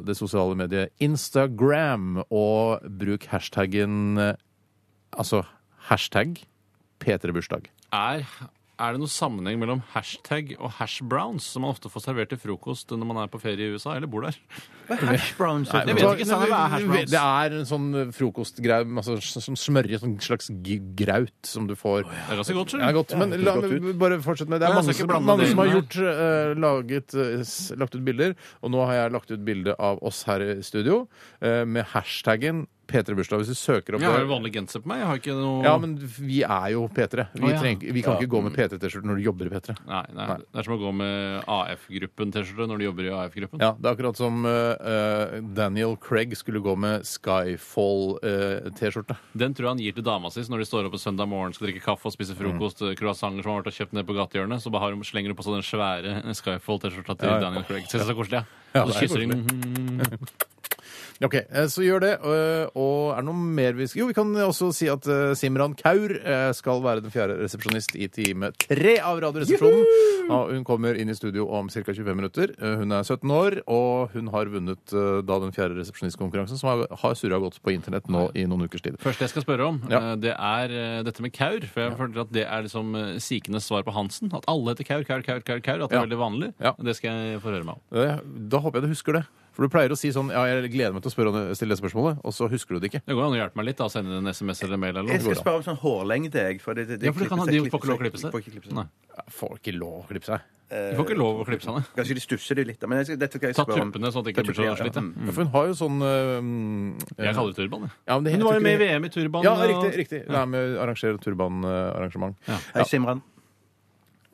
[SPEAKER 5] det sosiale mediet Instagram, og bruk hashtaggen eh, Altså hashtag P3bursdag.
[SPEAKER 4] Er, er det noen sammenheng mellom hashtag og hash browns, som man ofte får servert til frokost når man er på ferie i USA eller bor der?
[SPEAKER 2] Hash browns.
[SPEAKER 4] Nei,
[SPEAKER 2] og-
[SPEAKER 4] Jeg vet ikke, Sanne, hva er hash browns?
[SPEAKER 5] Altså, Det er en sånn frokostgreie altså, som smører i en slags g- graut som du får.
[SPEAKER 4] Det er ganske godt,
[SPEAKER 5] Ja,
[SPEAKER 4] skjønner du.
[SPEAKER 5] godt, men la meg bare fortsette med det. Det
[SPEAKER 4] Ja,
[SPEAKER 5] er
[SPEAKER 4] jeg
[SPEAKER 5] mange,
[SPEAKER 4] skal ikke
[SPEAKER 5] som-
[SPEAKER 4] blande
[SPEAKER 5] mange
[SPEAKER 4] det
[SPEAKER 5] som har
[SPEAKER 4] inn
[SPEAKER 5] gjort, eh, laget, eh, s- lagt ut bilder, og nå har jeg lagt ut bilde av oss her i studio eh, med hashtaggen P3bursdag. Hvis du søker opp
[SPEAKER 4] Jeg har jo
[SPEAKER 5] det
[SPEAKER 4] vanlig genser på meg. Jeg har ikke noe
[SPEAKER 5] ja, men vi er jo P3. Vi,
[SPEAKER 4] Å, ja.
[SPEAKER 5] trenger, vi kan ikke gå med P3-T-skjorte når du jobber i P3.
[SPEAKER 4] Nei, nei, Det er som å gå med AF-gruppen-T-skjorte når du jobber i AF-gruppen.
[SPEAKER 5] Ja, Det er akkurat som eh, eh, Daniel Craig skulle gå med eh, Skyfall-T-skjorte.
[SPEAKER 4] Den tror jeg han gir til dama si så når de står opp på søndag morgen skal drikke kaffe og spise
[SPEAKER 5] Mm.
[SPEAKER 4] frokost. eh, Croissanter som har vært og kjøpt ned på gatehjørnet. Så bare har hun- slenger hun på seg den svære Skyfall-T-skjorta til
[SPEAKER 5] Ja, ja.
[SPEAKER 4] Daniel Craig. Så det er så koselig, ja.
[SPEAKER 5] Ja,
[SPEAKER 4] Og så
[SPEAKER 5] det er
[SPEAKER 4] kysser hun.
[SPEAKER 5] Ok, eh, så gjør det. øh, Og er det noe mer vi skal Jo, vi kan også si at eh, Simran Kaur eh, skal være den fjerde resepsjonist i time tre av Radioresepsjonen. Ja, hun kommer inn i studio om ca. 25 minutter. Eh, Hun er 17 år, og hun har vunnet eh, da den fjerde resepsjonistkonkurransen, som har, har surra godt på internett nå i noen ukers tid.
[SPEAKER 4] Første jeg skal spørre om,
[SPEAKER 5] Ja.
[SPEAKER 4] eh, det er eh, dette med Kaur. For jeg føler at det er liksom eh, sikenes svar på Hansen. At alle heter Kaur, Kaur, Kaur, Kaur. Kaur at det
[SPEAKER 5] Ja.
[SPEAKER 4] er veldig vanlig.
[SPEAKER 5] Ja.
[SPEAKER 4] Det skal jeg få høre meg om.
[SPEAKER 5] Eh, Da håper jeg du husker det. For du pleier å si sånn Ja, jeg gleder meg til å spørre om det, stille det spørsmålet, og så husker du det ikke.
[SPEAKER 4] Det går an å hjelpe meg litt. da, Sende en SMS eller en mail. eller
[SPEAKER 2] Jeg
[SPEAKER 4] noe.
[SPEAKER 2] skal spørre om sånn hårlengde, jeg. For det, det, det
[SPEAKER 4] Ja, for det kan ha-
[SPEAKER 2] klipper seg-
[SPEAKER 4] de
[SPEAKER 2] klipper
[SPEAKER 4] får ikke lov å klippe seg.
[SPEAKER 2] Får ikke klippe seg.
[SPEAKER 4] Nei.
[SPEAKER 5] Jeg får ikke lov å klippe seg.
[SPEAKER 4] Du får ikke lov å klippe sånn, seg. nei.
[SPEAKER 2] Kanskje de stusser det litt. da, Men jeg skal, dette skal jeg
[SPEAKER 4] Ta
[SPEAKER 2] spørre om.
[SPEAKER 4] tuppene sånn at det ikke blir så
[SPEAKER 2] Ja,
[SPEAKER 4] slitt. ja.
[SPEAKER 5] Ja, for hun har jo sånn eh,
[SPEAKER 4] Jeg kaller det turban. jeg.
[SPEAKER 5] ja, men, det
[SPEAKER 4] Men
[SPEAKER 5] heter
[SPEAKER 4] du var
[SPEAKER 5] ikke
[SPEAKER 4] jo med i
[SPEAKER 5] det.
[SPEAKER 4] VM i turban.
[SPEAKER 5] Ja,
[SPEAKER 4] og-
[SPEAKER 5] riktig. riktig. Hun er med og arrangerer turbanarrangement. Ja.
[SPEAKER 2] Hei, Simran.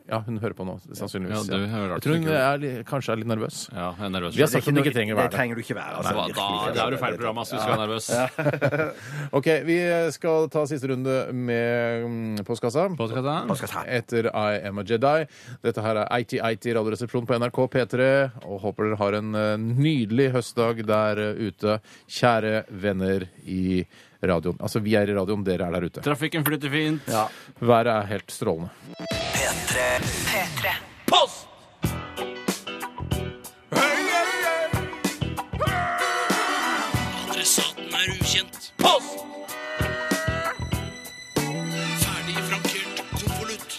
[SPEAKER 5] ja, hun hører på nå,
[SPEAKER 4] Ja,
[SPEAKER 5] sannsynligvis.
[SPEAKER 4] det
[SPEAKER 5] Ja.
[SPEAKER 4] hører
[SPEAKER 5] Jeg
[SPEAKER 4] rart
[SPEAKER 5] tror
[SPEAKER 4] ut.
[SPEAKER 5] hun er, li- kanskje er litt nervøs.
[SPEAKER 4] Ja, jeg er nervøs.
[SPEAKER 5] Vi har
[SPEAKER 4] for det.
[SPEAKER 5] sagt at hun Sånn ikke trenger å
[SPEAKER 2] Det
[SPEAKER 5] være det.
[SPEAKER 2] trenger du ikke være.
[SPEAKER 4] Hva
[SPEAKER 2] Altså,
[SPEAKER 4] da,
[SPEAKER 2] virkelig.
[SPEAKER 4] det er jo feil program, ass. Du skal være nervøs.
[SPEAKER 5] Ok, Vi skal ta siste runde med mm, postkassa.
[SPEAKER 4] Postkassa.
[SPEAKER 5] Etter I am a Jedi. Dette her er IT-IT Radioresepsjon på NRK P3. Og håper dere har en eh, nydelig høstdag der eh, ute. Kjære venner i radioen. Altså, vi er i radioen, dere er der ute.
[SPEAKER 4] Trafikken flyter fint.
[SPEAKER 5] Været er helt strålende.
[SPEAKER 9] P3
[SPEAKER 7] P3.
[SPEAKER 10] Post!
[SPEAKER 9] Adressaten er ukjent
[SPEAKER 10] Post!
[SPEAKER 9] Ferdig frankert konvolutt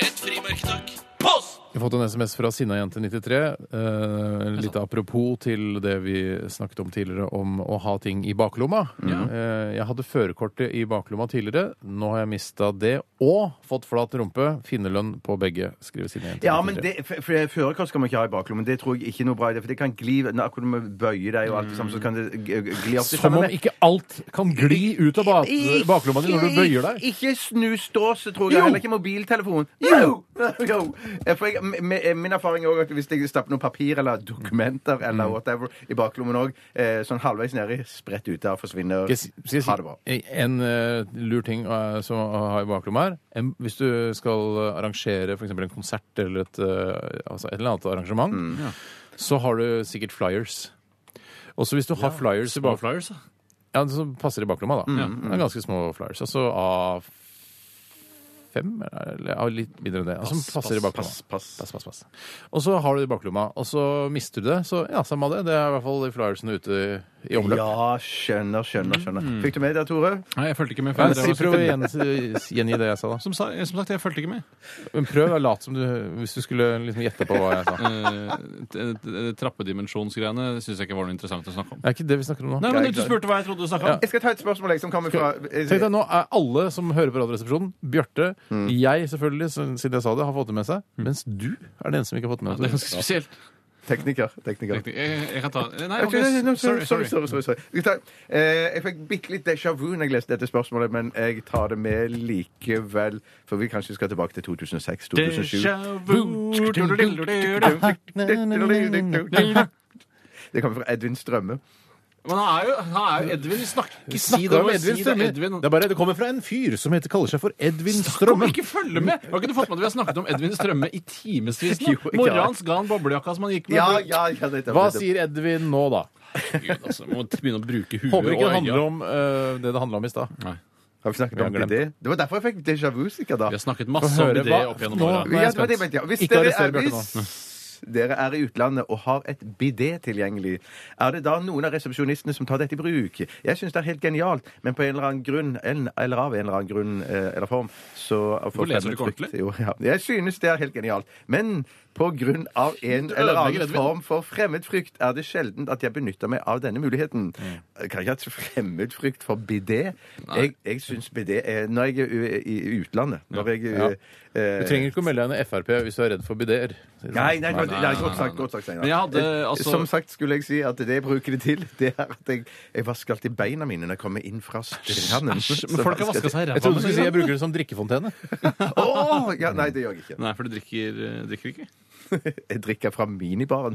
[SPEAKER 9] Et frimerketak
[SPEAKER 10] Post!
[SPEAKER 5] Vi har fått en SMS fra Sinnajente93. Eh, litt apropos til det vi snakket om tidligere, om å ha ting i baklomma.
[SPEAKER 2] Mm.
[SPEAKER 5] Eh, jeg hadde førerkortet i baklomma tidligere. Nå har jeg mista det og fått flat rumpe. Finnerlønn på begge, skriver Sinnajente93.
[SPEAKER 2] Ja, men det, for- for Førerkort skal man ikke ha i baklommen. Det tror jeg ikke er noe bra idé. For det kan gli Akkurat når du bøyer deg og alt det samme, så kan det g- g- gli opp til
[SPEAKER 5] Som om
[SPEAKER 2] fremme.
[SPEAKER 5] ikke alt kan gli ut av bak baklomma di når du bøyer deg.
[SPEAKER 2] Ikke snusdåse, tror jeg.
[SPEAKER 5] Jo.
[SPEAKER 2] Heller ikke mobiltelefon. Jo! jo. Eh, For jeg, m- m- min erfaring er også at hvis jeg stapper noe papir eller dokumenter eller
[SPEAKER 5] Mm.
[SPEAKER 2] whatever i baklommen òg, sånn halvveis nedi, spredt ut der, forsvinner
[SPEAKER 5] Skal jeg si- skal jeg si-
[SPEAKER 2] Ha det bra.
[SPEAKER 5] En eh, lur ting eh, som å ha i baklomma her en, Hvis du skal eh, arrangere f.eks. en konsert eller et, eh, altså et eller annet arrangement,
[SPEAKER 2] Mm.
[SPEAKER 5] så har du sikkert flyers. Også hvis du har flyers i bak-
[SPEAKER 4] Flyers, da.
[SPEAKER 5] ja, som passer i baklomma, da.
[SPEAKER 2] Mm,
[SPEAKER 5] Det er ganske små flyers. Altså A5, eller ja, litt mindre enn det. Altså, som passer i baklomma.
[SPEAKER 2] Pass, pass.
[SPEAKER 5] Pass, pass, pass. Og så har du det i baklomma, og så mister du det. Så ja, samme det. Det er i hvert fall de flyersene ute i- i omløp.
[SPEAKER 2] Ja, skjønner, skjønner, skjønner.
[SPEAKER 5] Mm.
[SPEAKER 2] Fikk du med deg, Tore?
[SPEAKER 4] Nei, jeg fulgte ikke med. for
[SPEAKER 5] Ja,
[SPEAKER 4] jeg drev
[SPEAKER 5] si,
[SPEAKER 4] og
[SPEAKER 5] prøv å
[SPEAKER 4] syklet.
[SPEAKER 5] gjen- gjengi det jeg sa, da.
[SPEAKER 4] Som, sa, som sagt, jeg fulgte ikke med.
[SPEAKER 5] Men prøv å late som du Hvis du skulle liksom gjette på hva jeg sa.
[SPEAKER 4] Eh, t- t- Trappedimensjonsgreiene syns jeg ikke var noe interessant å snakke om.
[SPEAKER 5] Det er ikke det vi snakker om nå.
[SPEAKER 4] Nei, men Du spurte hva jeg trodde du snakka om.
[SPEAKER 2] Jeg skal ta et spørsmål jeg, som kommer fra
[SPEAKER 5] Tenk deg, Nå er alle som hører på Radioresepsjonen, Bjarte, jeg selvfølgelig, så- siden jeg sa det, har fått det med seg. Mens du er den som ikke har fått Mm. det med
[SPEAKER 4] Det er
[SPEAKER 5] seg.
[SPEAKER 4] ganske spesielt.
[SPEAKER 2] Tekniker. tekniker.
[SPEAKER 4] Riktig. Jeg, jeg kan ta Nei,
[SPEAKER 2] Ok,
[SPEAKER 4] ok,
[SPEAKER 2] nei, nei,
[SPEAKER 4] sorry. sorry.
[SPEAKER 2] sorry, sorry, sorry. Jeg, tar, eh, jeg fikk bitte litt déjà vu når jeg leste dette spørsmålet, men jeg tar det med likevel, for vi kanskje skal tilbake til 2006-2007.
[SPEAKER 4] Déjà vu.
[SPEAKER 2] Det kommer fra Edvin Strømme.
[SPEAKER 4] Men han er jo, han er jo Edvin. Vi snakker ikke
[SPEAKER 5] Si
[SPEAKER 4] snakker
[SPEAKER 5] da om
[SPEAKER 4] bare
[SPEAKER 5] Edvin
[SPEAKER 4] si da
[SPEAKER 5] Strømme.
[SPEAKER 4] Edvin.
[SPEAKER 5] Det, er bare, det kommer fra en fyr som heter, kaller seg for Edvin
[SPEAKER 4] Kom,
[SPEAKER 5] Strømme.
[SPEAKER 4] ikke følge med! Har ikke du fått med at vi har snakket om Edvin Strømme i timevis nå?
[SPEAKER 2] Jo, ikke
[SPEAKER 4] Mora
[SPEAKER 2] har.
[SPEAKER 4] hans ga han boblejakka som han gikk med.
[SPEAKER 2] Ja, ja, ja, det er det.
[SPEAKER 5] Hva sier Edvin nå, da?
[SPEAKER 4] Gud, altså, må begynne å bruke huet
[SPEAKER 5] Håper ikke det
[SPEAKER 4] og
[SPEAKER 5] handler
[SPEAKER 4] øya.
[SPEAKER 5] om eh, det det handla om i stad.
[SPEAKER 2] Har vi snakket
[SPEAKER 5] Vi har
[SPEAKER 2] om det?
[SPEAKER 5] glemt
[SPEAKER 2] Det var derfor jeg fikk déjà vu, sikkert da.
[SPEAKER 4] Vi har snakket
[SPEAKER 5] Få
[SPEAKER 4] masse om
[SPEAKER 5] høre,
[SPEAKER 4] det
[SPEAKER 5] hva-
[SPEAKER 4] opp gjennom
[SPEAKER 5] nå-
[SPEAKER 4] åra.
[SPEAKER 5] nå er
[SPEAKER 2] Ja,
[SPEAKER 5] jeg
[SPEAKER 2] det var det jeg
[SPEAKER 5] spent.
[SPEAKER 2] mente, ja. Hvis
[SPEAKER 5] Ikke
[SPEAKER 2] dere
[SPEAKER 5] arrester
[SPEAKER 2] er,
[SPEAKER 5] Bjarte nå.
[SPEAKER 2] hvis dere er i utlandet og har et bidé tilgjengelig, er det da noen av resepsjonistene som tar dette i bruk? Jeg syns det er helt genialt, men på en eller annen grunn, en- eller av en eller annen grunn eh, eller form, så
[SPEAKER 4] Hvor leser du ikke
[SPEAKER 2] frykt-
[SPEAKER 4] ordentlig?
[SPEAKER 2] Jo, ja. Jeg synes det er helt genialt. Men på grunn av en
[SPEAKER 4] Du
[SPEAKER 2] eller
[SPEAKER 4] ødelegger
[SPEAKER 2] annen
[SPEAKER 4] Edvin.
[SPEAKER 2] form for fremmedfrykt er det sjelden at jeg benytter meg av denne muligheten.
[SPEAKER 5] Mm.
[SPEAKER 2] Jeg Kan ikke ha fremmedfrykt for bidé. Jeg, jeg syns bidé er Når jeg er u- i utlandet når jeg,
[SPEAKER 5] Ja.
[SPEAKER 2] eh,
[SPEAKER 5] Du trenger ikke å melde deg inn i Frp hvis du er redd for bidéer.
[SPEAKER 2] Nei, nei, nei, nei,
[SPEAKER 4] nei,
[SPEAKER 2] godt sagt.
[SPEAKER 4] nei.
[SPEAKER 2] Godt sagt Steinar.
[SPEAKER 4] Men jeg hadde, altså-
[SPEAKER 2] Som sagt skulle jeg si at det jeg bruker det til, det er at jeg, jeg vasker alltid beina mine når jeg kommer inn fra stranden.
[SPEAKER 4] Æsj, men folk har vaska seg i
[SPEAKER 5] Jeg trodde du skulle si jeg
[SPEAKER 4] ræva.
[SPEAKER 5] bruker det som drikkefontene.
[SPEAKER 2] Åh, ja, nei, det gjør jeg ikke.
[SPEAKER 4] Nei, for du drikker, eh, drikker ikke?
[SPEAKER 2] Jeg drikker fra minibaren,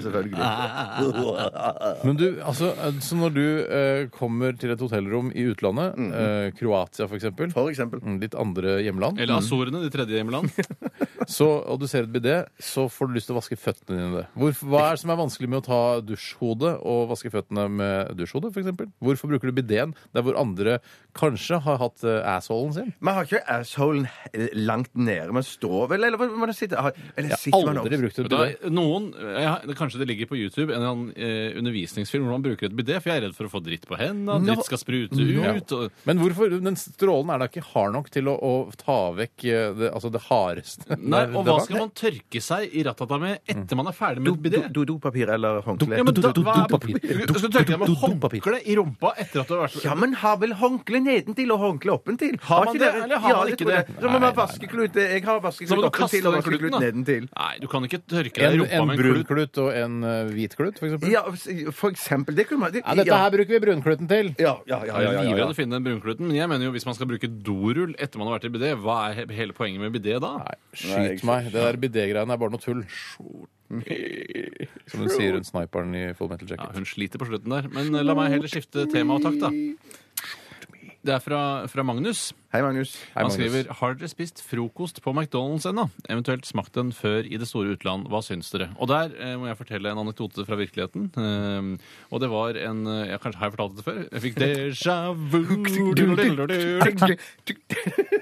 [SPEAKER 2] selvfølgelig.
[SPEAKER 5] Men du, altså, så når du eh, kommer til et hotellrom i utlandet, eh, Kroatia f.eks.,
[SPEAKER 2] Mm-hmm. For eksempel.
[SPEAKER 5] ditt andre hjemland
[SPEAKER 4] Eller Azorene, de tredje hjemland.
[SPEAKER 5] så, og du ser et bidé, så får du lyst til å vaske føttene dine i det. Hvorfor, hva er det som er vanskelig med å ta dusjhodet og vaske føttene med dusjhodet, f.eks.? Hvorfor bruker du bidéen der hvor andre kanskje har hatt eh, assholen sin?
[SPEAKER 2] Man har ikke assholen langt nede. Man står vel, eller hva- hvordan sitter har- Eller
[SPEAKER 5] Jeg
[SPEAKER 2] sitter
[SPEAKER 5] har
[SPEAKER 2] man
[SPEAKER 5] aldri
[SPEAKER 2] opp?
[SPEAKER 5] brukt et
[SPEAKER 4] Da,
[SPEAKER 5] bidé.
[SPEAKER 4] noen, ja, det- Kanskje det ligger på YouTube en eller annen eh, undervisningsfilm hvor man bruker et bidé, for jeg er redd for å få dritt på hendene,
[SPEAKER 2] Nå-
[SPEAKER 4] dritt skal sprute
[SPEAKER 5] Ja.
[SPEAKER 4] ut og,
[SPEAKER 5] Men hvorfor? Den strålen er da ikke hard nok til å, å ta vekk eh, det, altså det hardeste
[SPEAKER 4] Nei,
[SPEAKER 5] der-
[SPEAKER 4] Og
[SPEAKER 5] det
[SPEAKER 4] hva
[SPEAKER 5] var? Mm.
[SPEAKER 4] skal man tørke seg i ratata med etter man er ferdig med et bidé?
[SPEAKER 2] Do- do- Dopapir eller håndkle?
[SPEAKER 4] Ja, men da, hva er
[SPEAKER 5] Dopapir.
[SPEAKER 4] Skal du tørke deg med håndkle i rumpa etter at du har vært
[SPEAKER 2] Ja, men har vel håndkle nedentil og håndkle oppentil?
[SPEAKER 4] Har man
[SPEAKER 2] ikke
[SPEAKER 4] det,
[SPEAKER 2] dere-
[SPEAKER 4] eller har
[SPEAKER 2] Ja,
[SPEAKER 4] man
[SPEAKER 2] jeg
[SPEAKER 4] ikke
[SPEAKER 2] tror
[SPEAKER 4] det?
[SPEAKER 2] Så må man
[SPEAKER 4] Nei,
[SPEAKER 2] ha vaskeklut. Jeg har
[SPEAKER 4] Så må
[SPEAKER 2] vaskeklut
[SPEAKER 4] du kaste
[SPEAKER 2] oppentil og
[SPEAKER 4] den
[SPEAKER 2] vaskeklut
[SPEAKER 4] kluten, da.
[SPEAKER 2] nedentil.
[SPEAKER 4] Nei, du kan ikke tørke deg i
[SPEAKER 5] En,
[SPEAKER 4] rumpa
[SPEAKER 5] en
[SPEAKER 4] med en
[SPEAKER 5] brun
[SPEAKER 4] klut.
[SPEAKER 5] klut og en eh, hvit klut, for eksempel?
[SPEAKER 2] Ja, for eksempel. Det kunne man det-
[SPEAKER 5] Ja, dette her bruker vi brunkluten til.
[SPEAKER 2] Ja, ja, ja. ja, ja,
[SPEAKER 4] Jeg er
[SPEAKER 2] ja, ja.
[SPEAKER 4] livredd å finne den brunkluten, men jeg mener jo hvis man skal bruke dorull etter man har vært i bidé, hva er he- hele poenget med bidé da?
[SPEAKER 5] Nei, skyt meg. Det der bidé-greiene er bare noe tull. Som hun sier, hun sniperen i Full Metal
[SPEAKER 4] Ja,
[SPEAKER 5] Jacket.
[SPEAKER 4] hun sliter på slutten der, men eh, la meg heller skifte tema og takt, da. Det er fra, fra Magnus.
[SPEAKER 2] Hei, Magnus.
[SPEAKER 5] Hei,
[SPEAKER 4] Han
[SPEAKER 5] Magnus.
[SPEAKER 4] skriver Har dere spist frokost på McDonald's ennå? Eventuelt smakt den før i det store utland. Hva syns dere? Og der eh, må jeg fortelle en anekdote fra virkeligheten. Ehm, og det var en eh, jeg, Kanskje har jeg fortalt dette før? Jeg fikk déjà vu.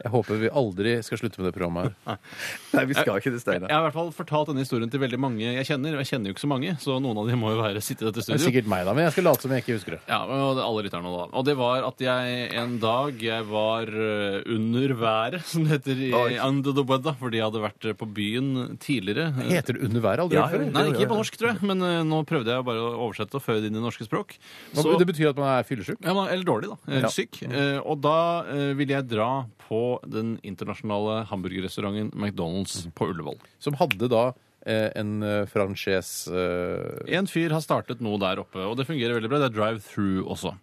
[SPEAKER 5] Jeg håper vi aldri skal slutte med det programmet her.
[SPEAKER 2] Nei, vi skal ikke det,
[SPEAKER 4] Jeg
[SPEAKER 2] Steinar.
[SPEAKER 4] har i hvert fall fortalt denne historien til veldig mange jeg kjenner. Og jeg kjenner jo ikke så mange, så noen av dem må jo være sitte i dette
[SPEAKER 5] Det er
[SPEAKER 4] studioet.
[SPEAKER 5] sikkert meg, da, men jeg skal late som jeg ikke husker det.
[SPEAKER 4] Ja, og det, alle lytterne da. Og det var at jeg en dag jeg var eh, under været, som det heter i
[SPEAKER 2] Oi.
[SPEAKER 4] Under the Weather, fordi jeg hadde vært eh, på byen tidligere.
[SPEAKER 5] Heter det Under været? Aldri
[SPEAKER 4] Ja,
[SPEAKER 5] hørt før?
[SPEAKER 4] nei, ikke på norsk, tror jeg, men eh, nå prøvde jeg bare å oversette og føre det inn i det norske språk.
[SPEAKER 5] Hva-
[SPEAKER 4] Så-
[SPEAKER 5] Det Mm. betyr at man er fyllesyk?
[SPEAKER 4] ja, men- eller dårlig, da. Eller syk. Eh, og da eh, ville jeg dra på den internasjonale hamburgerrestauranten McDonald's
[SPEAKER 5] Mm.
[SPEAKER 4] på Ullevål.
[SPEAKER 5] Som hadde da eh, en eh, franchise eh,
[SPEAKER 4] En fyr har startet noe der oppe, og det fungerer veldig bra. Det er drive-through også.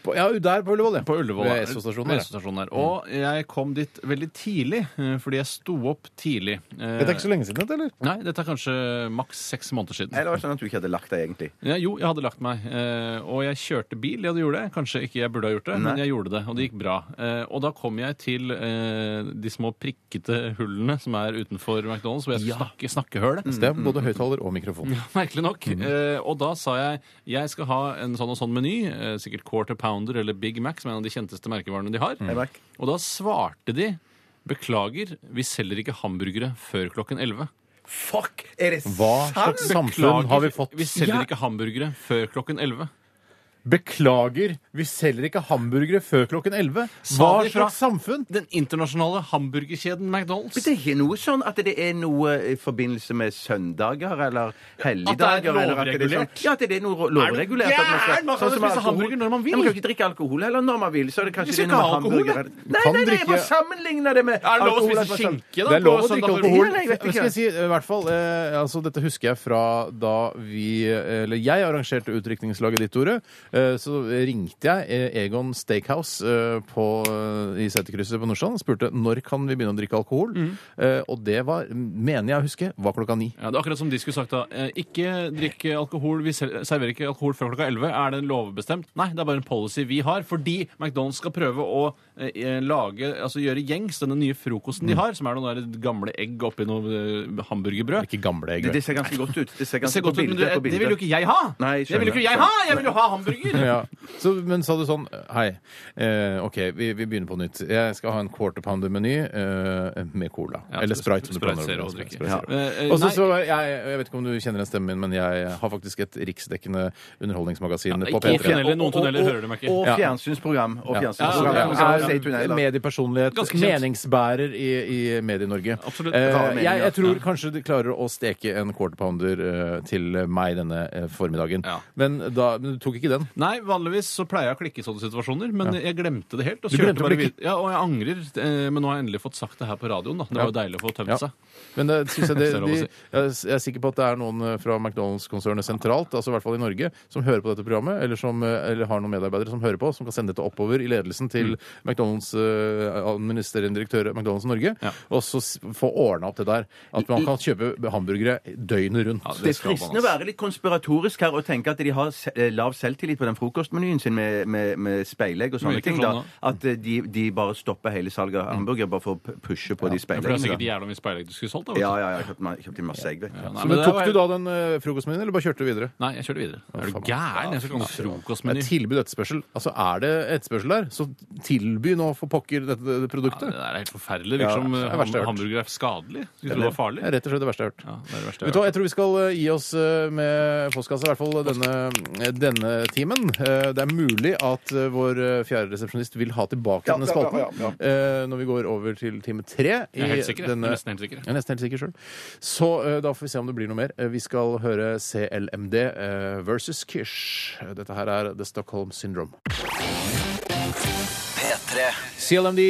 [SPEAKER 5] på, Ja, der på Ullevål, ja.
[SPEAKER 4] På Ullevål.
[SPEAKER 5] Ved
[SPEAKER 4] ja. Ved
[SPEAKER 5] Esso-stasjonen. der, ja. Mm.
[SPEAKER 4] Esso-stasjonen der. Og jeg kom dit veldig tidlig, eh, fordi jeg sto opp tidlig. Eh,
[SPEAKER 5] Dette er ikke så lenge siden, dette, eller?
[SPEAKER 4] Nei, dette er kanskje maks seks måneder siden.
[SPEAKER 2] Eller var det sånn at du ikke hadde lagt deg, egentlig?
[SPEAKER 4] Ja, jo, jeg hadde lagt meg. eh, Og jeg kjørte bil. Jeg gjorde det. Kanskje ikke jeg burde ha gjort det, men
[SPEAKER 2] Nei.
[SPEAKER 4] jeg gjorde det, og det gikk bra. Eh, Og da kom jeg til eh, de små prikkete hullene som er utenfor McDonald's, hvor jeg skulle snakke snakkehull.
[SPEAKER 5] Så det er både høyttaler og mikrofon.
[SPEAKER 4] Merkelig nok.
[SPEAKER 5] Mm.
[SPEAKER 4] Eh, og da sa jeg jeg skal ha en sånn og sånn meny. Eh, sikkert Quarter Pounder eller Big Mac, som er en av de kjenteste merkevarene de har.
[SPEAKER 2] Hei,
[SPEAKER 5] Mm.
[SPEAKER 2] Mark.
[SPEAKER 4] Og da svarte de beklager, vi selger ikke hamburgere før klokken 11.
[SPEAKER 2] Fuck! Er det
[SPEAKER 5] Hva slags samfunn har vi fått?
[SPEAKER 4] Vi selger
[SPEAKER 5] Ja.
[SPEAKER 4] ikke hamburgere før klokken 11.
[SPEAKER 5] Beklager, vi selger ikke hamburgere før klokken 11.
[SPEAKER 4] Sa
[SPEAKER 5] Hva
[SPEAKER 4] de fra-
[SPEAKER 5] slags samfunn?
[SPEAKER 4] Den internasjonale hamburgerkjeden McDonald's.
[SPEAKER 2] Men det er ikke noe sånn at det er noe eh, i forbindelse med søndager eller helligdager? eller at det er sånn-
[SPEAKER 4] lovregulert?
[SPEAKER 2] Ja, at det er noe lovregulert. at skal-
[SPEAKER 4] gæren? Man kan
[SPEAKER 2] sånn
[SPEAKER 4] jo
[SPEAKER 2] som
[SPEAKER 4] spise
[SPEAKER 2] alkohol.
[SPEAKER 4] hamburger når man vil.
[SPEAKER 2] Ja, man kan ikke drikke alkohol heller når man vil. Så er det
[SPEAKER 4] Vi
[SPEAKER 2] kanskje
[SPEAKER 4] skal
[SPEAKER 2] det er noe
[SPEAKER 4] ikke ha alkohol, da.
[SPEAKER 2] hamburger-
[SPEAKER 5] kan
[SPEAKER 2] Nei, nei, nei, jeg
[SPEAKER 5] drikke-
[SPEAKER 2] bare sammenligner det med
[SPEAKER 4] Er det lov å
[SPEAKER 2] alkohol,
[SPEAKER 4] spise
[SPEAKER 2] at man sammen-
[SPEAKER 4] skinke, da?
[SPEAKER 5] Det er
[SPEAKER 4] på
[SPEAKER 5] lov å drikke
[SPEAKER 4] søndag
[SPEAKER 2] morgen?
[SPEAKER 5] alkohol.
[SPEAKER 2] Nei, jeg vet ikke.
[SPEAKER 5] Skal jeg si, i hvert fall, eh, altså, dette husker jeg fra da vi eh, Eller jeg arrangerte utdrikningslaget ditt, Tore. Eh, så ringte jeg eh, Egon Steakhouse eh, på, eh, i seterkrysset på Nordstrand og spurte når kan vi begynne å drikke alkohol.
[SPEAKER 2] Mm.
[SPEAKER 5] Eh, og det var, mener jeg å huske, var klokka ni.
[SPEAKER 4] Ja, det er akkurat som de skulle sagt da. Eh, Ikke drikk alkohol, vi sel- serverer ikke alkohol før klokka 11. Er det lovbestemt? Nei, det er bare en policy vi har, fordi McDonald's skal prøve å eh, lage, altså gjøre gjengs denne nye frokosten
[SPEAKER 2] Mm.
[SPEAKER 4] de har, som er noen der gamle egg oppi noe eh, hamburgerbrød.
[SPEAKER 5] Ikke gamle
[SPEAKER 2] Det, det
[SPEAKER 5] Egon.
[SPEAKER 2] ser ganske godt ut. Det ser
[SPEAKER 4] Det
[SPEAKER 2] ganske
[SPEAKER 4] ser godt ut, men du,
[SPEAKER 2] bildet-
[SPEAKER 4] eh, det
[SPEAKER 2] på bildet.
[SPEAKER 4] vil jo ikke jeg ha!
[SPEAKER 2] Nei,
[SPEAKER 4] det vil jo
[SPEAKER 2] skjønner,
[SPEAKER 4] ikke jeg ha! Jeg vil jo ha hamburger!
[SPEAKER 5] Ja. Så, men sa du sånn Hei, eh, OK, vi, vi begynner på nytt. Jeg skal ha en quarter pounder-meny eh, med cola.
[SPEAKER 4] Ja,
[SPEAKER 5] Eller Sprite. som du
[SPEAKER 4] Sprite
[SPEAKER 5] planer å
[SPEAKER 4] Zero
[SPEAKER 5] drikke.
[SPEAKER 4] drikke.
[SPEAKER 5] Sprite Zero.
[SPEAKER 4] Eh, eh,
[SPEAKER 5] Og så,
[SPEAKER 4] nei.
[SPEAKER 5] så jeg, jeg vet ikke om du kjenner den stemmen min, men jeg har faktisk et riksdekkende underholdningsmagasin på
[SPEAKER 4] ikke i
[SPEAKER 5] P3.
[SPEAKER 4] tunneler. Noen tunneler
[SPEAKER 2] Og- og-
[SPEAKER 4] hører dem ikke.
[SPEAKER 2] Og
[SPEAKER 5] Ja.
[SPEAKER 2] fjernsynsprogram. Og
[SPEAKER 5] Ja.
[SPEAKER 2] fjernsynsprogram.
[SPEAKER 4] Ja, ja,
[SPEAKER 2] Ja, sier tunneler.
[SPEAKER 5] Er mediepersonlighet,
[SPEAKER 4] Ganske kjent.
[SPEAKER 5] meningsbærer i, i Medie-Norge.
[SPEAKER 4] Absolutt.
[SPEAKER 5] Eh,
[SPEAKER 2] Rare meninger.
[SPEAKER 5] jeg, jeg tror kanskje de klarer å steke en quarter pounder eh, til meg denne eh, formiddagen.
[SPEAKER 4] Ja.
[SPEAKER 5] Men, da, men du tok ikke den.
[SPEAKER 4] Nei, vanligvis så pleier jeg å klikke i sånne situasjoner, men jeg glemte det helt. Og,
[SPEAKER 5] Du
[SPEAKER 4] kjørte
[SPEAKER 5] glemte å
[SPEAKER 4] bare
[SPEAKER 5] klikke?
[SPEAKER 4] vid- Ja, og jeg angrer, eh, men nå har jeg endelig fått sagt det her på radioen. da. Det var jo deilig å få tømt
[SPEAKER 5] Ja.
[SPEAKER 4] seg.
[SPEAKER 5] Men det, synes jeg, det,
[SPEAKER 4] Altså. Hvis det er lov å
[SPEAKER 5] de,
[SPEAKER 4] si.
[SPEAKER 5] jeg er s- jeg er sikker på at det er noen eh, fra McDonald's-konsernet sentralt, altså i hvert fall i Norge, som hører på dette programmet, eller, som, eh, eller har noen medarbeidere som hører på, som kan sende dette oppover i ledelsen
[SPEAKER 4] Mm.
[SPEAKER 5] til McDonald's eh, administrerende direktør i McDonald's Norge,
[SPEAKER 4] Ja.
[SPEAKER 5] og så s- få ordna opp det der. At man kan kjøpe hamburgere døgnet rundt.
[SPEAKER 4] Ja,
[SPEAKER 2] Det er
[SPEAKER 4] skal man,
[SPEAKER 2] fristende å
[SPEAKER 4] altså.
[SPEAKER 2] være litt konspiratorisk her og tenke at de har se- eh, lav selvtillit på den frokostmenyen sin med med, med, med speilegg og sånne
[SPEAKER 4] Mye
[SPEAKER 2] ting, da,
[SPEAKER 4] kroner.
[SPEAKER 2] at eh, de, de bare stopper hele salget av hamburger bare for å p- pushe på
[SPEAKER 4] Mm.
[SPEAKER 2] de
[SPEAKER 4] For det er
[SPEAKER 2] speileggene.
[SPEAKER 4] sikkert jævla mye speilegg du skulle solgt. da, vet du.
[SPEAKER 2] Ja, ja, ja, jeg kjøpte, meg- kjøpte masse egg, vet du.
[SPEAKER 4] Ja, nei,
[SPEAKER 5] Så
[SPEAKER 4] men
[SPEAKER 5] men
[SPEAKER 4] det
[SPEAKER 5] Tok
[SPEAKER 4] var-
[SPEAKER 5] du da den eh, frokostmenyen, eller bare kjørte du videre?
[SPEAKER 4] Nei, jeg kjørte videre. Er du gæren? Jeg skal ikke ha noen
[SPEAKER 5] Det er
[SPEAKER 4] frokostmeny.
[SPEAKER 5] tilbud og etterspørsel. Altså, er det etterspørsel der, så tilby nå for pokker dette dette
[SPEAKER 4] Ja, det
[SPEAKER 5] produktet.
[SPEAKER 4] der er helt forferdelig. Det
[SPEAKER 5] Ja,
[SPEAKER 4] Virker som
[SPEAKER 5] det er det
[SPEAKER 4] ham-
[SPEAKER 5] verste jeg har hørt.
[SPEAKER 4] hamburger er skadelig. Skulle tro det var farlig.
[SPEAKER 5] Det er rett og slett det verste jeg har hørt.
[SPEAKER 4] Ja, det er det verste
[SPEAKER 5] Vet
[SPEAKER 4] jeg
[SPEAKER 5] du
[SPEAKER 4] har
[SPEAKER 5] hva,
[SPEAKER 4] hørt.
[SPEAKER 5] Jeg tror vi skal eh, gi oss eh, med postkassa, i hvert fall denne, denne timen. Eh, Det er mulig at eh, vår eh, fjerde resepsjonist vil ha tilbake denne
[SPEAKER 1] ja,
[SPEAKER 5] spalten
[SPEAKER 1] ja, ja,
[SPEAKER 5] eh, når vi går over til time tre.
[SPEAKER 4] Jeg er
[SPEAKER 5] i
[SPEAKER 4] helt sikker. jeg. Jeg
[SPEAKER 5] denne-
[SPEAKER 4] er Nesten helt sikker.
[SPEAKER 5] Jeg er nesten helt sikker sjøl. Så eh, da får vi se om det blir noe mer. Eh, Vi skal høre CLMD eh, versus Kish. Eh, Dette her er The Stockholm Syndrome.
[SPEAKER 10] P3
[SPEAKER 5] CLMD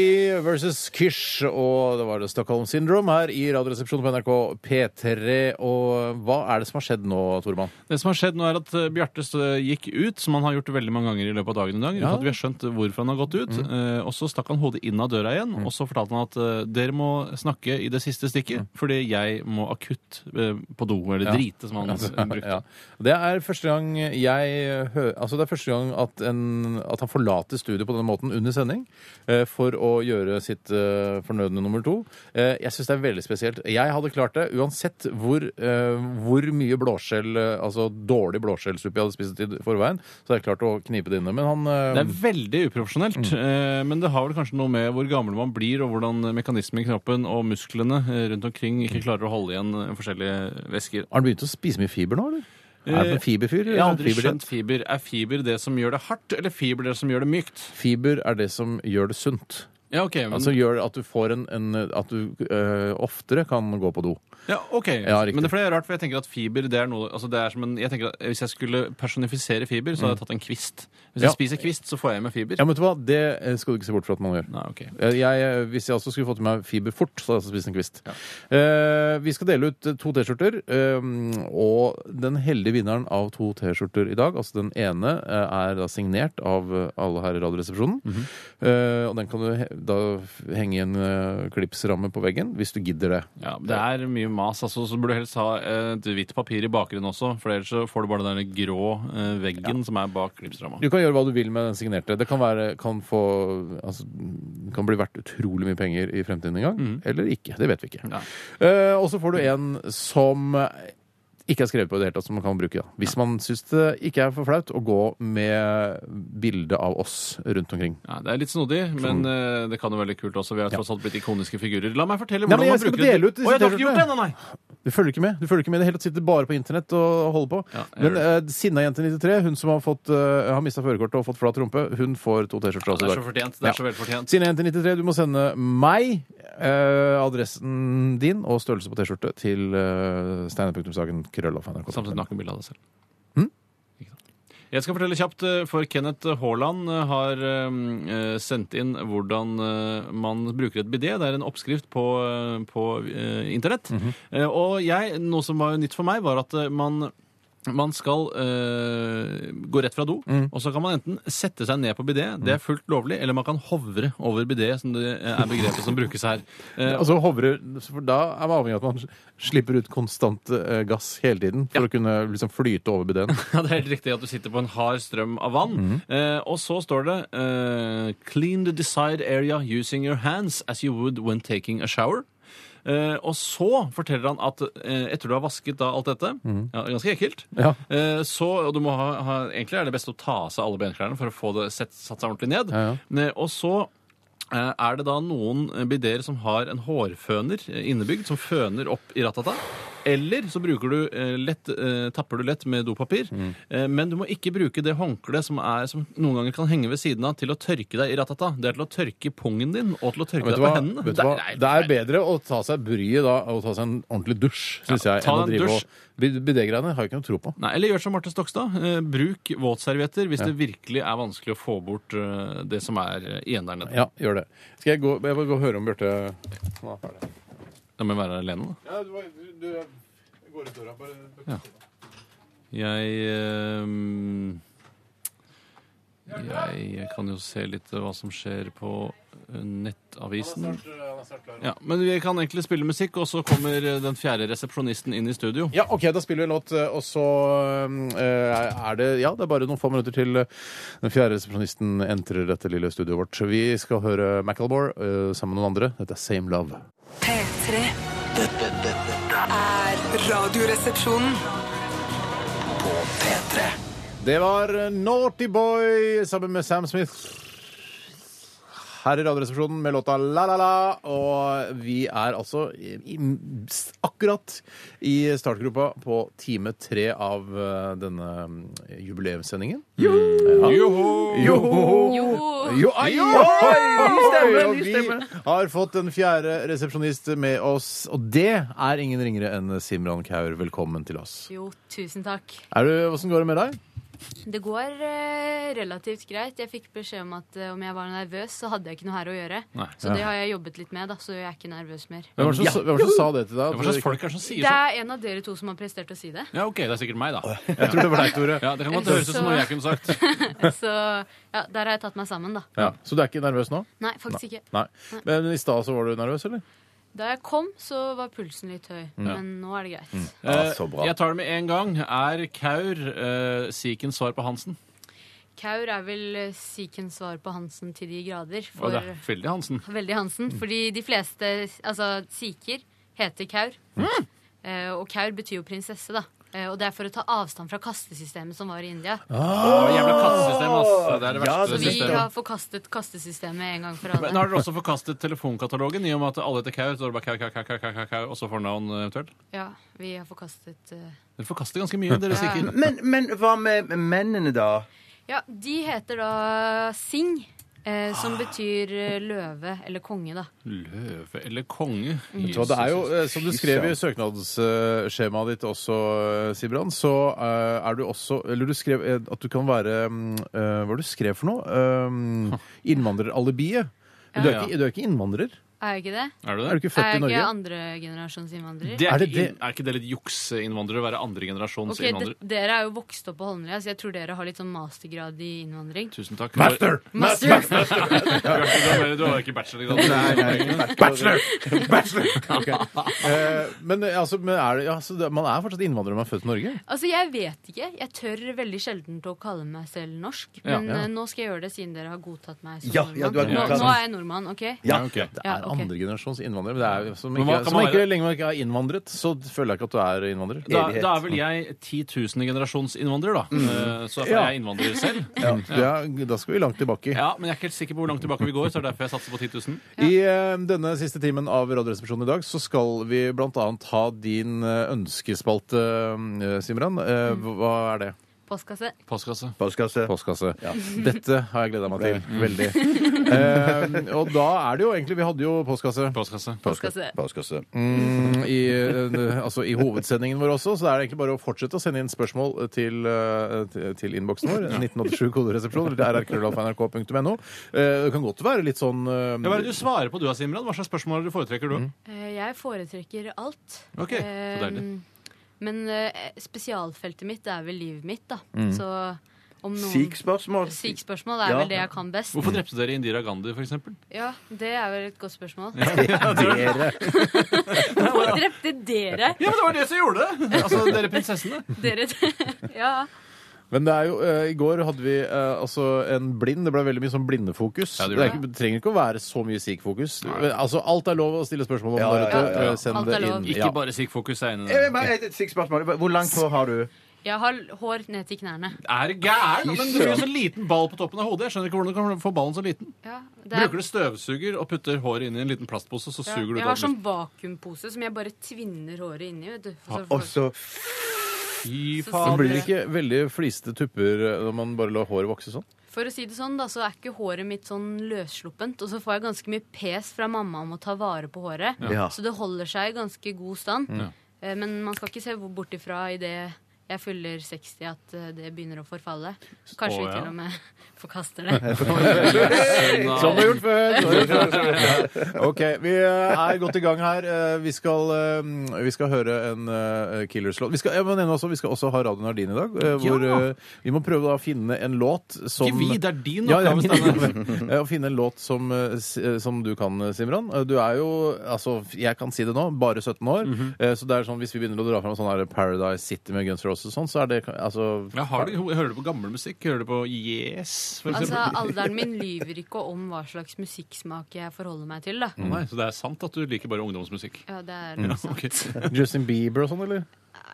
[SPEAKER 5] versus Kish, og det var The Stockholm Syndrome her i Radioresepsjonen på NRK P3. Og hva er det som har skjedd nå, Tormann?
[SPEAKER 4] Det som har skjedd nå er at eh, Bjarte eh, gikk ut, som han har gjort veldig mange ganger i løpet av dagen i dag. uten
[SPEAKER 5] Ja.
[SPEAKER 4] at vi har skjønt hvorfor han har gått ut. Eh, Og så stakk han hodet inn av døra igjen, og så fortalte han at eh, dere må snakke i det siste stikket, fordi jeg må akutt eh, på do, eller
[SPEAKER 5] Ja.
[SPEAKER 4] drite, som han eh, brukte.
[SPEAKER 5] Ja. Det er første gang jeg hø- Altså det er første gang at, en, at han forlater studio på denne måten under sending eh, for å gjøre sitt eh, fornødne nummer to. Eh, jeg syns det er veldig spesielt. Jeg hadde klart det uansett hvor, eh, hvor mye blåskjell, eh, altså dårlig blåskjellsuppe jeg hadde spist i forveien, så hadde jeg klart å knipe det inne. Men han eh,
[SPEAKER 4] Det er veldig uprofesjonelt, eh, men det har vel kanskje noe med hvor gammel man blir, og hvordan mekanismen i kroppen og musklene eh, rundt omkring ikke klarer å holde igjen eh, forskjellige væsker.
[SPEAKER 5] har han begynt å spise mye fiber nå, eller? Er han en fiberfyr? eller
[SPEAKER 4] Eh, Jeg har aldri
[SPEAKER 5] fiberdiet?
[SPEAKER 4] skjønt fiber. Er fiber det som gjør det hardt, eller fiber det som gjør det mykt?
[SPEAKER 5] Fiber er det som gjør det sunt.
[SPEAKER 4] Ja, ok. Men,
[SPEAKER 5] Altså gjør at du får en, en At du eh, oftere kan gå på do.
[SPEAKER 4] ja, ok.
[SPEAKER 5] Ja, riktig.
[SPEAKER 4] men det er fordi det er rart, for jeg tenker at fiber det er noe altså det er som en, jeg tenker at Hvis jeg skulle personifisere fiber, så hadde jeg tatt en kvist. Hvis
[SPEAKER 5] Mm. Ja.
[SPEAKER 4] jeg spiser kvist, så får jeg i meg fiber.
[SPEAKER 5] Ja, men vet du hva? Det eh, skal du ikke se bort fra at man gjør.
[SPEAKER 4] Nei, ok.
[SPEAKER 5] Eh, Jeg, eh, hvis jeg også skulle fått i meg fiber fort, så hadde jeg også spist en kvist. Eh, vi skal dele ut eh, to T-skjorter, eh, og den heldige vinneren av to T-skjorter i dag, altså den ene, eh, er da signert av eh, alle her i Radioresepsjonen.
[SPEAKER 4] Mhm.
[SPEAKER 5] Eh, og den kan du he da f- henge i en eh, klipsramme på veggen, hvis du gidder det.
[SPEAKER 4] Ja, men det er mye mas. altså, Så burde du helst ha eh, et hvitt papir i bakgrunnen også, for ellers så får du bare den der grå eh, veggen som er bak klipsramma.
[SPEAKER 5] Du kan gjøre hva du vil med den signerte. Det kan, være, kan, få, altså, den kan bli verdt utrolig mye penger i fremtiden en gang. Eller ikke. Det vet vi ikke.
[SPEAKER 4] Mm. Ja.
[SPEAKER 5] Eh, og så får du en som ikke er skrevet på i det hele tatt, som man kan bruke. Da. Hvis man syns det ikke er for flaut å gå med bilde av oss rundt omkring.
[SPEAKER 4] Ja, det er litt snodig,
[SPEAKER 5] Mm.
[SPEAKER 4] men eh, det kan jo være litt kult også. Vi har tross alt blitt ikoniske figurer. La meg fortelle
[SPEAKER 5] Nei,
[SPEAKER 4] hvordan
[SPEAKER 5] men jeg
[SPEAKER 4] man
[SPEAKER 5] skal
[SPEAKER 4] bruker det.
[SPEAKER 5] dele ut disse
[SPEAKER 4] Å, jeg har ikke gjort det
[SPEAKER 5] T-skjortene.
[SPEAKER 4] ennå, nei!
[SPEAKER 5] Du følger ikke med. Du følger ikke med i det hele tatt. Sitter bare på internett og holder på.
[SPEAKER 4] Ja, jeg
[SPEAKER 5] Men
[SPEAKER 4] gjør
[SPEAKER 5] uh, sinna jente 93, hun som har, fått, eh, har mista førerkortet og fått flat rumpe, hun får to T-skjorter
[SPEAKER 4] Det
[SPEAKER 5] også i
[SPEAKER 4] er så
[SPEAKER 5] dag.
[SPEAKER 4] fortjent. Det
[SPEAKER 5] Ja.
[SPEAKER 4] er så velfortjent.
[SPEAKER 5] Siden 1-93, du må sende meg eh, adressen din og størrelse på T-skjorte til eh, steinar.sagen krølloff.nrk.
[SPEAKER 4] Samtidig nakenbilde Sånn av deg selv. Ikke sant. Jeg skal fortelle kjapt, eh, for Kenneth Haaland eh, har eh, sendt inn hvordan eh, man bruker et bidé. Det er en oppskrift på, eh, på eh, internett. Eh, Og jeg, noe som var nytt for meg, var at eh, man man skal eh, gå rett fra do, og så kan man enten sette seg ned på bidé, det er fullt lovlig, eller man kan hovre over bidé, som det eh, er begrepet som brukes her. Eh,
[SPEAKER 5] Altså hovrer, for Da er man avhengig av at man slipper ut konstant eh, gass hele tiden for å kunne liksom flyte over bideen.
[SPEAKER 4] Ja, Det er helt riktig at du sitter på en hard strøm av vann.
[SPEAKER 5] Mhm.
[SPEAKER 4] eh, og så står det eh, Clean the desired area using your hands as you would when taking a shower. Eh, og så forteller han at eh, etter du har vasket da alt dette ja, Ganske ekkelt.
[SPEAKER 5] Mhm. Ja.
[SPEAKER 4] eh, så, og du må ha, ha, egentlig er det best å ta av seg alle benklærne for å få det sett, satt seg ordentlig ned.
[SPEAKER 5] Ja,
[SPEAKER 4] Eh, og så eh, er det da noen eh, bidéer som har en hårføner eh, innebygd, som føner opp i ratata? Eller så bruker du eh, lett, eh, tapper du lett med dopapir.
[SPEAKER 5] Mm.
[SPEAKER 4] Eh, men du må ikke bruke det håndkleet som, er- som noen ganger kan henge ved siden av, til å tørke deg i ratata. Det er til å tørke pungen din og til å tørke deg
[SPEAKER 5] Vet du hva?
[SPEAKER 4] på hendene.
[SPEAKER 5] Vet du hva? Det er bedre å ta seg bryet da og ta seg en ordentlig dusj, syns jeg,
[SPEAKER 4] ta
[SPEAKER 5] enn å
[SPEAKER 4] en
[SPEAKER 5] drive
[SPEAKER 4] dusj.
[SPEAKER 5] og Bid- Bidé-greiene har jeg ikke noe tro på.
[SPEAKER 4] Nei, Eller gjør som Marte Stokstad. Eh, bruk våtservietter hvis det virkelig er vanskelig å få bort eh, det som er eh, igjen der nede.
[SPEAKER 5] Ja, gjør det. Skal jeg gå, jeg må gå og høre om Bjarte Nå er ferdig.
[SPEAKER 4] Da må jeg være alene, da.
[SPEAKER 5] Ja, du, du, du går ut døra, bare
[SPEAKER 4] Jeg ehm, eh, Jeg kan jo se litt hva som skjer på eh, Nettavisen.
[SPEAKER 5] Han
[SPEAKER 4] Ja, men vi kan egentlig spille musikk, og så kommer eh, den fjerde resepsjonisten inn i studio.
[SPEAKER 5] Ja, OK, da spiller vi en låt, og så eh, er det Ja, det er bare noen få minutter til eh, den fjerde resepsjonisten entrer dette lille studioet vårt. Vi skal høre Maccalmore eh, sammen med noen andre. Dette er Same Love.
[SPEAKER 7] P3 er radioresepsjonen.
[SPEAKER 5] Det var eh, Naughty Boy sammen med Sam Smith. Her i Radioresepsjonen med låta La La La. Og vi er altså i, i, akkurat i startgropa på time tre av eh, denne eh, jubileumssendingen. Mm, Ja. Joho! Jo, ai,
[SPEAKER 1] Jo!
[SPEAKER 5] ohoi!
[SPEAKER 1] Ny stemme,
[SPEAKER 5] Og
[SPEAKER 1] ny
[SPEAKER 5] vi
[SPEAKER 1] stemme.
[SPEAKER 5] har fått en fjerde resepsjonist med oss, og det er ingen ringere enn Simran Kaur. Velkommen til oss.
[SPEAKER 11] Jo, tusen takk.
[SPEAKER 5] Er du, Åssen går det med deg?
[SPEAKER 11] Det går eh, relativt greit. Jeg fikk beskjed om at eh, om jeg var nervøs, så hadde jeg ikke noe her å gjøre.
[SPEAKER 5] Nei.
[SPEAKER 11] Så
[SPEAKER 5] Ja.
[SPEAKER 11] det har jeg jobbet litt med, da, så jeg er ikke nervøs mer.
[SPEAKER 5] Hvem var det som,
[SPEAKER 4] Ja.
[SPEAKER 5] sa- hvem var det som sa det til deg?
[SPEAKER 4] Hva slags folk er det som sier sånn?
[SPEAKER 11] Det er en av dere to som har prestert å si det.
[SPEAKER 4] Ja, OK, det er sikkert meg, da.
[SPEAKER 5] Jeg tror det var deg, Tore.
[SPEAKER 4] Ja, det kan godt høres ut som noe jeg kunne sagt.
[SPEAKER 11] Så ja, der har jeg tatt meg sammen, da.
[SPEAKER 5] Ja. Så du er ikke nervøs nå?
[SPEAKER 11] Nei, faktisk ikke.
[SPEAKER 5] Nei. Men i stad så var du nervøs, eller?
[SPEAKER 11] Da jeg kom, så var pulsen litt høy.
[SPEAKER 4] Ja.
[SPEAKER 11] Men nå er det greit.
[SPEAKER 4] Eh, Jeg tar det med en gang. Er Kaur eh, Sikens svar på Hansen?
[SPEAKER 11] Kaur er vel eh, Sikens svar på Hansen til de grader.
[SPEAKER 4] Og det er veldig Hansen.
[SPEAKER 11] Veldig
[SPEAKER 4] Mm.
[SPEAKER 11] Hansen. Fordi de fleste altså, sikher heter Kaur.
[SPEAKER 4] Mm.
[SPEAKER 11] Eh, og Kaur betyr jo prinsesse, da. Eh, og det er for å ta avstand fra kastesystemet som var i India.
[SPEAKER 4] Ah! Å, jævla kastesystem, ass. Det er det verste
[SPEAKER 11] så vi
[SPEAKER 4] systemet.
[SPEAKER 11] har forkastet kastesystemet en gang for alle.
[SPEAKER 4] Men har dere også forkastet telefonkatalogen i og med at alle heter Kaur? Så er det bare Kaur, Kaur, Kaur, Kaur, Kaur, Kaur, Kaur, og så fornavn eh, eventuelt?
[SPEAKER 11] Ja, vi har forkastet eh,
[SPEAKER 4] Dere forkaster ganske mye, dere
[SPEAKER 11] Ja.
[SPEAKER 4] sikher.
[SPEAKER 2] Men, men hva med mennene, da?
[SPEAKER 11] Ja, de heter da Singh,
[SPEAKER 4] Ah.
[SPEAKER 11] eh, som betyr eh, løve eller konge, da.
[SPEAKER 4] Løve eller konge?
[SPEAKER 5] Vet du hva, Det er jo, eh, Som du skrev i søknadsskjemaet ditt også, eh, Sibran, så eh, er du også Eller du skrev eh, at du kan være mm, eh, Hva var det du skrev for noe? Um, Innvandreralibiet. Men Du, er
[SPEAKER 11] Ja.
[SPEAKER 5] ikke- du er ikke innvandrer?
[SPEAKER 11] Er jeg ikke det?
[SPEAKER 4] Er du det?
[SPEAKER 5] Er du ikke født
[SPEAKER 11] er
[SPEAKER 5] i
[SPEAKER 11] jeg
[SPEAKER 5] Norge?
[SPEAKER 11] ikke andregenerasjons innvandrer?
[SPEAKER 4] Det er, ikke- er ikke det litt jukseinnvandrere å være andregenerasjons
[SPEAKER 11] Ok, de,
[SPEAKER 4] innvandrer?
[SPEAKER 11] Dere er jo vokst opp på Holmlia, så jeg tror dere har litt sånn mastergrad i innvandring.
[SPEAKER 4] Tusen takk.
[SPEAKER 11] Master! Master!
[SPEAKER 4] Master! Bjarte, Du har ikke bachelorgrad?
[SPEAKER 5] Nei, nei, ikke bachelor. Bachelor! Ok. Eh, men eh, altså, men er det, ja, så det, man er fortsatt innvandrer når man er født i Norge?
[SPEAKER 11] Altså, jeg vet ikke. Jeg tør veldig sjelden å kalle meg selv norsk.
[SPEAKER 5] Ja.
[SPEAKER 11] Men
[SPEAKER 5] Ja.
[SPEAKER 11] eh, nå skal jeg gjøre det, siden dere har godtatt meg som
[SPEAKER 5] Ja,
[SPEAKER 11] nordmann.
[SPEAKER 5] ja, du har godtatt
[SPEAKER 11] nå, nå
[SPEAKER 5] meg.
[SPEAKER 11] er jeg nordmann, OK?
[SPEAKER 5] Ja, ok. Det
[SPEAKER 11] Ja,
[SPEAKER 5] er
[SPEAKER 11] ok.
[SPEAKER 5] andregenerasjons innvandrere. Men det er, jo- som
[SPEAKER 4] Men
[SPEAKER 5] ikke,
[SPEAKER 4] hva kan
[SPEAKER 5] som
[SPEAKER 4] man
[SPEAKER 5] ikke
[SPEAKER 4] være?
[SPEAKER 5] lenge man ikke er innvandret, så føler jeg ikke at du er innvandrer.
[SPEAKER 4] Da, da er vel jeg 10.000 generasjons innvandrer, da. Eh, Så derfor
[SPEAKER 5] Mm. Ja.
[SPEAKER 4] er jeg innvandrer selv.
[SPEAKER 5] Ja, det er- da skal vi langt tilbake.
[SPEAKER 4] Ja, Men jeg er ikke helt sikker på hvor langt tilbake vi går, så det er derfor jeg satser på 10 000.
[SPEAKER 5] I eh, denne siste timen av Radioresepsjonen i dag så skal vi bl.a. ha din eh, ønskespalte, eh, Simran. Eh, hva- Hva er det?
[SPEAKER 11] Postkasse.
[SPEAKER 4] Postkasse.
[SPEAKER 2] Postkasse.
[SPEAKER 5] Ja. Dette har jeg gleda meg til
[SPEAKER 2] Mm.
[SPEAKER 5] veldig. Eh, og da er det jo egentlig Vi hadde jo postkasse.
[SPEAKER 4] Postkasse.
[SPEAKER 11] Postkasse.
[SPEAKER 5] Mm, i, eh, altså I hovedsendingen vår også, så det er egentlig bare å fortsette å sende inn spørsmål til, eh, til- til innboksen vår. 1987 koderesepsjon eller rrkrøllalfa.nrk.no. Eh, Det kan godt være litt sånn eh,
[SPEAKER 4] Ja, hva er det du svarer på du, da, Simran? Hva slags spørsmål er det du foretrekker du?
[SPEAKER 5] Mm.
[SPEAKER 11] Eh, Jeg foretrekker alt.
[SPEAKER 4] Ok, så
[SPEAKER 11] Eh,
[SPEAKER 4] deilig.
[SPEAKER 11] Men eh, spesialfeltet mitt er vel livet mitt, da.
[SPEAKER 4] Mm.
[SPEAKER 11] Så om noen
[SPEAKER 4] Sikh-spørsmål?
[SPEAKER 11] Sikh-spørsmål er
[SPEAKER 4] Ja.
[SPEAKER 11] vel det jeg kan best.
[SPEAKER 4] Hvorfor drepte dere Indira Gandhi, for eksempel?
[SPEAKER 11] Ja, det er vel et godt spørsmål.
[SPEAKER 4] Ja, dere.
[SPEAKER 11] Hvorfor drepte dere?
[SPEAKER 4] Ja, men det var det som gjorde det! Altså, dere prinsessene.
[SPEAKER 11] Dere Ja.
[SPEAKER 5] Men det er jo, eh, i går hadde vi eh, altså en blind. Det ble veldig mye sånn blindefokus.
[SPEAKER 4] Ja,
[SPEAKER 5] det,
[SPEAKER 4] det
[SPEAKER 5] er
[SPEAKER 4] gjorde
[SPEAKER 5] ikke, det trenger ikke å være så mye sikh-fokus. Altså, alt er lov å stille spørsmål om. der ute. Eh, Send det inn.
[SPEAKER 4] Ikke bare Sikh-fokus er inne
[SPEAKER 2] Eh, bare Et, et sikkert spørsmål. Hvor langt hår har du?
[SPEAKER 11] Jeg har hår ned til knærne.
[SPEAKER 4] Er gæren? Men
[SPEAKER 2] Fy
[SPEAKER 4] du har jo
[SPEAKER 2] søren.
[SPEAKER 4] så liten ball på toppen av hodet. Jeg skjønner ikke hvordan du kan få ballen så liten.
[SPEAKER 11] Ja, det er-
[SPEAKER 4] Bruker du støvsuger og putter håret inn i en liten plastpose, så
[SPEAKER 11] Ja,
[SPEAKER 4] suger du ut
[SPEAKER 11] jeg
[SPEAKER 4] alt.
[SPEAKER 11] har sånn vakuumpose som jeg bare tvinner håret inni. vet du. Så-
[SPEAKER 4] Fy
[SPEAKER 11] Så
[SPEAKER 5] Men
[SPEAKER 11] fader.
[SPEAKER 5] blir det ikke veldig flisete tupper eh, når man bare lar håret vokse sånn?
[SPEAKER 11] For å si det sånn, da, så er ikke håret mitt sånn løssluppent. Og så får jeg ganske mye pes fra mamma om å ta vare på håret.
[SPEAKER 5] Ja.
[SPEAKER 11] Så det holder seg i ganske god stand.
[SPEAKER 5] Ja.
[SPEAKER 11] Eh, Men man skal ikke se hvor- bort ifra i det jeg fyller 60 at eh, det begynner å forfalle.
[SPEAKER 4] Å,
[SPEAKER 11] Kanskje vi
[SPEAKER 4] ja.
[SPEAKER 11] til og med forkaster det.
[SPEAKER 4] Sånn,
[SPEAKER 5] Som vi har gjort før! som vi har gjort før. OK, vi eh, er godt i gang her. Eh, Vi skal, eh, vi skal høre en eh, Killers-låt. Vi, skal- jeg må nevne også- vi skal også ha Radio Nardin i dag. eh, Hvor
[SPEAKER 4] Ja.
[SPEAKER 5] eh, vi må prøve da å finne en låt som
[SPEAKER 4] Ikke vi, det er din
[SPEAKER 5] ja, ja,
[SPEAKER 4] oppgave,
[SPEAKER 5] min
[SPEAKER 4] Steinar.
[SPEAKER 5] oppgave. Eh, Å finne en låt som, eh, s- eh, som du kan, eh, Simran. Eh, Du er jo, altså, jeg kan si det nå, bare 17 år.
[SPEAKER 4] Mhm.
[SPEAKER 5] Eh, Så det er sånn, hvis vi begynner å dra fram sånn her Paradise City med Guns N' Roses og sånn, så er det altså
[SPEAKER 4] Ja, har du, hører du på gammel musikk? Hører du på Yes, for
[SPEAKER 11] Altså,
[SPEAKER 4] eksempel?
[SPEAKER 11] Alderen min lyver ikke om hva slags musikksmak jeg forholder meg til. da.
[SPEAKER 5] Mm.
[SPEAKER 4] Å Nei, så det er sant at du liker bare ungdomsmusikk?
[SPEAKER 11] Ja, det er
[SPEAKER 4] Ja,
[SPEAKER 11] sant.
[SPEAKER 4] ok.
[SPEAKER 5] Justin Bieber og sånn, eller?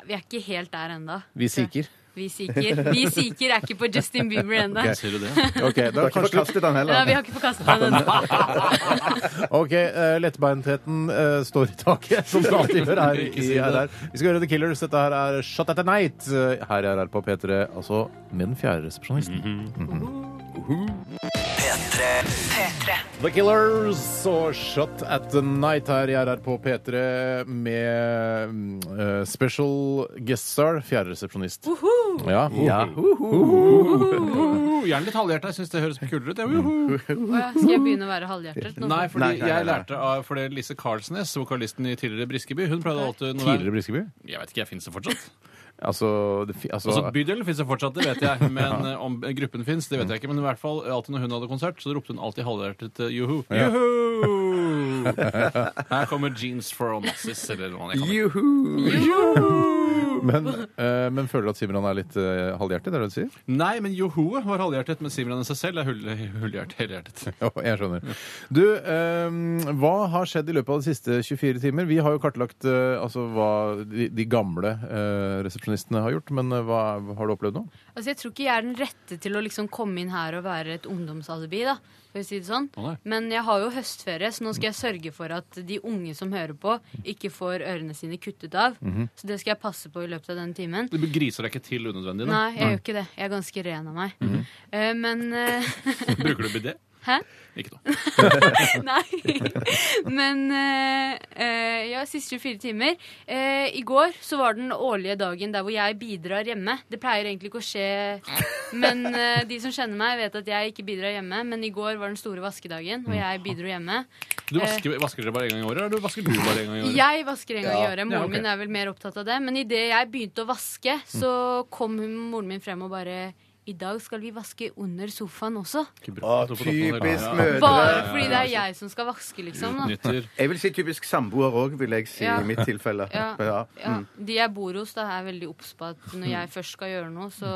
[SPEAKER 11] Vi er ikke helt der ennå.
[SPEAKER 5] Vi siker.
[SPEAKER 11] Vi siker. Vi siker er ikke på Justin Bieber ennå.
[SPEAKER 5] Ok. Ser du det? Ok, da Du har ikke kanskje- forkastet han heller.
[SPEAKER 11] Ja, vi har ikke forkastet han ennå.
[SPEAKER 5] OK, eh, lettbeintheten eh, står i taket, som det alltid gjør her
[SPEAKER 4] Ikke
[SPEAKER 5] i
[SPEAKER 4] si det.
[SPEAKER 5] RR. Vi skal høre The Killers. Dette her er Shot at the Night eh, her i RR på P3, altså med den fjerde resepsjonisten.
[SPEAKER 4] Mhm.
[SPEAKER 5] The Killers og Shot at the Night her i RR på P3 med mm, eh, special guest star, fjerde resepsjonist. Ja.
[SPEAKER 4] Ja.
[SPEAKER 5] Uhuhu.
[SPEAKER 4] Gjerne litt halvhjerta. Jeg syns det høres kulere ut. jeg. Uhuhu.
[SPEAKER 11] Åja, Skal jeg begynne å være halvhjertet? nå?
[SPEAKER 4] Nei, fordi
[SPEAKER 5] Nei, nei, nei,
[SPEAKER 4] jeg
[SPEAKER 5] nei.
[SPEAKER 4] lærte av fordi Lise Karlsnes, vokalisten i tidligere Briskeby. Hun pleide alltid når det er-
[SPEAKER 5] Tidligere Briskeby?
[SPEAKER 4] Jeg vet ikke, jeg fins det fortsatt?
[SPEAKER 5] Altså, det, fi- altså,
[SPEAKER 4] Altså, Bydelen fins det fortsatt, det vet jeg. Men
[SPEAKER 5] Ja.
[SPEAKER 4] eh, om gruppen fins, det vet jeg ikke. Men i hvert fall, alltid når hun hadde konsert, så ropte hun alltid halvhjertet eh, juhu.
[SPEAKER 5] Ja.
[SPEAKER 4] Juhu! Her kommer Jeans for Onassis, eller noe annet. Jeg kan ikke-
[SPEAKER 5] men, eh, men føler du at Simran er litt eh, halvhjertet, er det det du sier?
[SPEAKER 4] Nei, men johoet var halvhjertet, men Simran i seg selv er hull- hullhjertet. helhjertet.
[SPEAKER 5] Ja, jeg skjønner. Du, eh, hva har skjedd i løpet av de siste 24 timer? Vi har jo kartlagt eh, altså, hva de, de gamle eh, resepsjonistene har gjort, men eh, hva, har du opplevd nå?
[SPEAKER 11] Altså, Jeg tror ikke jeg er den rette til å liksom komme inn her og være et ungdomsalibi. da, for å si det sånn.
[SPEAKER 5] Å nei.
[SPEAKER 11] Men jeg har jo høstferie, så nå skal jeg sørge for at de unge som hører på, ikke får ørene sine kuttet av.
[SPEAKER 4] Mhm.
[SPEAKER 11] Så det skal jeg passe på i løpet av den timen.
[SPEAKER 4] Du griser deg ikke til unødvendig? nå?
[SPEAKER 11] Nei, jeg gjør ikke det. Jeg er ganske ren av meg. Eh, men eh,
[SPEAKER 4] Bruker du bidé?
[SPEAKER 11] Hæ?
[SPEAKER 4] Ikke noe.
[SPEAKER 11] Nei. Men eh, eh, ja, siste 24 timer. Eh, I går så var den årlige dagen der hvor jeg bidrar hjemme. Det pleier egentlig ikke å skje, men eh, de som kjenner meg, vet at jeg ikke bidrar hjemme. Men i går var den store vaskedagen, og jeg bidro hjemme.
[SPEAKER 4] Du
[SPEAKER 11] Eh,
[SPEAKER 4] vasker, vasker dere bare en gang i året, eller du vasker du bare en gang i året?
[SPEAKER 11] Jeg vasker en gang i
[SPEAKER 4] Ja.
[SPEAKER 11] året.
[SPEAKER 4] Ja,
[SPEAKER 11] Moren
[SPEAKER 4] ok.
[SPEAKER 11] min er vel mer opptatt av det. Men idet jeg begynte å vaske, så kom hun, moren min frem og bare i dag skal vi vaske under sofaen også.
[SPEAKER 2] Å, typisk mødre.
[SPEAKER 11] Bare fordi det er jeg som skal vaske, liksom. Da.
[SPEAKER 2] Jeg vil si typisk samboer òg, vil jeg si
[SPEAKER 11] Ja.
[SPEAKER 2] i mitt tilfelle.
[SPEAKER 11] Ja, ja.
[SPEAKER 2] Mm.
[SPEAKER 11] De jeg bor hos, da er veldig obs på at når jeg først skal gjøre noe, så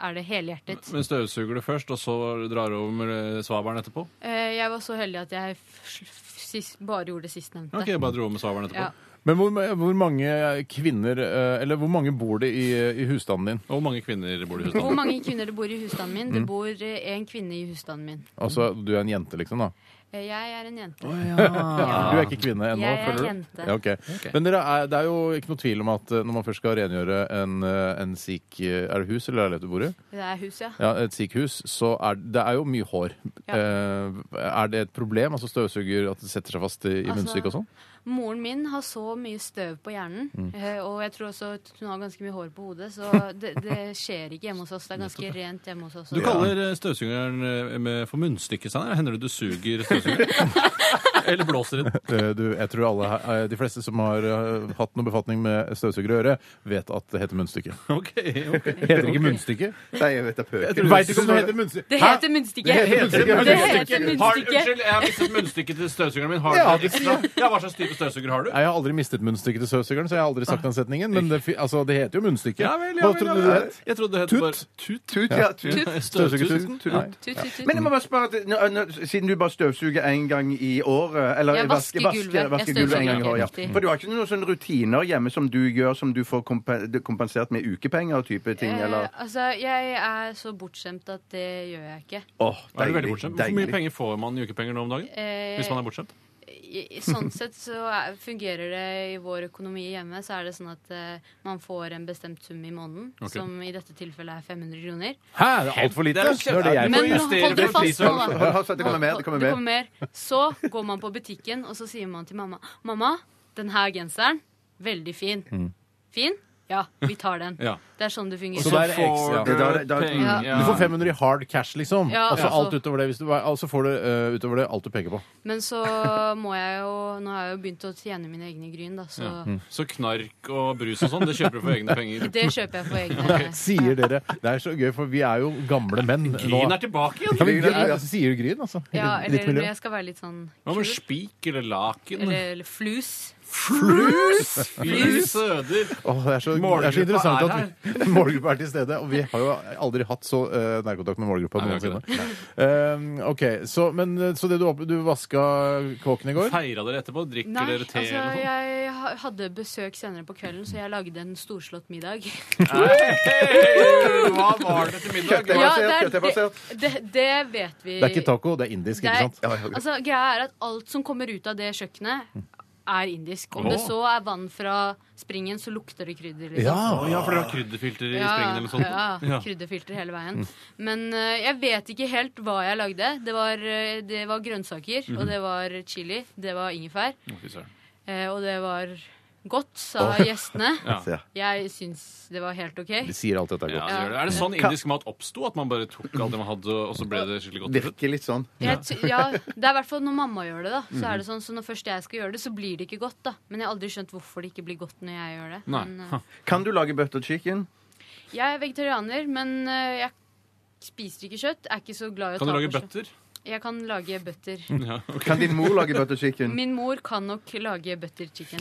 [SPEAKER 11] er det helhjertet.
[SPEAKER 4] Men støvsuger du først, og så drar du over med eh, svabelen etterpå?
[SPEAKER 11] Eh, Jeg var så heldig at jeg f- f- sist, bare gjorde det sistnevnte.
[SPEAKER 4] Ok, bare dro over med svabelen etterpå.
[SPEAKER 11] Ja.
[SPEAKER 5] Men hvor, hvor mange kvinner, eh, eller hvor mange bor det i, i husstanden din?
[SPEAKER 4] Og hvor mange kvinner bor det i
[SPEAKER 11] Hvor mange kvinner det bor i husstanden min? Det
[SPEAKER 5] Mm.
[SPEAKER 11] bor én kvinne i husstanden min.
[SPEAKER 5] Altså, du er en jente, liksom, da?
[SPEAKER 11] Eh, Jeg er en jente.
[SPEAKER 5] Du er ikke kvinne ennå,
[SPEAKER 11] Jeg er
[SPEAKER 5] føler du?
[SPEAKER 11] jente.
[SPEAKER 5] Ja, ok.
[SPEAKER 11] Ok.
[SPEAKER 5] Men dere er, det er jo ikke noe tvil om at eh, når man først skal rengjøre en, eh, en sikh Er det hus eller leilighet du bor i?
[SPEAKER 11] Det er hus, ja.
[SPEAKER 5] Ja, Et sikh-hus, så er det er jo mye hår.
[SPEAKER 11] Ja.
[SPEAKER 5] Eh, er det et problem? Altså støvsuger at det setter seg fast i, i
[SPEAKER 11] Altså-
[SPEAKER 5] munnstykket og sånn?
[SPEAKER 11] Moren min har så mye støv på hjernen,
[SPEAKER 5] Mm.
[SPEAKER 11] eh, og jeg tror også at hun har ganske mye hår på hodet, så det, det skjer ikke hjemme hos oss. Det er ganske rent hjemme hos oss.
[SPEAKER 4] Du kaller eh, støvsugeren eh, med, for munnstykke, Steinar. Hender det du suger støvsugeren? Eller blåser inn?
[SPEAKER 5] Eh, Du, jeg tror alle, her- eh, De fleste som har eh, hatt noe befatning med støvsuger å gjøre, vet at det heter munnstykke. Heter det ikke munnstykke?
[SPEAKER 2] Nei, jeg vet det pøker.
[SPEAKER 5] Jeg vet ikke om det heter munnstykke.
[SPEAKER 11] Det
[SPEAKER 5] Hæ?
[SPEAKER 11] heter munnstykke.
[SPEAKER 5] Det heter munnstykke.
[SPEAKER 11] Det heter
[SPEAKER 4] Har,
[SPEAKER 11] munnstykke.
[SPEAKER 4] unnskyld, jeg har mistet munnstykket til støvsugeren min. Har
[SPEAKER 5] Ja,
[SPEAKER 4] du
[SPEAKER 5] det
[SPEAKER 4] et ekstra? Ja, hva slags type støvsuger har du?
[SPEAKER 5] Nei, Jeg har aldri mistet munnstykket til støvsugeren, så jeg har aldri sagt den setningen. Men det, fi- altså, det heter jo munnstykke.
[SPEAKER 4] Ja vel, ja
[SPEAKER 5] Hva
[SPEAKER 4] vel, ja
[SPEAKER 5] trodde du
[SPEAKER 4] vel.
[SPEAKER 5] det het?
[SPEAKER 4] Jeg trodde det het
[SPEAKER 5] Tut?
[SPEAKER 4] bare Tut.
[SPEAKER 2] Tut, ja. Tut.
[SPEAKER 5] Støvsugertuten?
[SPEAKER 2] Tut,
[SPEAKER 5] Nei.
[SPEAKER 2] tut, tut. Men jeg må bare spørre, at, nå, nå, siden du bare støvsuger én gang i året Eller
[SPEAKER 11] Jeg
[SPEAKER 2] vasker
[SPEAKER 11] vasker gulvet. Jeg
[SPEAKER 2] gulvet, vasker gulvet en gang i
[SPEAKER 11] støvsuger,
[SPEAKER 2] året. Ja.
[SPEAKER 11] riktig.
[SPEAKER 2] For du har ikke noen sånne rutiner hjemme som du gjør, som du får kompen- kompensert med ukepenger og type ting, eller?
[SPEAKER 11] Eh, altså, jeg er så bortskjemt at det gjør jeg ikke.
[SPEAKER 2] Åh,
[SPEAKER 4] Er du
[SPEAKER 2] deilig,
[SPEAKER 4] veldig bortskjemt? Hvor mye
[SPEAKER 2] deilig.
[SPEAKER 4] penger får man i ukepenger nå om dagen?
[SPEAKER 11] Eh,
[SPEAKER 4] Hvis man er bortskjemt?
[SPEAKER 11] I, i- sånn sett så er, fungerer det i vår økonomi hjemme, så er det sånn at eh, man får en bestemt sum i måneden,
[SPEAKER 4] Ok.
[SPEAKER 11] som i dette tilfellet er 500 kroner.
[SPEAKER 5] Hæ, det er altfor lite. Det er det jeg
[SPEAKER 11] Men
[SPEAKER 5] får.
[SPEAKER 11] hold dere fast nå, da.
[SPEAKER 2] Hold fast, det kommer mer, det kommer mer.
[SPEAKER 11] Så går man på
[SPEAKER 4] Mm.
[SPEAKER 11] butikken, og så sier man til mamma Mamma, den her genseren, veldig fin. Fin? Ja, vi tar den.
[SPEAKER 5] Ja.
[SPEAKER 11] Det er sånn det fungerer.
[SPEAKER 5] Så det er ekstra.
[SPEAKER 2] Det er da- da-
[SPEAKER 11] Ja.
[SPEAKER 5] Du får 500 i hard cash, liksom.
[SPEAKER 11] Ja,
[SPEAKER 5] altså
[SPEAKER 11] altså.
[SPEAKER 5] alt utover det, hvis du, altså får du eh, utover det alt du peker på.
[SPEAKER 11] Men så må jeg jo Nå har jeg jo begynt å tjene mine egne gryn, da, så
[SPEAKER 4] Ja. Mm. Så knark og brus og sånn, det kjøper du for egne penger.
[SPEAKER 11] Det kjøper jeg for egne.
[SPEAKER 5] Sier dere. Det er så gøy, for vi er jo gamle menn nå.
[SPEAKER 4] Gryn er tilbake igjen.
[SPEAKER 5] Ja, men, det er, altså, sier du gryn, altså? I
[SPEAKER 11] Ja,
[SPEAKER 5] ditt- ditt
[SPEAKER 11] eller
[SPEAKER 5] miljø?
[SPEAKER 11] når jeg skal være litt sånn
[SPEAKER 4] Hva med spik eller laken?
[SPEAKER 11] Eller, eller flus.
[SPEAKER 5] Flus!
[SPEAKER 4] Fy søder!
[SPEAKER 5] Åh, det, er så, det er så
[SPEAKER 4] Målgruppa
[SPEAKER 5] interessant
[SPEAKER 4] er
[SPEAKER 5] at vi- målgruppa er til stede. Og vi har jo aldri hatt så eh, nærkontakt med målgruppa
[SPEAKER 4] Nei, vi har
[SPEAKER 5] noensinne. Eh, ok, så, men, eh, så det du, opp- du vaska kåken i går?
[SPEAKER 4] Feira dere etterpå? Drikker
[SPEAKER 11] Nei,
[SPEAKER 4] dere te
[SPEAKER 11] altså,
[SPEAKER 4] eller noe sånt?
[SPEAKER 11] jeg ha- hadde besøk senere på kvelden, så jeg lagde en storslått middag.
[SPEAKER 4] Hey, hva var det til middag?
[SPEAKER 11] Ja, det, er, det, det, det vet vi.
[SPEAKER 5] Det er ikke taco, det er indisk,
[SPEAKER 11] Det
[SPEAKER 5] ikke
[SPEAKER 11] er-
[SPEAKER 5] sant?
[SPEAKER 11] Altså, greia er at alt som kommer ut av det kjøkkenet, er indisk. Om det
[SPEAKER 4] Åh.
[SPEAKER 11] så er vann fra springen, så lukter det krydder. liksom.
[SPEAKER 4] Å, ja for dere har krydderfilter i springen eller noe sånt?
[SPEAKER 11] Ja, ja.
[SPEAKER 4] Ja.
[SPEAKER 11] krydderfilter hele veien.
[SPEAKER 4] Mm.
[SPEAKER 11] Men eh, jeg vet ikke helt hva jeg lagde. Det var, eh, det var grønnsaker,
[SPEAKER 4] Mhm.
[SPEAKER 11] og det var chili, det var ingefær,
[SPEAKER 4] Å, fy søren.
[SPEAKER 11] eh, og det var godt, sa
[SPEAKER 4] Åh.
[SPEAKER 11] gjestene.
[SPEAKER 4] Ja.
[SPEAKER 11] Jeg syns det var helt OK.
[SPEAKER 5] De sier alt dette er
[SPEAKER 4] Ja,
[SPEAKER 5] godt.
[SPEAKER 4] det gjør det. Er det sånn
[SPEAKER 11] Ka-
[SPEAKER 4] indisk mat oppsto? At man bare tok alt det man hadde, og så ble det skikkelig godt?
[SPEAKER 2] Virker litt sånn.
[SPEAKER 11] Jeg, t- ja, det er i hvert fall når mamma gjør det, da. Så
[SPEAKER 2] Mm.
[SPEAKER 11] er det sånn, så når først jeg skal gjøre det, så blir det ikke godt, da. Men jeg har aldri skjønt hvorfor det ikke blir godt når jeg gjør det.
[SPEAKER 2] Nei.
[SPEAKER 11] Men, eh,
[SPEAKER 2] Kan du lage butter chicken?
[SPEAKER 11] jeg er vegetarianer, men eh, jeg spiser ikke kjøtt. Er ikke så glad i å
[SPEAKER 2] Kan du
[SPEAKER 11] ta
[SPEAKER 2] lage
[SPEAKER 11] på kjøtt.
[SPEAKER 2] bøtter? Mm.
[SPEAKER 11] Jeg kan lage bøtter.
[SPEAKER 2] Kan din mor lage butter chicken?
[SPEAKER 11] Min mor kan nok lage butter chicken.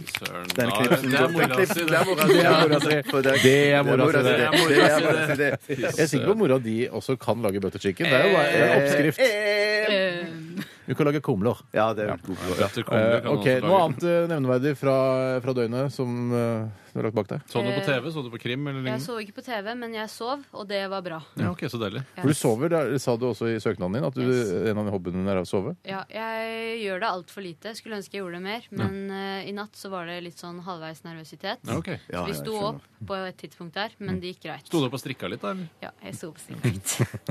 [SPEAKER 2] Den
[SPEAKER 4] Ja,
[SPEAKER 2] knipsen.
[SPEAKER 4] det er mora
[SPEAKER 2] Den knipsen,
[SPEAKER 4] si, det.
[SPEAKER 2] det er mora si,
[SPEAKER 5] Det er
[SPEAKER 2] ja.
[SPEAKER 5] mora si.
[SPEAKER 2] For det-
[SPEAKER 5] Det er mora si,
[SPEAKER 2] det.
[SPEAKER 5] det.
[SPEAKER 2] Det er mora si, det.
[SPEAKER 5] Jeg er sikker på at mora di også kan lage butter chicken. Det er jo
[SPEAKER 4] Eh,
[SPEAKER 5] bare en
[SPEAKER 2] Eh,
[SPEAKER 5] oppskrift.
[SPEAKER 11] Eh,
[SPEAKER 5] Du kan lage kumler.
[SPEAKER 2] Ja, det er
[SPEAKER 5] Eh, ok, Noe annet eh, nevneverdig fra, fra døgnet som eh, du har lagt bak deg?
[SPEAKER 4] Så du på TV? Så du på krim? Eller
[SPEAKER 11] Jeg
[SPEAKER 4] lignende?
[SPEAKER 11] så ikke på TV, men jeg sov, og det var bra.
[SPEAKER 4] Ja, ok, så deilig.
[SPEAKER 11] Ja.
[SPEAKER 5] For du sover, det er- sa du også i søknaden din, at du, en av hobbyene dine er å sove?
[SPEAKER 11] Ja, jeg gjør det altfor lite. Skulle ønske jeg gjorde det mer. Men eh, i natt så var det litt sånn halvveis nervøsitet.
[SPEAKER 4] Ja, ok.
[SPEAKER 11] Så
[SPEAKER 4] Ja,
[SPEAKER 11] vi
[SPEAKER 4] jeg
[SPEAKER 11] sto
[SPEAKER 4] skjønner.
[SPEAKER 11] opp på et tidspunkt der, men det gikk greit.
[SPEAKER 4] Sto du opp og strikka litt, da? eller?
[SPEAKER 11] Ja, jeg sto opp sent.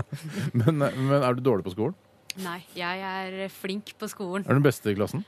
[SPEAKER 5] men, men er du dårlig på skolen?
[SPEAKER 11] Nei, jeg er flink på skolen.
[SPEAKER 5] Er du den beste i klassen?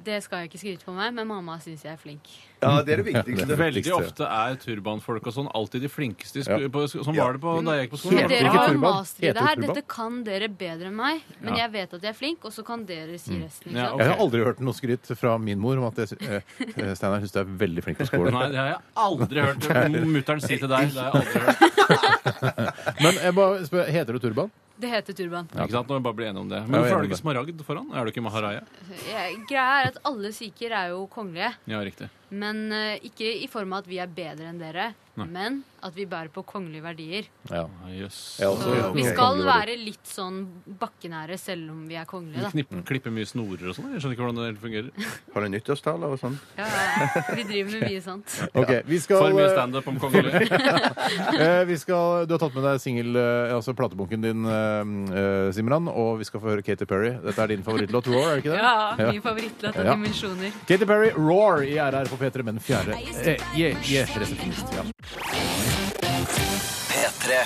[SPEAKER 11] Det skal jeg ikke skryte på meg, men mamma syns jeg er flink.
[SPEAKER 5] Ja, det er det viktigste.
[SPEAKER 4] Ja, det er det viktigste. Veldig ofte er turbanfolk og sånn alltid de flinkeste. i sk- på- Sånn var det på, da jeg gikk på skolen.
[SPEAKER 11] Men dere
[SPEAKER 4] Ikke
[SPEAKER 11] har jo
[SPEAKER 4] turban.
[SPEAKER 11] master i
[SPEAKER 4] Heter
[SPEAKER 11] det her.
[SPEAKER 4] turban?
[SPEAKER 11] Dette kan dere bedre enn meg. Men
[SPEAKER 5] Ja.
[SPEAKER 11] jeg vet at jeg er flink, og så kan dere si
[SPEAKER 4] Mm.
[SPEAKER 11] resten. Ikke
[SPEAKER 5] Ja,
[SPEAKER 11] sant?
[SPEAKER 5] Jeg har aldri hørt noe skryt fra min mor om at jeg, sy- eh, eh, Steinar syns du er veldig flink på skolen.
[SPEAKER 4] Nei, det har jeg aldri hørt mutter'n si til deg. Det har jeg aldri hørt.
[SPEAKER 5] Men jeg bare spør, heter du turban?
[SPEAKER 11] Det heter turban.
[SPEAKER 4] Ikke sant? Nå må vi bare bli enige om det.
[SPEAKER 5] Ja,
[SPEAKER 4] Men
[SPEAKER 5] vi er
[SPEAKER 4] hvorfor har du
[SPEAKER 5] enige om
[SPEAKER 4] ikke smaragd foran? Er du ikke maharaja?
[SPEAKER 11] Jeg- Eh, Greia er at alle sikher er jo kongelige.
[SPEAKER 4] Ja, riktig.
[SPEAKER 11] Men eh, ikke i form av at vi er bedre enn dere,
[SPEAKER 4] Nei.
[SPEAKER 11] men at vi bærer på kongelige verdier.
[SPEAKER 5] Ja. altså,
[SPEAKER 4] Jøss.
[SPEAKER 11] Så vi skal være litt sånn bakkenære selv om vi er kongelige, da.
[SPEAKER 4] Knippe, klippe mye snorer og sånn? Jeg skjønner ikke hvordan det helt fungerer.
[SPEAKER 2] Har du nyttårstaler og sånn?
[SPEAKER 11] Ja, ja, vi driver med mye sånt.
[SPEAKER 5] Ok, vi skal
[SPEAKER 4] For mye standup om kongelig.
[SPEAKER 5] Eh, vi skal, du har tatt med deg singel, eh, altså platebunken din, eh, eh, Simran, og vi skal få høre Katy Perry. Dette er din favorittlåt, Roar, er det ikke det?
[SPEAKER 11] Ja, min favorittlåt av
[SPEAKER 5] Ja.
[SPEAKER 11] dimensjoner.
[SPEAKER 5] Katy Perry, Roar, i RR på P3 med den fjerde. Eh, yeah, yeah, resepsjonist, ja.
[SPEAKER 10] P3.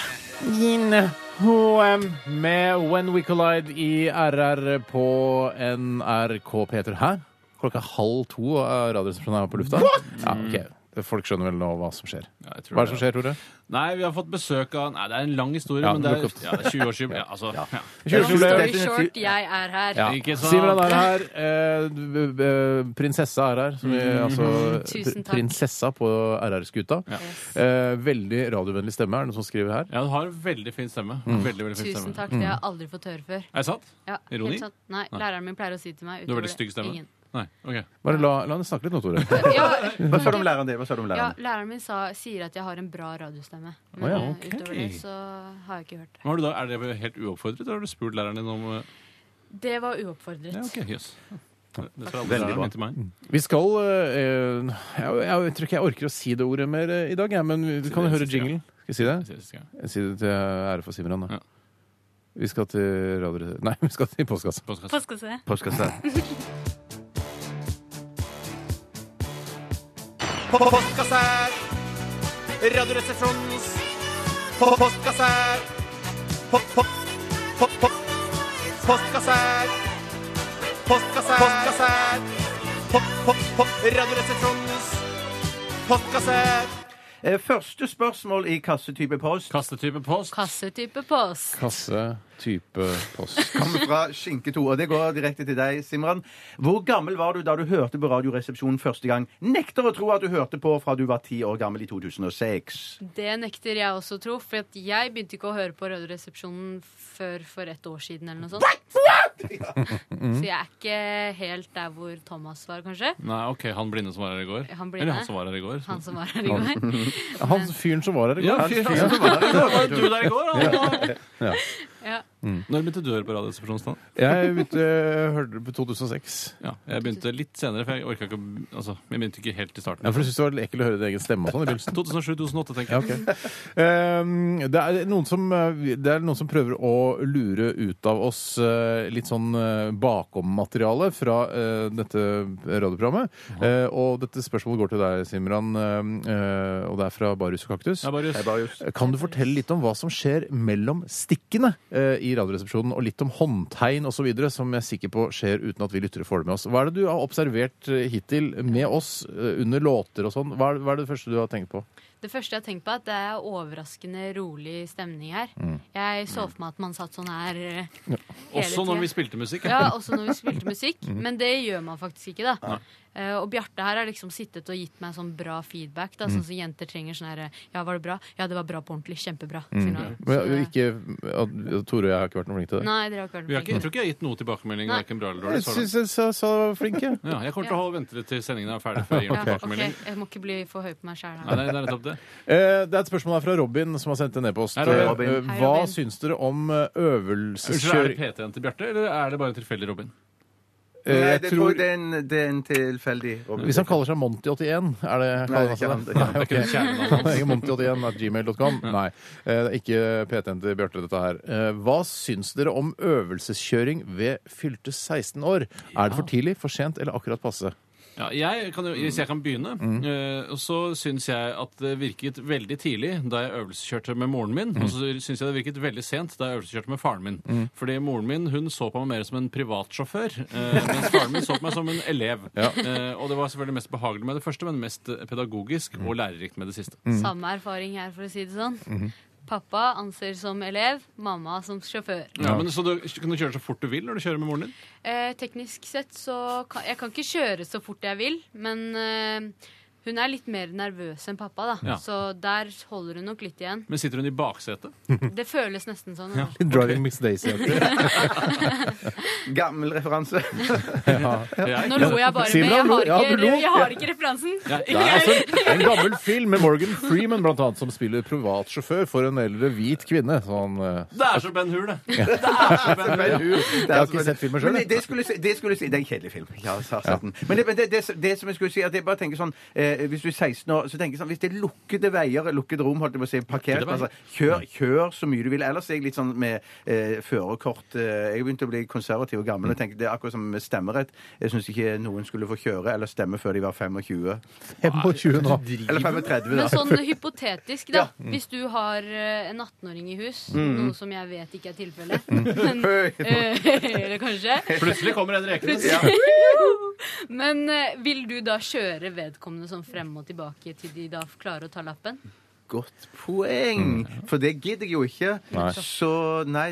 [SPEAKER 5] Yin Hoem med When We Collide i RR på NRK P3 her. Klokka er halv to er radioresepsjonen her på lufta. Ja, ok. Folk skjønner vel nå hva som skjer.
[SPEAKER 4] tror
[SPEAKER 5] Hva
[SPEAKER 4] det.
[SPEAKER 5] er det som skjer, Tore?
[SPEAKER 4] Nei, vi har fått besøk av Nei, det er en lang historie,
[SPEAKER 5] Ja,
[SPEAKER 4] men det er,
[SPEAKER 5] lukk opp.
[SPEAKER 4] ja, det er 20-årsjubileum. Ja, altså, ja.
[SPEAKER 11] Long
[SPEAKER 5] 20-årsjubileum.
[SPEAKER 11] story short, jeg er her.
[SPEAKER 5] Ja.
[SPEAKER 4] Ikke sant?
[SPEAKER 5] Simran er her. Eh, b- b- prinsessa er her. Som vi,
[SPEAKER 4] Mhm.
[SPEAKER 5] altså,
[SPEAKER 4] Tusen
[SPEAKER 5] pr- prinsessa på RR-skuta. Eh, veldig radiovennlig stemme, er det noen som skriver her?
[SPEAKER 4] Ja, du har en veldig fin stemme.
[SPEAKER 5] Mm.
[SPEAKER 4] Veldig, veldig fin
[SPEAKER 11] Tusen
[SPEAKER 4] stemme.
[SPEAKER 11] takk, det har jeg aldri fått høre før.
[SPEAKER 4] Er det sant?
[SPEAKER 11] Ja,
[SPEAKER 4] Ironi?
[SPEAKER 11] helt sant. Nei,
[SPEAKER 4] Nei.
[SPEAKER 11] læreren min pleier å si til meg
[SPEAKER 4] Du har
[SPEAKER 11] utover
[SPEAKER 4] veldig
[SPEAKER 11] det,
[SPEAKER 4] stygg stemme.
[SPEAKER 11] Ingen.
[SPEAKER 4] Nei, ok.
[SPEAKER 5] Bare la, la henne snakke litt nå, Tore.
[SPEAKER 2] Hva sa du om læreren din? Hva sa du om
[SPEAKER 11] Ja,
[SPEAKER 2] læreren?
[SPEAKER 11] læreren min sa, sier at jeg har en bra radiostemme. Men
[SPEAKER 4] Å ja,
[SPEAKER 11] eh,
[SPEAKER 4] ok.
[SPEAKER 11] utover det så har jeg ikke hørt det.
[SPEAKER 4] Men Har du da, er det helt uoppfordret, eller har du spurt læreren din om eh,
[SPEAKER 11] Det var uoppfordret.
[SPEAKER 4] Ja, ok, jøss. Det skal alle
[SPEAKER 5] Veldig
[SPEAKER 4] lærerne
[SPEAKER 5] bra.
[SPEAKER 4] min til meg.
[SPEAKER 5] Vi skal eh, jeg, jeg, tror ikke jeg orker å si det ordet mer eh, i dag, jeg, men vi, vi kan jo høre jinglen. Skal jeg si det? Jeg sier det til ære for Simran, da. Vi skal til radio... Nei, vi skal til postkasse.
[SPEAKER 11] Postkasse.
[SPEAKER 2] Postkasse.
[SPEAKER 10] Postkasse! Radioresepsjonens postkasse! Postkasse! Postkasse! Postkasse! Radioresepsjonens postkasse!
[SPEAKER 2] Eh, Første spørsmål i kassetype post.
[SPEAKER 4] Kastetype post.
[SPEAKER 11] Kassetype post.
[SPEAKER 5] Kasse, type, post.
[SPEAKER 2] Kommer fra Skinke 2, og det går direkte til deg, Simran. Hvor gammel var du da du hørte på Radioresepsjonen første gang? Nekter å tro at du hørte på fra du var ti år gammel i 2006.
[SPEAKER 11] Det nekter jeg også å tro, for at jeg begynte ikke å høre på Radioresepsjonen før for et år siden eller noe sånt. Så jeg er ikke helt der hvor Thomas var, kanskje.
[SPEAKER 4] Nei, OK. Han blinde som var her i går.
[SPEAKER 11] Han blinde.
[SPEAKER 4] Eller han som var her i går.
[SPEAKER 11] Han som var her i går.
[SPEAKER 5] Han fyren som var her i går.
[SPEAKER 4] Ja,
[SPEAKER 5] Han
[SPEAKER 4] fyren
[SPEAKER 5] fyren
[SPEAKER 4] som var her i går. Var du der i går,
[SPEAKER 5] Ja.
[SPEAKER 4] da?
[SPEAKER 5] Ja.
[SPEAKER 11] Ja.
[SPEAKER 4] Når begynte du å høre på Radioresepsjonen?
[SPEAKER 5] Jeg begynte, hørte det på 2006.
[SPEAKER 4] Ja, jeg begynte litt senere, for jeg orka ikke å- altså, Jeg begynte ikke helt i starten.
[SPEAKER 5] Ja, for du syntes det var ekkelt å høre din egen stemme og sånn i begynnelsen?
[SPEAKER 4] 2007-2008, tenker
[SPEAKER 5] Ja, ok.
[SPEAKER 4] jeg.
[SPEAKER 5] Ehm, det, er noen som, eh, det er noen som prøver å lure ut av oss eh, litt sånn eh, bakom-materiale fra eh, dette radioprogrammet. Eh, og dette spørsmålet går til deg, Simran, eh, eh, og det er fra Barius og Kaktus.
[SPEAKER 4] Ja, Barius. Hei, Barius.
[SPEAKER 5] Kan du fortelle litt om hva som skjer mellom stikkene eh, i Radioresepsjonen, og litt om håndtegn osv., som jeg er sikker på skjer uten at vi lyttere får det med oss? Hva er det du har observert eh, hittil med oss eh, under låter og sånn? Hva, er- hva er det første du har tenkt på?
[SPEAKER 11] Det første jeg har tenkt på, er at det er overraskende rolig stemning her.
[SPEAKER 5] Mm.
[SPEAKER 11] Jeg så for meg at man satt sånn her eh,
[SPEAKER 5] Ja.
[SPEAKER 11] hele
[SPEAKER 4] Også når
[SPEAKER 11] tiden.
[SPEAKER 4] vi spilte musikk,
[SPEAKER 11] Ja,
[SPEAKER 4] ja.
[SPEAKER 11] også når vi spilte musikk.
[SPEAKER 4] Mm.
[SPEAKER 11] Men det gjør man faktisk ikke, da.
[SPEAKER 4] Nei.
[SPEAKER 11] Eh, og Bjarte her har liksom sittet og gitt meg sånn bra feedback. Da,
[SPEAKER 5] Mm.
[SPEAKER 11] Sånn som jenter trenger sånn her eh, Ja, var det bra? Ja, det var bra på ordentlig. Kjempebra.
[SPEAKER 5] Mm.
[SPEAKER 11] sier han.
[SPEAKER 5] Men ikke, at, Tore og jeg har ikke vært noe flinke til det.
[SPEAKER 11] Nei, dere har ikke hørt
[SPEAKER 4] Vi har ikke, jeg
[SPEAKER 11] noe.
[SPEAKER 4] tror ikke jeg har gitt noe tilbakemelding,
[SPEAKER 11] Nei.
[SPEAKER 4] verken bra eller dårlig.
[SPEAKER 5] Jeg
[SPEAKER 4] så langt.
[SPEAKER 5] syns jeg sa, sa flinke.
[SPEAKER 4] Ja, jeg kommer til å vente til sendingen er ferdig før jeg gir
[SPEAKER 11] Ja,
[SPEAKER 4] noen
[SPEAKER 11] ok,
[SPEAKER 4] tilbakemelding.
[SPEAKER 11] jeg må ikke bli for høy på meg sjæl.
[SPEAKER 4] Nei, nei, det er nettopp det.
[SPEAKER 5] Eh, Det er et spørsmål her fra Robin, som har sendt en e-post.
[SPEAKER 4] Hei, Robin.
[SPEAKER 5] Eh,
[SPEAKER 4] Hei,
[SPEAKER 5] Hva
[SPEAKER 4] Robin.
[SPEAKER 5] syns dere om eh,
[SPEAKER 4] Unnskyld, Er det
[SPEAKER 5] øvelseskjøring
[SPEAKER 4] PT-en til Bjarte, eller er det bare en tilfeldig Robin?
[SPEAKER 5] Eh,
[SPEAKER 2] Nei,
[SPEAKER 5] jeg
[SPEAKER 2] det
[SPEAKER 5] tror-
[SPEAKER 2] tror jeg det er en, det er en tilfeldig Robin.
[SPEAKER 5] Hvis han kaller seg Monty81, er det kaller han
[SPEAKER 2] det er
[SPEAKER 5] seg det?
[SPEAKER 2] ikke han. Det er ikke
[SPEAKER 5] ok.
[SPEAKER 2] det kjernen hans.
[SPEAKER 5] Det er ikke Monty81 at gmail.com. Nei. Eh, det er Ikke PT-en til Bjarte, dette her. Eh, Hva syns dere om øvelseskjøring ved fylte 16 år? Er det for tidlig, for sent eller akkurat passe?
[SPEAKER 4] Ja, jeg kan, jo- hvis jeg kan begynne, eh, og så syns jeg at det virket veldig tidlig da jeg øvelseskjørte med moren min, og så syns jeg det virket veldig sent da jeg øvelseskjørte med faren min.
[SPEAKER 5] Mm.
[SPEAKER 4] Fordi moren min hun så på meg mer som en privatsjåfør, eh, mens faren min så på meg som en elev.
[SPEAKER 5] Ja.
[SPEAKER 4] Eh, og det var selvfølgelig mest behagelig med det første, men mest pedagogisk og lærerikt med det siste.
[SPEAKER 5] Mm.
[SPEAKER 11] Samme erfaring her, for å si det sånn.
[SPEAKER 5] Mm-hmm.
[SPEAKER 4] Mhm.
[SPEAKER 11] Pappa anser som elev, mamma som sjåfør.
[SPEAKER 4] Ja, men Så du kan du kjøre så fort du vil når du kjører med moren din?
[SPEAKER 11] Eh, teknisk sett så kan, Jeg kan ikke kjøre så fort jeg vil, men eh, hun er litt mer nervøs enn pappa, da.
[SPEAKER 4] Ja.
[SPEAKER 11] Så der holder hun nok litt igjen.
[SPEAKER 4] Men sitter hun i baksetet?
[SPEAKER 11] Det føles nesten sånn.
[SPEAKER 4] Ja.
[SPEAKER 5] Driving Miss
[SPEAKER 2] Daisy-aktig. Gammel referanse.
[SPEAKER 11] Nå lo jeg bare, men jeg
[SPEAKER 5] Simran,
[SPEAKER 11] har
[SPEAKER 5] ja,
[SPEAKER 11] ikke,
[SPEAKER 5] du lo.
[SPEAKER 11] jeg har ikke referansen.
[SPEAKER 5] Det er altså en gammel film med Morgan Freeman blant annet, som spiller privatsjåfør for en eldre hvit kvinne. Sånn, eh,
[SPEAKER 4] Det er så Ben Hur, det.
[SPEAKER 5] Ja.
[SPEAKER 4] Det er så Ben
[SPEAKER 2] Men,
[SPEAKER 4] Hur.
[SPEAKER 5] Jeg har ikke sett filmen selv,
[SPEAKER 2] Men
[SPEAKER 5] jeg.
[SPEAKER 2] Det, skulle jeg si- det skulle jeg si Det er en kjedelig film. Ja, sa, sa den. Men det, men det, det, det som jeg skulle si, at jeg bare tenker sånn eh, Hvis du er 16 år, så tenker jeg sånn Hvis det er lukkede veier, lukkede rom, holdt jeg på å si, parkert
[SPEAKER 4] Lukkede veier.
[SPEAKER 2] altså, kjør, kjør så mye du vil. Ellers er jeg litt sånn med eh, førerkort eh, Jeg begynte å bli konservativ og
[SPEAKER 5] Mm.
[SPEAKER 2] gammel. og tenker, Det er akkurat som med stemmerett. Jeg syns ikke noen skulle få kjøre eller stemme før de var 25.
[SPEAKER 5] 25 nå.
[SPEAKER 2] Eller 35, da.
[SPEAKER 11] Men sånn hypotetisk,
[SPEAKER 2] Ja.
[SPEAKER 11] da.
[SPEAKER 4] Mm.
[SPEAKER 11] Hvis du har eh, en 18-åring i hus,
[SPEAKER 2] Mm.
[SPEAKER 11] noe som jeg vet ikke er tilfellet
[SPEAKER 2] Mm.
[SPEAKER 11] men, eh, Eller kanskje.
[SPEAKER 4] Plutselig kommer en reke.
[SPEAKER 11] Plutselig. Men eh, vil du da kjøre vedkommende sånn frem og tilbake til de da klarer å ta lappen?
[SPEAKER 2] Godt poeng! For det gidder jeg jo ikke.
[SPEAKER 5] Nei.
[SPEAKER 2] Så nei,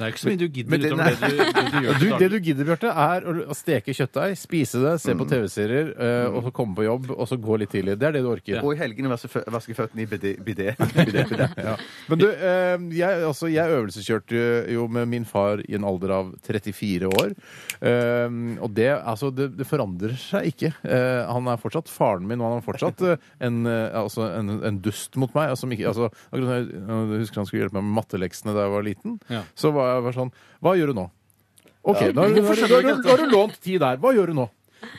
[SPEAKER 4] Mm. Det er ikke så mye du gidder
[SPEAKER 2] Men det-
[SPEAKER 4] utover det du- det du gjør.
[SPEAKER 5] Du, det du gidder, Bjarte, er å å steke kjøttdeig, spise det, se på TV-serier, eh, og så komme på jobb, og så gå litt tidlig. Det er det du orker.
[SPEAKER 2] Og i helgene vaske fø- vaske føttene i bidé. bidé.
[SPEAKER 5] Ja. Men du, eh, jeg, altså, jeg øvelseskjørte jo med min far i en alder av 34 år. Eh, og det, altså, det, det forandrer seg ikke. Eh, han er fortsatt faren min, og han er fortsatt eh, en, eh, altså, en, en dust mot meg. Altså, som ikke, altså, akkurat, når jeg jeg husker han skulle hjelpe meg med matteleksene da jeg var liten.
[SPEAKER 4] Ja.
[SPEAKER 5] Så var jeg bare sånn Hva gjør du nå? OK,
[SPEAKER 4] Ja.
[SPEAKER 5] da har du-
[SPEAKER 4] Hvorfor
[SPEAKER 5] da
[SPEAKER 4] skjønner
[SPEAKER 5] har
[SPEAKER 4] du
[SPEAKER 5] du
[SPEAKER 4] ikke
[SPEAKER 5] da har du lånt tid der. Hva gjør du nå?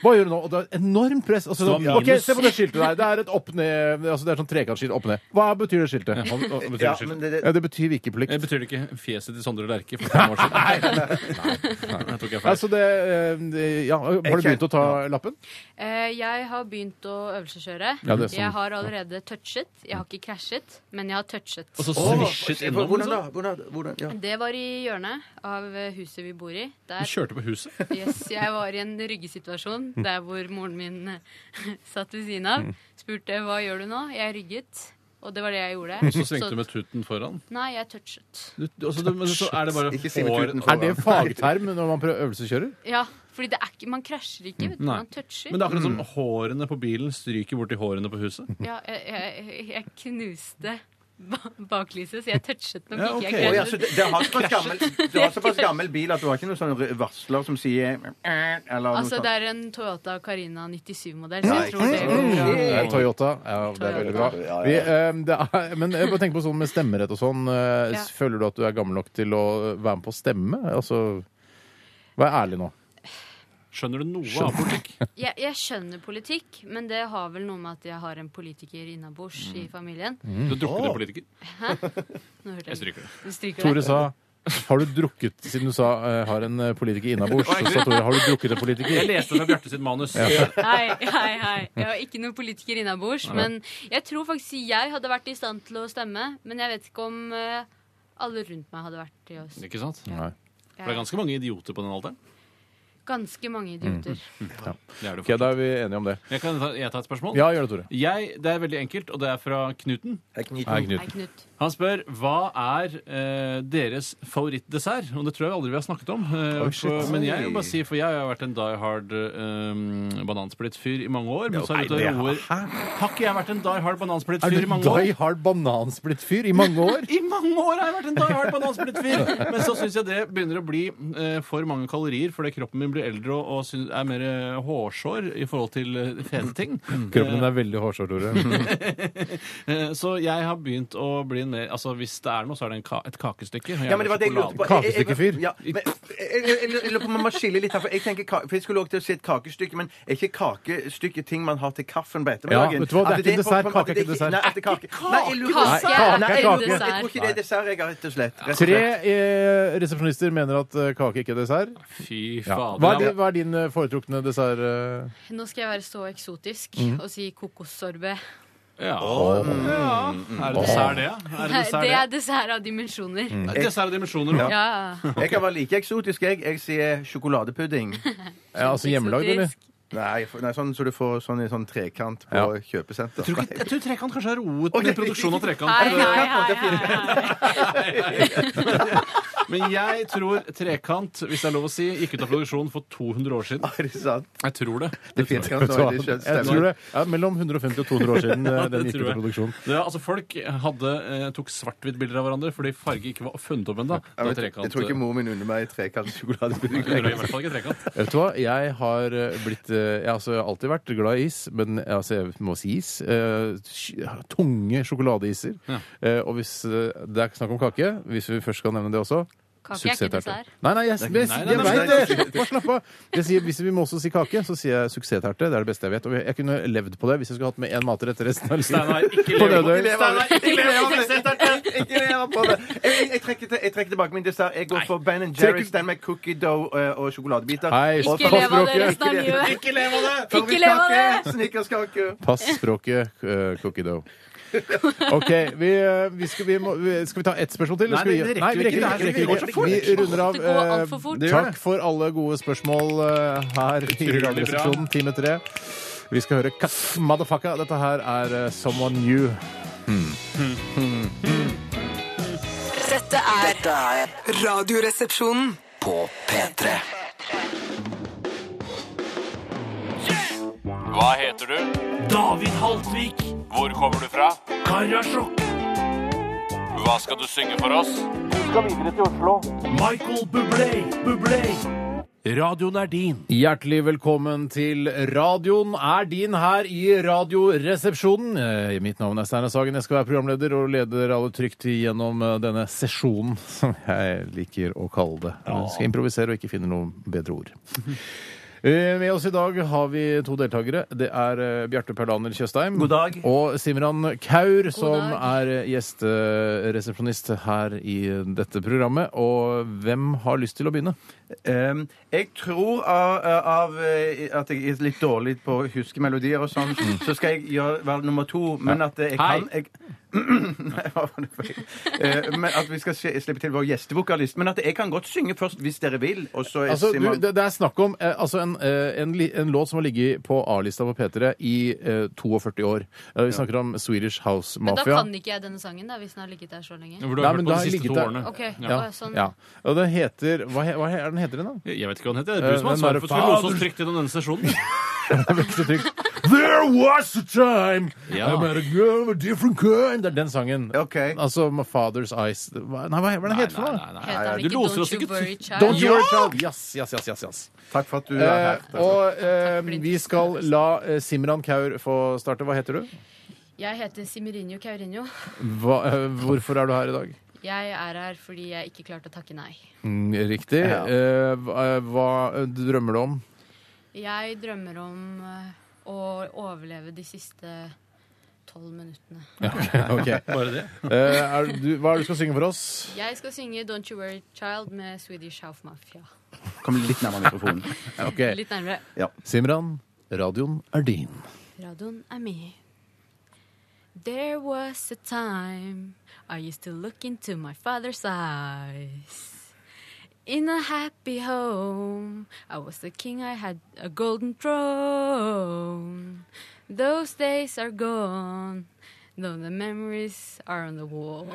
[SPEAKER 5] Hva gjør du nå? Og det er enormt press. Altså,
[SPEAKER 4] Så
[SPEAKER 5] sånn, OK,
[SPEAKER 4] minus.
[SPEAKER 5] se på det skiltet der. Det er et opp ned altså, Det er sånn trekantskilt opp ned. Hva betyr det skiltet?
[SPEAKER 4] Ja, hva- hva betyr det
[SPEAKER 5] Ja,
[SPEAKER 4] skiltet?
[SPEAKER 5] men det, ja, det betyr vikeplikt.
[SPEAKER 4] Eh, Betyr det ikke fjeset til Sondre Lerche for fem år siden? Nei, jeg tok jeg feil.
[SPEAKER 5] Altså det, eh, det- ja, har du begynt å ta lappen?
[SPEAKER 11] Eh, jeg har begynt å øvelseskjøre.
[SPEAKER 5] Ja, det er sånn.
[SPEAKER 11] Jeg har allerede touchet. Jeg har ikke krasjet, men jeg har touchet.
[SPEAKER 4] Og så svisjet innom,
[SPEAKER 2] Hvordan da?
[SPEAKER 4] liksom.
[SPEAKER 2] Hvordan, hvordan, ja.
[SPEAKER 11] Det var i hjørnet av eh, huset vi bor i.
[SPEAKER 4] Du
[SPEAKER 11] Der
[SPEAKER 4] kjørte på huset?
[SPEAKER 11] Yes, jeg var i en ryggesituasjon der hvor moren min eh, satt ved siden av, spurte hva gjør du nå? Jeg rygget, og det var det jeg gjorde.
[SPEAKER 4] Og så svingte du med tuten foran?
[SPEAKER 11] Nei, jeg touchet.
[SPEAKER 4] Du, altså, du, men så er det bare
[SPEAKER 5] Ikke si med
[SPEAKER 4] hår-
[SPEAKER 5] tuten foran. Er det fagterm når man prøver øvelseskjører?
[SPEAKER 11] Ja, fordi det er ikke, man krasjer ikke, vet du.
[SPEAKER 4] Nei.
[SPEAKER 11] Man toucher.
[SPEAKER 4] Men det er akkurat som hårene på bilen stryker borti hårene på huset.
[SPEAKER 11] Ja, jeg, jeg, jeg knuste ba- baklyset, så jeg touchet nok
[SPEAKER 2] Ja,
[SPEAKER 11] ikke.
[SPEAKER 2] ok.
[SPEAKER 11] Jeg krasjet.
[SPEAKER 2] Oi, altså, det- det har såpass gammel- Du har såpass gammel bil at du har ikke noen sånn r- varsler som sier eller noe
[SPEAKER 11] Altså,
[SPEAKER 2] sånt.
[SPEAKER 11] det er en Toyota Carina 97-modell, så
[SPEAKER 2] Ja,
[SPEAKER 11] jeg
[SPEAKER 2] ikke
[SPEAKER 11] tror det
[SPEAKER 2] sant.
[SPEAKER 11] går bra.
[SPEAKER 2] Mm.
[SPEAKER 5] Det er Toyota. Ja, det er veldig bra. Vi, eh, det er, men jeg bare tenker på sånn med stemmerett og sånn. eh,
[SPEAKER 11] Ja.
[SPEAKER 5] Føler du at du er gammel nok til å eh, være med på å stemme? Altså, vær ærlig nå.
[SPEAKER 4] Skjønner du noe av politikk?
[SPEAKER 11] Jeg, jeg skjønner politikk, men det har vel noe med at jeg har en politiker innabords i familien.
[SPEAKER 4] Du drukket en politiker?
[SPEAKER 11] Hæ? Nå hørte
[SPEAKER 4] Jeg stryker det.
[SPEAKER 11] Du stryker
[SPEAKER 5] Tore
[SPEAKER 11] det?
[SPEAKER 5] sa har du drukket, Siden du sa eh, har en eh, politiker innabords, så sa Tore har du drukket en politiker?
[SPEAKER 4] Jeg leste fra Bjarte sitt manus.
[SPEAKER 5] Ja.
[SPEAKER 11] Hei, hei, hei. Jeg var ikke noen politiker innabords.
[SPEAKER 5] Nei.
[SPEAKER 11] Men jeg tror faktisk jeg hadde vært i stand til å stemme. Men jeg vet ikke om eh, alle rundt meg hadde vært i oss.
[SPEAKER 4] Ikke sant?
[SPEAKER 5] Nei.
[SPEAKER 4] For det er ganske mange idioter på den alderen.
[SPEAKER 11] Ganske mange idioter.
[SPEAKER 5] Ja.
[SPEAKER 4] Det er det
[SPEAKER 5] Ok, da er vi enige om det.
[SPEAKER 4] Jeg kan ta, jeg ta et spørsmål?
[SPEAKER 5] Ja, gjør det, Tore.
[SPEAKER 4] Jeg, det er veldig enkelt, og det er fra Knuten.
[SPEAKER 5] Hei, Knuten. Hei,
[SPEAKER 11] Knut.
[SPEAKER 4] Han spør hva er eh, deres favorittdessert. Og det tror jeg aldri vi har snakket om. eh,
[SPEAKER 2] Oi, shit.
[SPEAKER 4] for, men jeg vil bare si, for jeg har vært en die hard eh, banansplitt-fyr i mange år. Men så
[SPEAKER 5] Nei,
[SPEAKER 4] er det ute
[SPEAKER 5] det
[SPEAKER 4] og roer. Har ikke jeg vært en die hard
[SPEAKER 5] Er du
[SPEAKER 4] banansplitt-fyr i mange år?
[SPEAKER 5] die hard banansplitt-fyr i mange år?
[SPEAKER 4] I mange år har jeg vært en die hard banansplittfyr! Men så syns jeg det begynner å bli eh, for mange kalorier fordi kroppen min blir eldre og, og syns- er mer eh, hårsår i forhold til eh, fete ting.
[SPEAKER 2] Mm.
[SPEAKER 5] Kroppen din er veldig hårsår, Tore.
[SPEAKER 4] Eh, Så jeg har begynt å bli en mer Altså Hvis det er noe, så er det en ka et kakestykke.
[SPEAKER 2] Ja, men det var det jeg lurte på. Jeg- jeg- Ja, men jeg- jeg- jeg- jeg lurer på om man må skille litt her, for jeg tenker ka- For jeg skulle også til å si et kakestykke, men er ikke kakestykke ting man har til kaffen på ettermiddagen?
[SPEAKER 5] Ja, vet du hva, det er
[SPEAKER 2] At
[SPEAKER 5] ikke dessert,
[SPEAKER 2] at
[SPEAKER 5] kake er
[SPEAKER 2] det
[SPEAKER 5] ikke dessert.
[SPEAKER 2] Nei, at det er kake. Nei, jeg lurer på-
[SPEAKER 5] Kake er
[SPEAKER 2] Nei, jeg
[SPEAKER 5] kake.
[SPEAKER 2] lurer på- Jeg tror ikke det er dessert, jeg, rett og slett. Rett og
[SPEAKER 5] Tre
[SPEAKER 2] slett.
[SPEAKER 5] eh, resepsjonister mener at eh, kake ikke er dessert.
[SPEAKER 4] Fy
[SPEAKER 5] Ja.
[SPEAKER 4] fader.
[SPEAKER 5] Hva, er din, hva er din eh, foretrukne dessert? eh?
[SPEAKER 11] Nå skal jeg være så eksotisk
[SPEAKER 5] Mhm.
[SPEAKER 11] og si kokossorbet.
[SPEAKER 4] Ja.
[SPEAKER 5] Åh.
[SPEAKER 4] Ja. Er det dessert, det? Er det dessert,
[SPEAKER 11] Det er dessert av dimensjoner.
[SPEAKER 2] Mm.
[SPEAKER 4] det? Dessert og dimensjoner.
[SPEAKER 2] Ja.
[SPEAKER 11] Ja.
[SPEAKER 2] Jeg kan være like eksotisk, jeg. Jeg sier sjokoladepudding.
[SPEAKER 5] Ja, altså hjemmelagd, eller?
[SPEAKER 2] Nei, for- nei, sånn så du får sånn i sånn trekant på kjøpesenter.
[SPEAKER 4] Jeg tror, ikke, jeg tror trekant kanskje har roet
[SPEAKER 2] Oi,
[SPEAKER 4] med produksjonen av trekant.
[SPEAKER 2] Hei, hei, hei,
[SPEAKER 4] Men jeg tror trekant, hvis det er lov å si, gikk ut av produksjon for 200 år siden.
[SPEAKER 2] Er det sant?
[SPEAKER 4] Jeg tror det.
[SPEAKER 2] finnes
[SPEAKER 4] tror
[SPEAKER 2] kanskje
[SPEAKER 4] jeg.
[SPEAKER 2] veldig kjønn
[SPEAKER 5] Jeg tror det ja, Mellom 150 og 200 år siden eh,
[SPEAKER 4] Ja, det
[SPEAKER 5] den gikk
[SPEAKER 4] tror
[SPEAKER 5] ut
[SPEAKER 4] jeg.
[SPEAKER 5] av produksjon.
[SPEAKER 4] Det, er- altså Folk hadde, eh, tok svart-hvitt-bilder av hverandre fordi farge ikke var funnet opp ennå.
[SPEAKER 2] Jeg, vet, jeg tror ikke mor min unner meg trekantsjokoladepudding.
[SPEAKER 4] Hun gjør i hvert fall ikke trekant.
[SPEAKER 5] Vet du hva? Jeg har eh, blitt eh, Jeg har altså alltid vært glad i is, men altså, jeg må si is. Eh, sj- Tunge sjokoladeiser.
[SPEAKER 4] Ja.
[SPEAKER 5] Eh, Og hvis eh, det er snakk om kake, hvis vi først skal nevne det også
[SPEAKER 11] Kake er ikke
[SPEAKER 5] suksessterte.
[SPEAKER 11] dessert.
[SPEAKER 5] Nei, nei, jeg,
[SPEAKER 4] Det er
[SPEAKER 5] jeg,
[SPEAKER 4] ikke-
[SPEAKER 5] jeg,
[SPEAKER 4] nei, nei,
[SPEAKER 5] jeg
[SPEAKER 4] nei,
[SPEAKER 5] veit
[SPEAKER 4] nei.
[SPEAKER 5] det! Bare slapp av. Jeg sier, hvis vi må også si kake, så sier jeg suksessterte. Det er det beste jeg vet. Og jeg- jeg kunne levd på det hvis jeg skulle hatt med én matrett resten av
[SPEAKER 4] Steinar,
[SPEAKER 5] livet.
[SPEAKER 4] ikke
[SPEAKER 5] På
[SPEAKER 4] lev-
[SPEAKER 5] Nødøy.
[SPEAKER 4] ikke lev av det.
[SPEAKER 2] Ikke lever på det! Ikke lever på det. Jeg, jeg, trekker, til, jeg trekker tilbake min dessert. Jeg går for Ben Jerry's, den med cookie dough eh, og sjokoladebiter.
[SPEAKER 5] Hei,
[SPEAKER 2] Og-
[SPEAKER 5] Ikke lev av det resten av
[SPEAKER 2] Ikke lev-
[SPEAKER 5] livet.
[SPEAKER 2] Ikke lev av det!
[SPEAKER 5] Ikke lev av det!
[SPEAKER 2] Favorittkake, Snickerskake.
[SPEAKER 5] Pass språket, eh, cookie dough. OK. Vi, eh, vi skal, vi må, vi, skal vi ta ett spørsmål til?
[SPEAKER 4] Nei,
[SPEAKER 5] eller skal vi,
[SPEAKER 4] det- det rekker
[SPEAKER 5] Nei,
[SPEAKER 4] vi
[SPEAKER 5] vi
[SPEAKER 4] ikke.
[SPEAKER 5] rekker,
[SPEAKER 4] Det
[SPEAKER 5] ikke,
[SPEAKER 4] går så
[SPEAKER 5] rekker,
[SPEAKER 4] fort.
[SPEAKER 5] ikke. Vi runder av.
[SPEAKER 4] Det går alt for
[SPEAKER 5] eh,
[SPEAKER 4] fort. Det gjør
[SPEAKER 5] Takk for alle gode spørsmål eh, her i
[SPEAKER 4] Utrolig bra.
[SPEAKER 5] Radioresepsjonen time tre. Vi skal høre Cut Motherfucka. Dette her er eh, Someone New.
[SPEAKER 7] Dette er Radioresepsjonen på P3.
[SPEAKER 12] Hva heter du? David Haltvik. Hvor kommer du fra? Karasjok. Hva skal du synge for oss? Vi skal videre til Oslo. Michael Bublé, Bublé. Radioen er din.
[SPEAKER 5] Hjertelig velkommen til radioen er din her i Radioresepsjonen. Eh, Mitt navn er Steinar Sagen. Jeg skal være programleder og leder alle trygt gjennom eh, denne sesjonen, som jeg liker å kalle det. Jeg skal improvisere og ikke finne noe bedre ord. Eh, Med oss i dag har vi to deltakere. Det er eh, Bjarte Perlaner Tjøstheim
[SPEAKER 2] God dag.
[SPEAKER 5] og Simran Kaur, som
[SPEAKER 2] dag.
[SPEAKER 5] er eh, gjesteresepsjonist her i dette programmet. Og hvem har lyst til å begynne?
[SPEAKER 2] Um, jeg tror av, av eh, at jeg er litt dårlig på å huske melodier og sånn, så skal jeg gjøre, være nummer to. Men at eh, jeg
[SPEAKER 5] Mm. Hei.
[SPEAKER 2] kan jeg, Nei, hva var det for- Eh, men At vi skal se- slippe til vår gjestevokalist. Men at jeg kan godt synge først, hvis dere vil. Og så er
[SPEAKER 5] Altså, du,
[SPEAKER 2] Simon
[SPEAKER 5] det, det er snakk om eh, altså en, eh, en, li- en låt som har ligget på A-lista på P3 i eh, 42 år. Eh, vi snakker om Swedish House
[SPEAKER 11] Men da
[SPEAKER 5] Mafia.
[SPEAKER 11] kan ikke jeg denne sangen, da, hvis den har ligget der så
[SPEAKER 5] Nei,
[SPEAKER 11] lenge.
[SPEAKER 5] men da har ligget der-
[SPEAKER 11] Ok,
[SPEAKER 5] Ja.
[SPEAKER 11] å, sånn.
[SPEAKER 5] ja. Og den heter Hva, he, hva he- er den heter den, da?
[SPEAKER 4] Jeg vet ikke hva den heter. Det er
[SPEAKER 5] Eh,
[SPEAKER 4] du som har
[SPEAKER 5] den
[SPEAKER 4] ansvaret
[SPEAKER 5] der-
[SPEAKER 4] for å skulle låse oss trygt gjennom denne sesjonen.
[SPEAKER 5] Det er ikke så trygt. There was a time
[SPEAKER 4] Ja.
[SPEAKER 5] I met a girl of a different kind. Det er den sangen. Altså My Father's Eyes Hva- Nei, hva, hva er den heter for noe?
[SPEAKER 11] Heter den
[SPEAKER 4] Du
[SPEAKER 11] ikke
[SPEAKER 4] låser
[SPEAKER 11] Don't
[SPEAKER 4] oss
[SPEAKER 11] You
[SPEAKER 4] ikke-
[SPEAKER 11] Worry Child?
[SPEAKER 5] Don't you worry, child. Yes, yes, yes, yes, yes.
[SPEAKER 2] Takk for at du er her.
[SPEAKER 5] Eh, og eh, vi skal la eh, Simran Kaur få starte. Hva heter du?
[SPEAKER 11] Jeg heter Simirinho Kaurinho.
[SPEAKER 5] Hva, eh, hvorfor er du her i dag?
[SPEAKER 11] Jeg er her fordi jeg ikke klarte å takke nei.
[SPEAKER 5] Mm, Riktig.
[SPEAKER 11] Ja.
[SPEAKER 5] Eh, hva- eh, hva drømmer du om?
[SPEAKER 11] Jeg drømmer om eh, å overleve de siste tolv minuttene.
[SPEAKER 5] ok.
[SPEAKER 4] Bare det?
[SPEAKER 5] Eh, er du, hva er det du skal synge for oss?
[SPEAKER 11] Jeg skal synge Don't You Worry Child med Swedish House Mafia.
[SPEAKER 2] Kom litt nærmere mikrofonen.
[SPEAKER 5] Ok.
[SPEAKER 11] Litt nærmere.
[SPEAKER 5] Simran, radioen er din.
[SPEAKER 11] Radioen er min. There was a time I used to look into my father's eyes. In a happy home, I was the king, I had a golden throne. Those days are gone, though the memories are on the wall.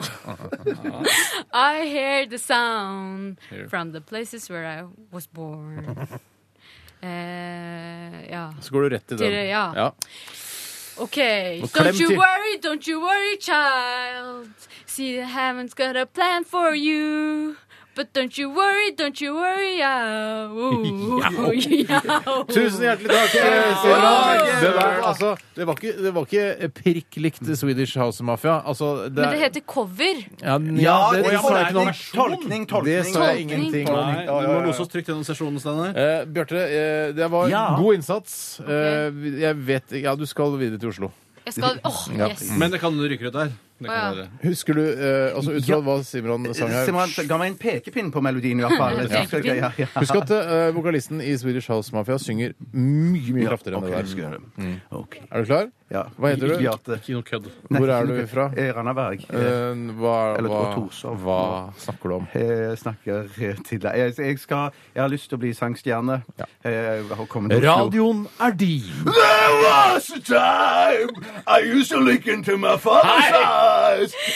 [SPEAKER 11] I hear the sound
[SPEAKER 5] Here.
[SPEAKER 11] from the places where I was born. Eh, ja.
[SPEAKER 5] Så går du rett til den.
[SPEAKER 11] Til- ja. Ok,
[SPEAKER 5] Og
[SPEAKER 11] don't
[SPEAKER 5] klem
[SPEAKER 11] you
[SPEAKER 5] til.
[SPEAKER 11] worry, don't you worry, child. See, I haven't got a plan for you. But don't you worry, don't you worry, yow. Yow.
[SPEAKER 5] Tusen hjertelig takk, eh, Simran! Det var, altså, det var ikke, det var ikke prikk likt Swedish House Mafia. Altså, det
[SPEAKER 11] Men det
[SPEAKER 5] er,
[SPEAKER 11] heter cover.
[SPEAKER 4] Ja,
[SPEAKER 5] ja, det,
[SPEAKER 4] det er
[SPEAKER 5] det,
[SPEAKER 2] sånn
[SPEAKER 5] sa jeg ikke noe om.
[SPEAKER 2] Tolkning, tolkning.
[SPEAKER 5] Det sa jeg ingenting om.
[SPEAKER 4] Nei, du må lose oss trygt gjennom sesjonen, Steinar.
[SPEAKER 5] Eh, Bjarte, eh, det var
[SPEAKER 4] Ja.
[SPEAKER 5] god innsats. Eh, jeg vet ikke- Ja, du skal videre til Oslo.
[SPEAKER 11] Jeg skal- åh,
[SPEAKER 5] Ja.
[SPEAKER 11] yes.
[SPEAKER 4] Men det kan du ryke ut der. Det
[SPEAKER 11] Å, ja.
[SPEAKER 4] kan være.
[SPEAKER 5] Husker du eh, altså, ut fra hva Simran sang her?
[SPEAKER 2] Simran, ga meg en pekepinn på melodien, i hvert fall.
[SPEAKER 5] Ja.
[SPEAKER 2] Jeg synes det er gøy, ja.
[SPEAKER 5] Husk at eh, vokalisten i Swedish House Mafia synger mye mye
[SPEAKER 2] Ja,
[SPEAKER 5] kraftigere enn
[SPEAKER 2] ok, jeg
[SPEAKER 5] det
[SPEAKER 2] skal
[SPEAKER 5] der.
[SPEAKER 2] gjøre
[SPEAKER 5] Mm. Er du klar?
[SPEAKER 2] Ja.
[SPEAKER 5] Hva heter du?
[SPEAKER 2] Ikke Bjarte.
[SPEAKER 4] Ikke noe kødd.
[SPEAKER 5] Hvor
[SPEAKER 2] Nei,
[SPEAKER 5] er
[SPEAKER 2] ikke
[SPEAKER 5] du
[SPEAKER 2] noe-
[SPEAKER 5] fra?
[SPEAKER 2] Eh, Randaberg. Eh,
[SPEAKER 5] Eh, hva,
[SPEAKER 2] Eller
[SPEAKER 5] hva,
[SPEAKER 2] og Torshov.
[SPEAKER 5] hva snakker du om?
[SPEAKER 2] Jeg snakker eh, til deg. Jeg, jeg, skal, jeg har lyst til å bli sangstjerne. Eh, og komme til Oslo.
[SPEAKER 5] Radioen er din!
[SPEAKER 1] There was a time I used to look into my father's eyes.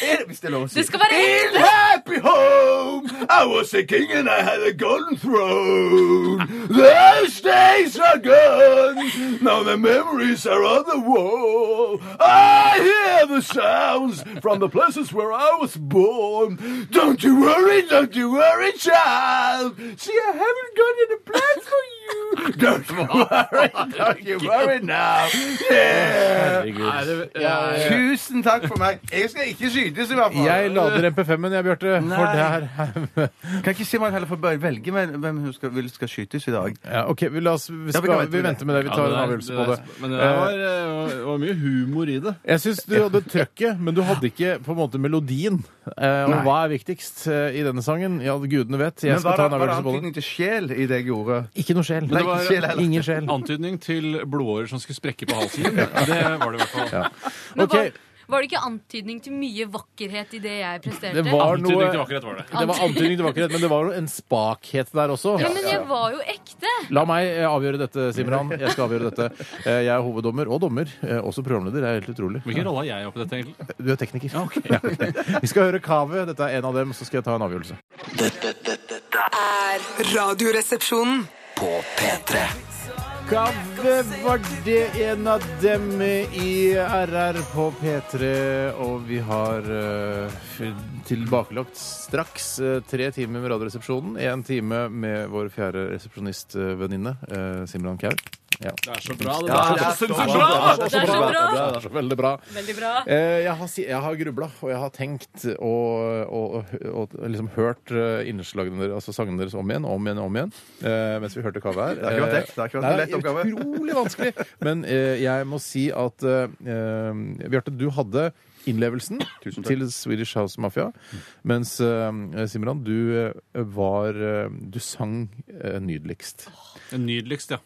[SPEAKER 2] Eh, Hvis det er lov å si.
[SPEAKER 1] Det skal være In happy home I was a king and I had a golden throne Those days are gone Now the memories are on the wall I hear the sounds From the places where I was born Don't you worry, don't you worry, child See, I haven't got any plans for you Don't worry, don't you worry now Yeah
[SPEAKER 2] Nei, det-
[SPEAKER 1] Ja, ja.
[SPEAKER 2] Tusen takk for meg. Jeg skal ikke skytes, i hvert fall.
[SPEAKER 5] Jeg lader MP5-en, jeg, Bjarte. For
[SPEAKER 2] Nei.
[SPEAKER 5] det her
[SPEAKER 2] Kan ikke Simon heller få bare velge hvem hvem hun skal, vil skal skytes i dag?
[SPEAKER 5] ja, OK, vi, la oss, vi,
[SPEAKER 2] Ja,
[SPEAKER 5] skal, vi venter med det. Vi
[SPEAKER 4] Ja,
[SPEAKER 5] tar en
[SPEAKER 4] der-
[SPEAKER 5] avgjørelse på
[SPEAKER 4] der-
[SPEAKER 5] det.
[SPEAKER 4] Men det
[SPEAKER 5] Eh,
[SPEAKER 4] var, eh, var- var mye humor i det.
[SPEAKER 5] Jeg syns du hadde trøkket, men du hadde ikke på en måte melodien. Eh, og
[SPEAKER 2] Nei.
[SPEAKER 5] hva er viktigst eh, i denne sangen? Ja, gudene vet. Jeg
[SPEAKER 2] Men
[SPEAKER 5] skal
[SPEAKER 2] var
[SPEAKER 5] ta
[SPEAKER 2] det,
[SPEAKER 5] en
[SPEAKER 2] var det
[SPEAKER 5] avgjørelse på det.
[SPEAKER 2] antydning til sjel i det jeg gjorde?
[SPEAKER 5] Ikke noe sjel.
[SPEAKER 4] Men det
[SPEAKER 2] Nei, ikke sjel
[SPEAKER 4] var
[SPEAKER 2] heller.
[SPEAKER 5] Ingen sjel.
[SPEAKER 4] antydning til blodårer som skulle sprekke på halsen. din. Det var det i hvert fall.
[SPEAKER 11] Men var, var det ikke antydning til mye vakkerhet i det jeg presterte?
[SPEAKER 5] Det var noe
[SPEAKER 4] Antydning til vakkerhet var det.
[SPEAKER 5] Det var antydning til vakkerhet, men det var jo en spakhet der også.
[SPEAKER 11] Ja, men jeg var jo ekte.
[SPEAKER 5] La meg eh, avgjøre dette, Simran. Jeg skal avgjøre dette. Eh, Jeg er hoveddommer og dommer. eh, Også programleder. Det er helt utrolig.
[SPEAKER 4] Hvilken rolle har jeg oppi dette, egentlig?
[SPEAKER 5] Du er tekniker. Ja. Vi skal høre Kaveh. Dette er en av dem, så skal jeg ta en avgjørelse.
[SPEAKER 7] Er Radioresepsjonen på P3.
[SPEAKER 5] Kaveh var det en av dem i RR på P3, og vi har eh, f- tilbakelagt straks eh, tre timer med Radioresepsjonen. Én time med vår fjerde resepsjonistvenninne, eh, Simran Kaur. Ja.
[SPEAKER 4] Det er så bra, det
[SPEAKER 5] Ja,
[SPEAKER 4] der.
[SPEAKER 5] det er så bra.
[SPEAKER 4] Det er så
[SPEAKER 5] Det er så
[SPEAKER 4] bra.
[SPEAKER 5] bra. Det er så veldig bra.
[SPEAKER 11] Veldig bra.
[SPEAKER 5] Eh, Jeg har, si- jeg har grubla, og jeg har tenkt og, og, og, og liksom hørt eh, innslagene deres, altså sangene deres om igjen og om igjen og om igjen. eh, Mens vi hørte Kaveh her.
[SPEAKER 2] Det har ikke vært lett. Det har ikke vært en
[SPEAKER 5] Nei,
[SPEAKER 2] lett oppgave.
[SPEAKER 5] Utrolig vanskelig. Men eh, jeg må si at eh, eh, Bjarte, du hadde innlevelsen
[SPEAKER 2] Tusen takk.
[SPEAKER 5] til Swedish House Mafia. Mens eh, Simran, du eh, var eh, Du sang eh, nydeligst.
[SPEAKER 4] Nydeligst, ja.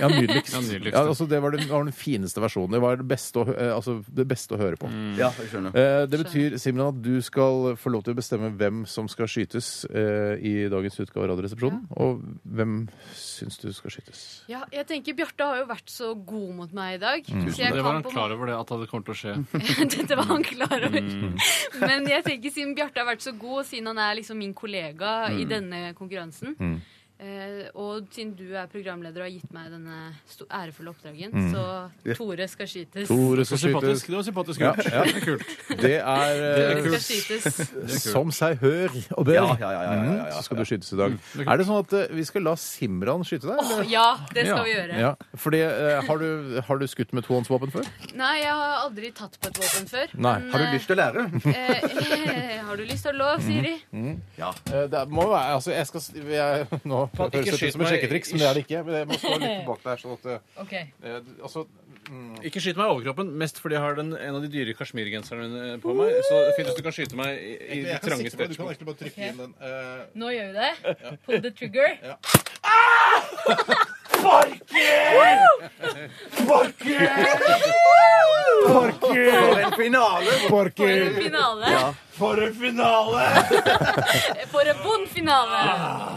[SPEAKER 5] Ja, nydeligst.
[SPEAKER 4] Ja, nydeligst.
[SPEAKER 5] Ja, altså, det var den, var den fineste versjonen. Det var det beste å, hø- eh, altså, det beste å høre på.
[SPEAKER 2] Ja, jeg skjønner.
[SPEAKER 5] Eh, Det betyr Simran, at du skal få lov til å bestemme hvem som skal skytes eh, i dagens utgave av Radioresepsjonen. Og hvem syns du skal skytes?
[SPEAKER 11] Ja, jeg tenker Bjarte har jo vært så god mot meg i dag.
[SPEAKER 5] Mm.
[SPEAKER 11] Så jeg
[SPEAKER 4] Det
[SPEAKER 11] kan
[SPEAKER 4] var han
[SPEAKER 11] på en
[SPEAKER 4] klar over det, at det kom til å skje.
[SPEAKER 11] Dette var han klar over.
[SPEAKER 4] Mm.
[SPEAKER 11] Men jeg tenker siden Bjarte har vært så god, og siden han er liksom min kollega i
[SPEAKER 4] Mm.
[SPEAKER 11] denne konkurransen,
[SPEAKER 5] Mm.
[SPEAKER 11] eh, og siden du er programleder og har gitt meg denne sto- ærefulle oppdragen,
[SPEAKER 5] Mm.
[SPEAKER 11] så Tore skal skytes.
[SPEAKER 4] Det var
[SPEAKER 5] Tore skal skytes.
[SPEAKER 4] sympatisk, det var sympatisk
[SPEAKER 5] Ja,
[SPEAKER 4] gjort.
[SPEAKER 5] ja.
[SPEAKER 4] Det er kult.
[SPEAKER 5] Det er,
[SPEAKER 4] Det er
[SPEAKER 5] eh,
[SPEAKER 4] kult.
[SPEAKER 11] Det
[SPEAKER 4] er kult.
[SPEAKER 5] Som seg hør og bør.
[SPEAKER 2] Ja, ja, ja, ja, ja, ja,
[SPEAKER 5] Mm, Så skal du skytes i dag. Er det sånn at eh, vi skal la Simran skyte deg?
[SPEAKER 11] Åh,
[SPEAKER 5] eller?
[SPEAKER 11] ja, det skal vi gjøre.
[SPEAKER 5] Ja, fordi, eh, har, du, har du skutt med tohåndsvåpen før?
[SPEAKER 11] Nei, jeg har aldri tatt på et våpen før. men, eh,
[SPEAKER 5] til å lære?
[SPEAKER 11] eh, har du lyst til å lov, Siri?
[SPEAKER 5] Ja. Eh, Det må jo være altså, jeg skal, s- jeg, Nå
[SPEAKER 4] Faen, ikke
[SPEAKER 5] høres det ut
[SPEAKER 4] skyt
[SPEAKER 5] som et
[SPEAKER 4] meg.
[SPEAKER 5] sjekketriks, men det er det ikke. Men jeg må stå litt bak der. Sånn at, eh, eh, altså,
[SPEAKER 4] Ikke skyt meg i overkroppen, mmest fordi jeg har den, en av de dyre kasjmirgenserne på meg. Så det er fint hvis du kan skyte meg i, i de
[SPEAKER 5] Jeg kan
[SPEAKER 4] trange
[SPEAKER 5] sikte på det, du kan
[SPEAKER 4] stretchene.
[SPEAKER 5] egentlig bare trykke inn den. eh,
[SPEAKER 11] Nå gjør vi det. Pull the trigger.
[SPEAKER 1] For en finale!
[SPEAKER 11] For en finale.
[SPEAKER 1] Ja. For en finale!
[SPEAKER 11] For en vond finale!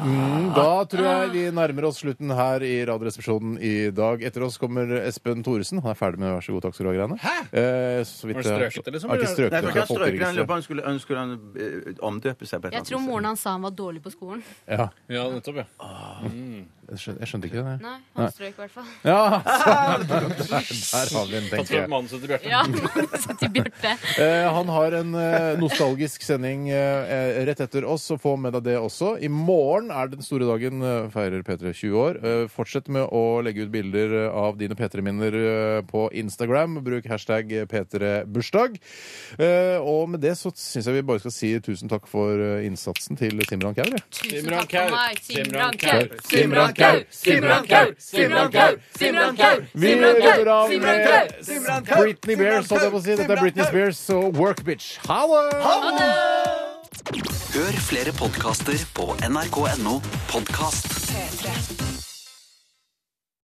[SPEAKER 5] Mm, da tror jeg vi nærmer oss slutten her i Radioresepsjonen i dag. Etter oss kommer Espen Thoresen. Han er ferdig med Vær så god, takk skal du ha-greiene. Eh, så vidt
[SPEAKER 2] Var det strøket,
[SPEAKER 5] jeg-
[SPEAKER 2] eller så?
[SPEAKER 5] Har ikke strøket. det er
[SPEAKER 2] Nei, for ikke han strøket, han
[SPEAKER 5] folkeregisteret.
[SPEAKER 2] løp, han skulle ønske han eh, omdøpe seg på et
[SPEAKER 11] Jeg tror moren hans sa han var dårlig på skolen.
[SPEAKER 5] Ja.
[SPEAKER 4] Ja, nettopp, ja.
[SPEAKER 5] Jeg skjønte, jeg skjønte ikke det. jeg.
[SPEAKER 11] Nei, han strøk i hvert fall.
[SPEAKER 5] Ja, så, der, der har vi den,
[SPEAKER 4] Tatt
[SPEAKER 5] tenker
[SPEAKER 4] fra
[SPEAKER 5] jeg.
[SPEAKER 4] manuset til Bjarte.
[SPEAKER 11] Ja, så til Bjarte.
[SPEAKER 5] Eh, han har en eh, nostalgisk sending eh, rett etter oss, så få med deg det også. I morgen er den store dagen, eh, feirer P3 20 år. Eh, fortsett med å legge ut bilder eh, av dine P3-minner eh, på Instagram. Bruk hashtag eh, P3bursdag. Eh, og med det så syns jeg vi bare skal si tusen takk for eh, innsatsen til Simran Kaur. jeg.
[SPEAKER 11] Tusen takk for meg. Simran Kau.
[SPEAKER 5] Simran Kau, Simran Kau,
[SPEAKER 11] Simran Kau, Simran Kau,
[SPEAKER 5] Vi
[SPEAKER 11] Simran Kau,
[SPEAKER 5] går av
[SPEAKER 11] Simran Kau,
[SPEAKER 5] med Britney Bears, holdt jeg på å si. Dette er Britney Spears og Work Bitch. Ha det!
[SPEAKER 7] Hør flere podkaster på nrk.no podkast.
[SPEAKER 13] P3.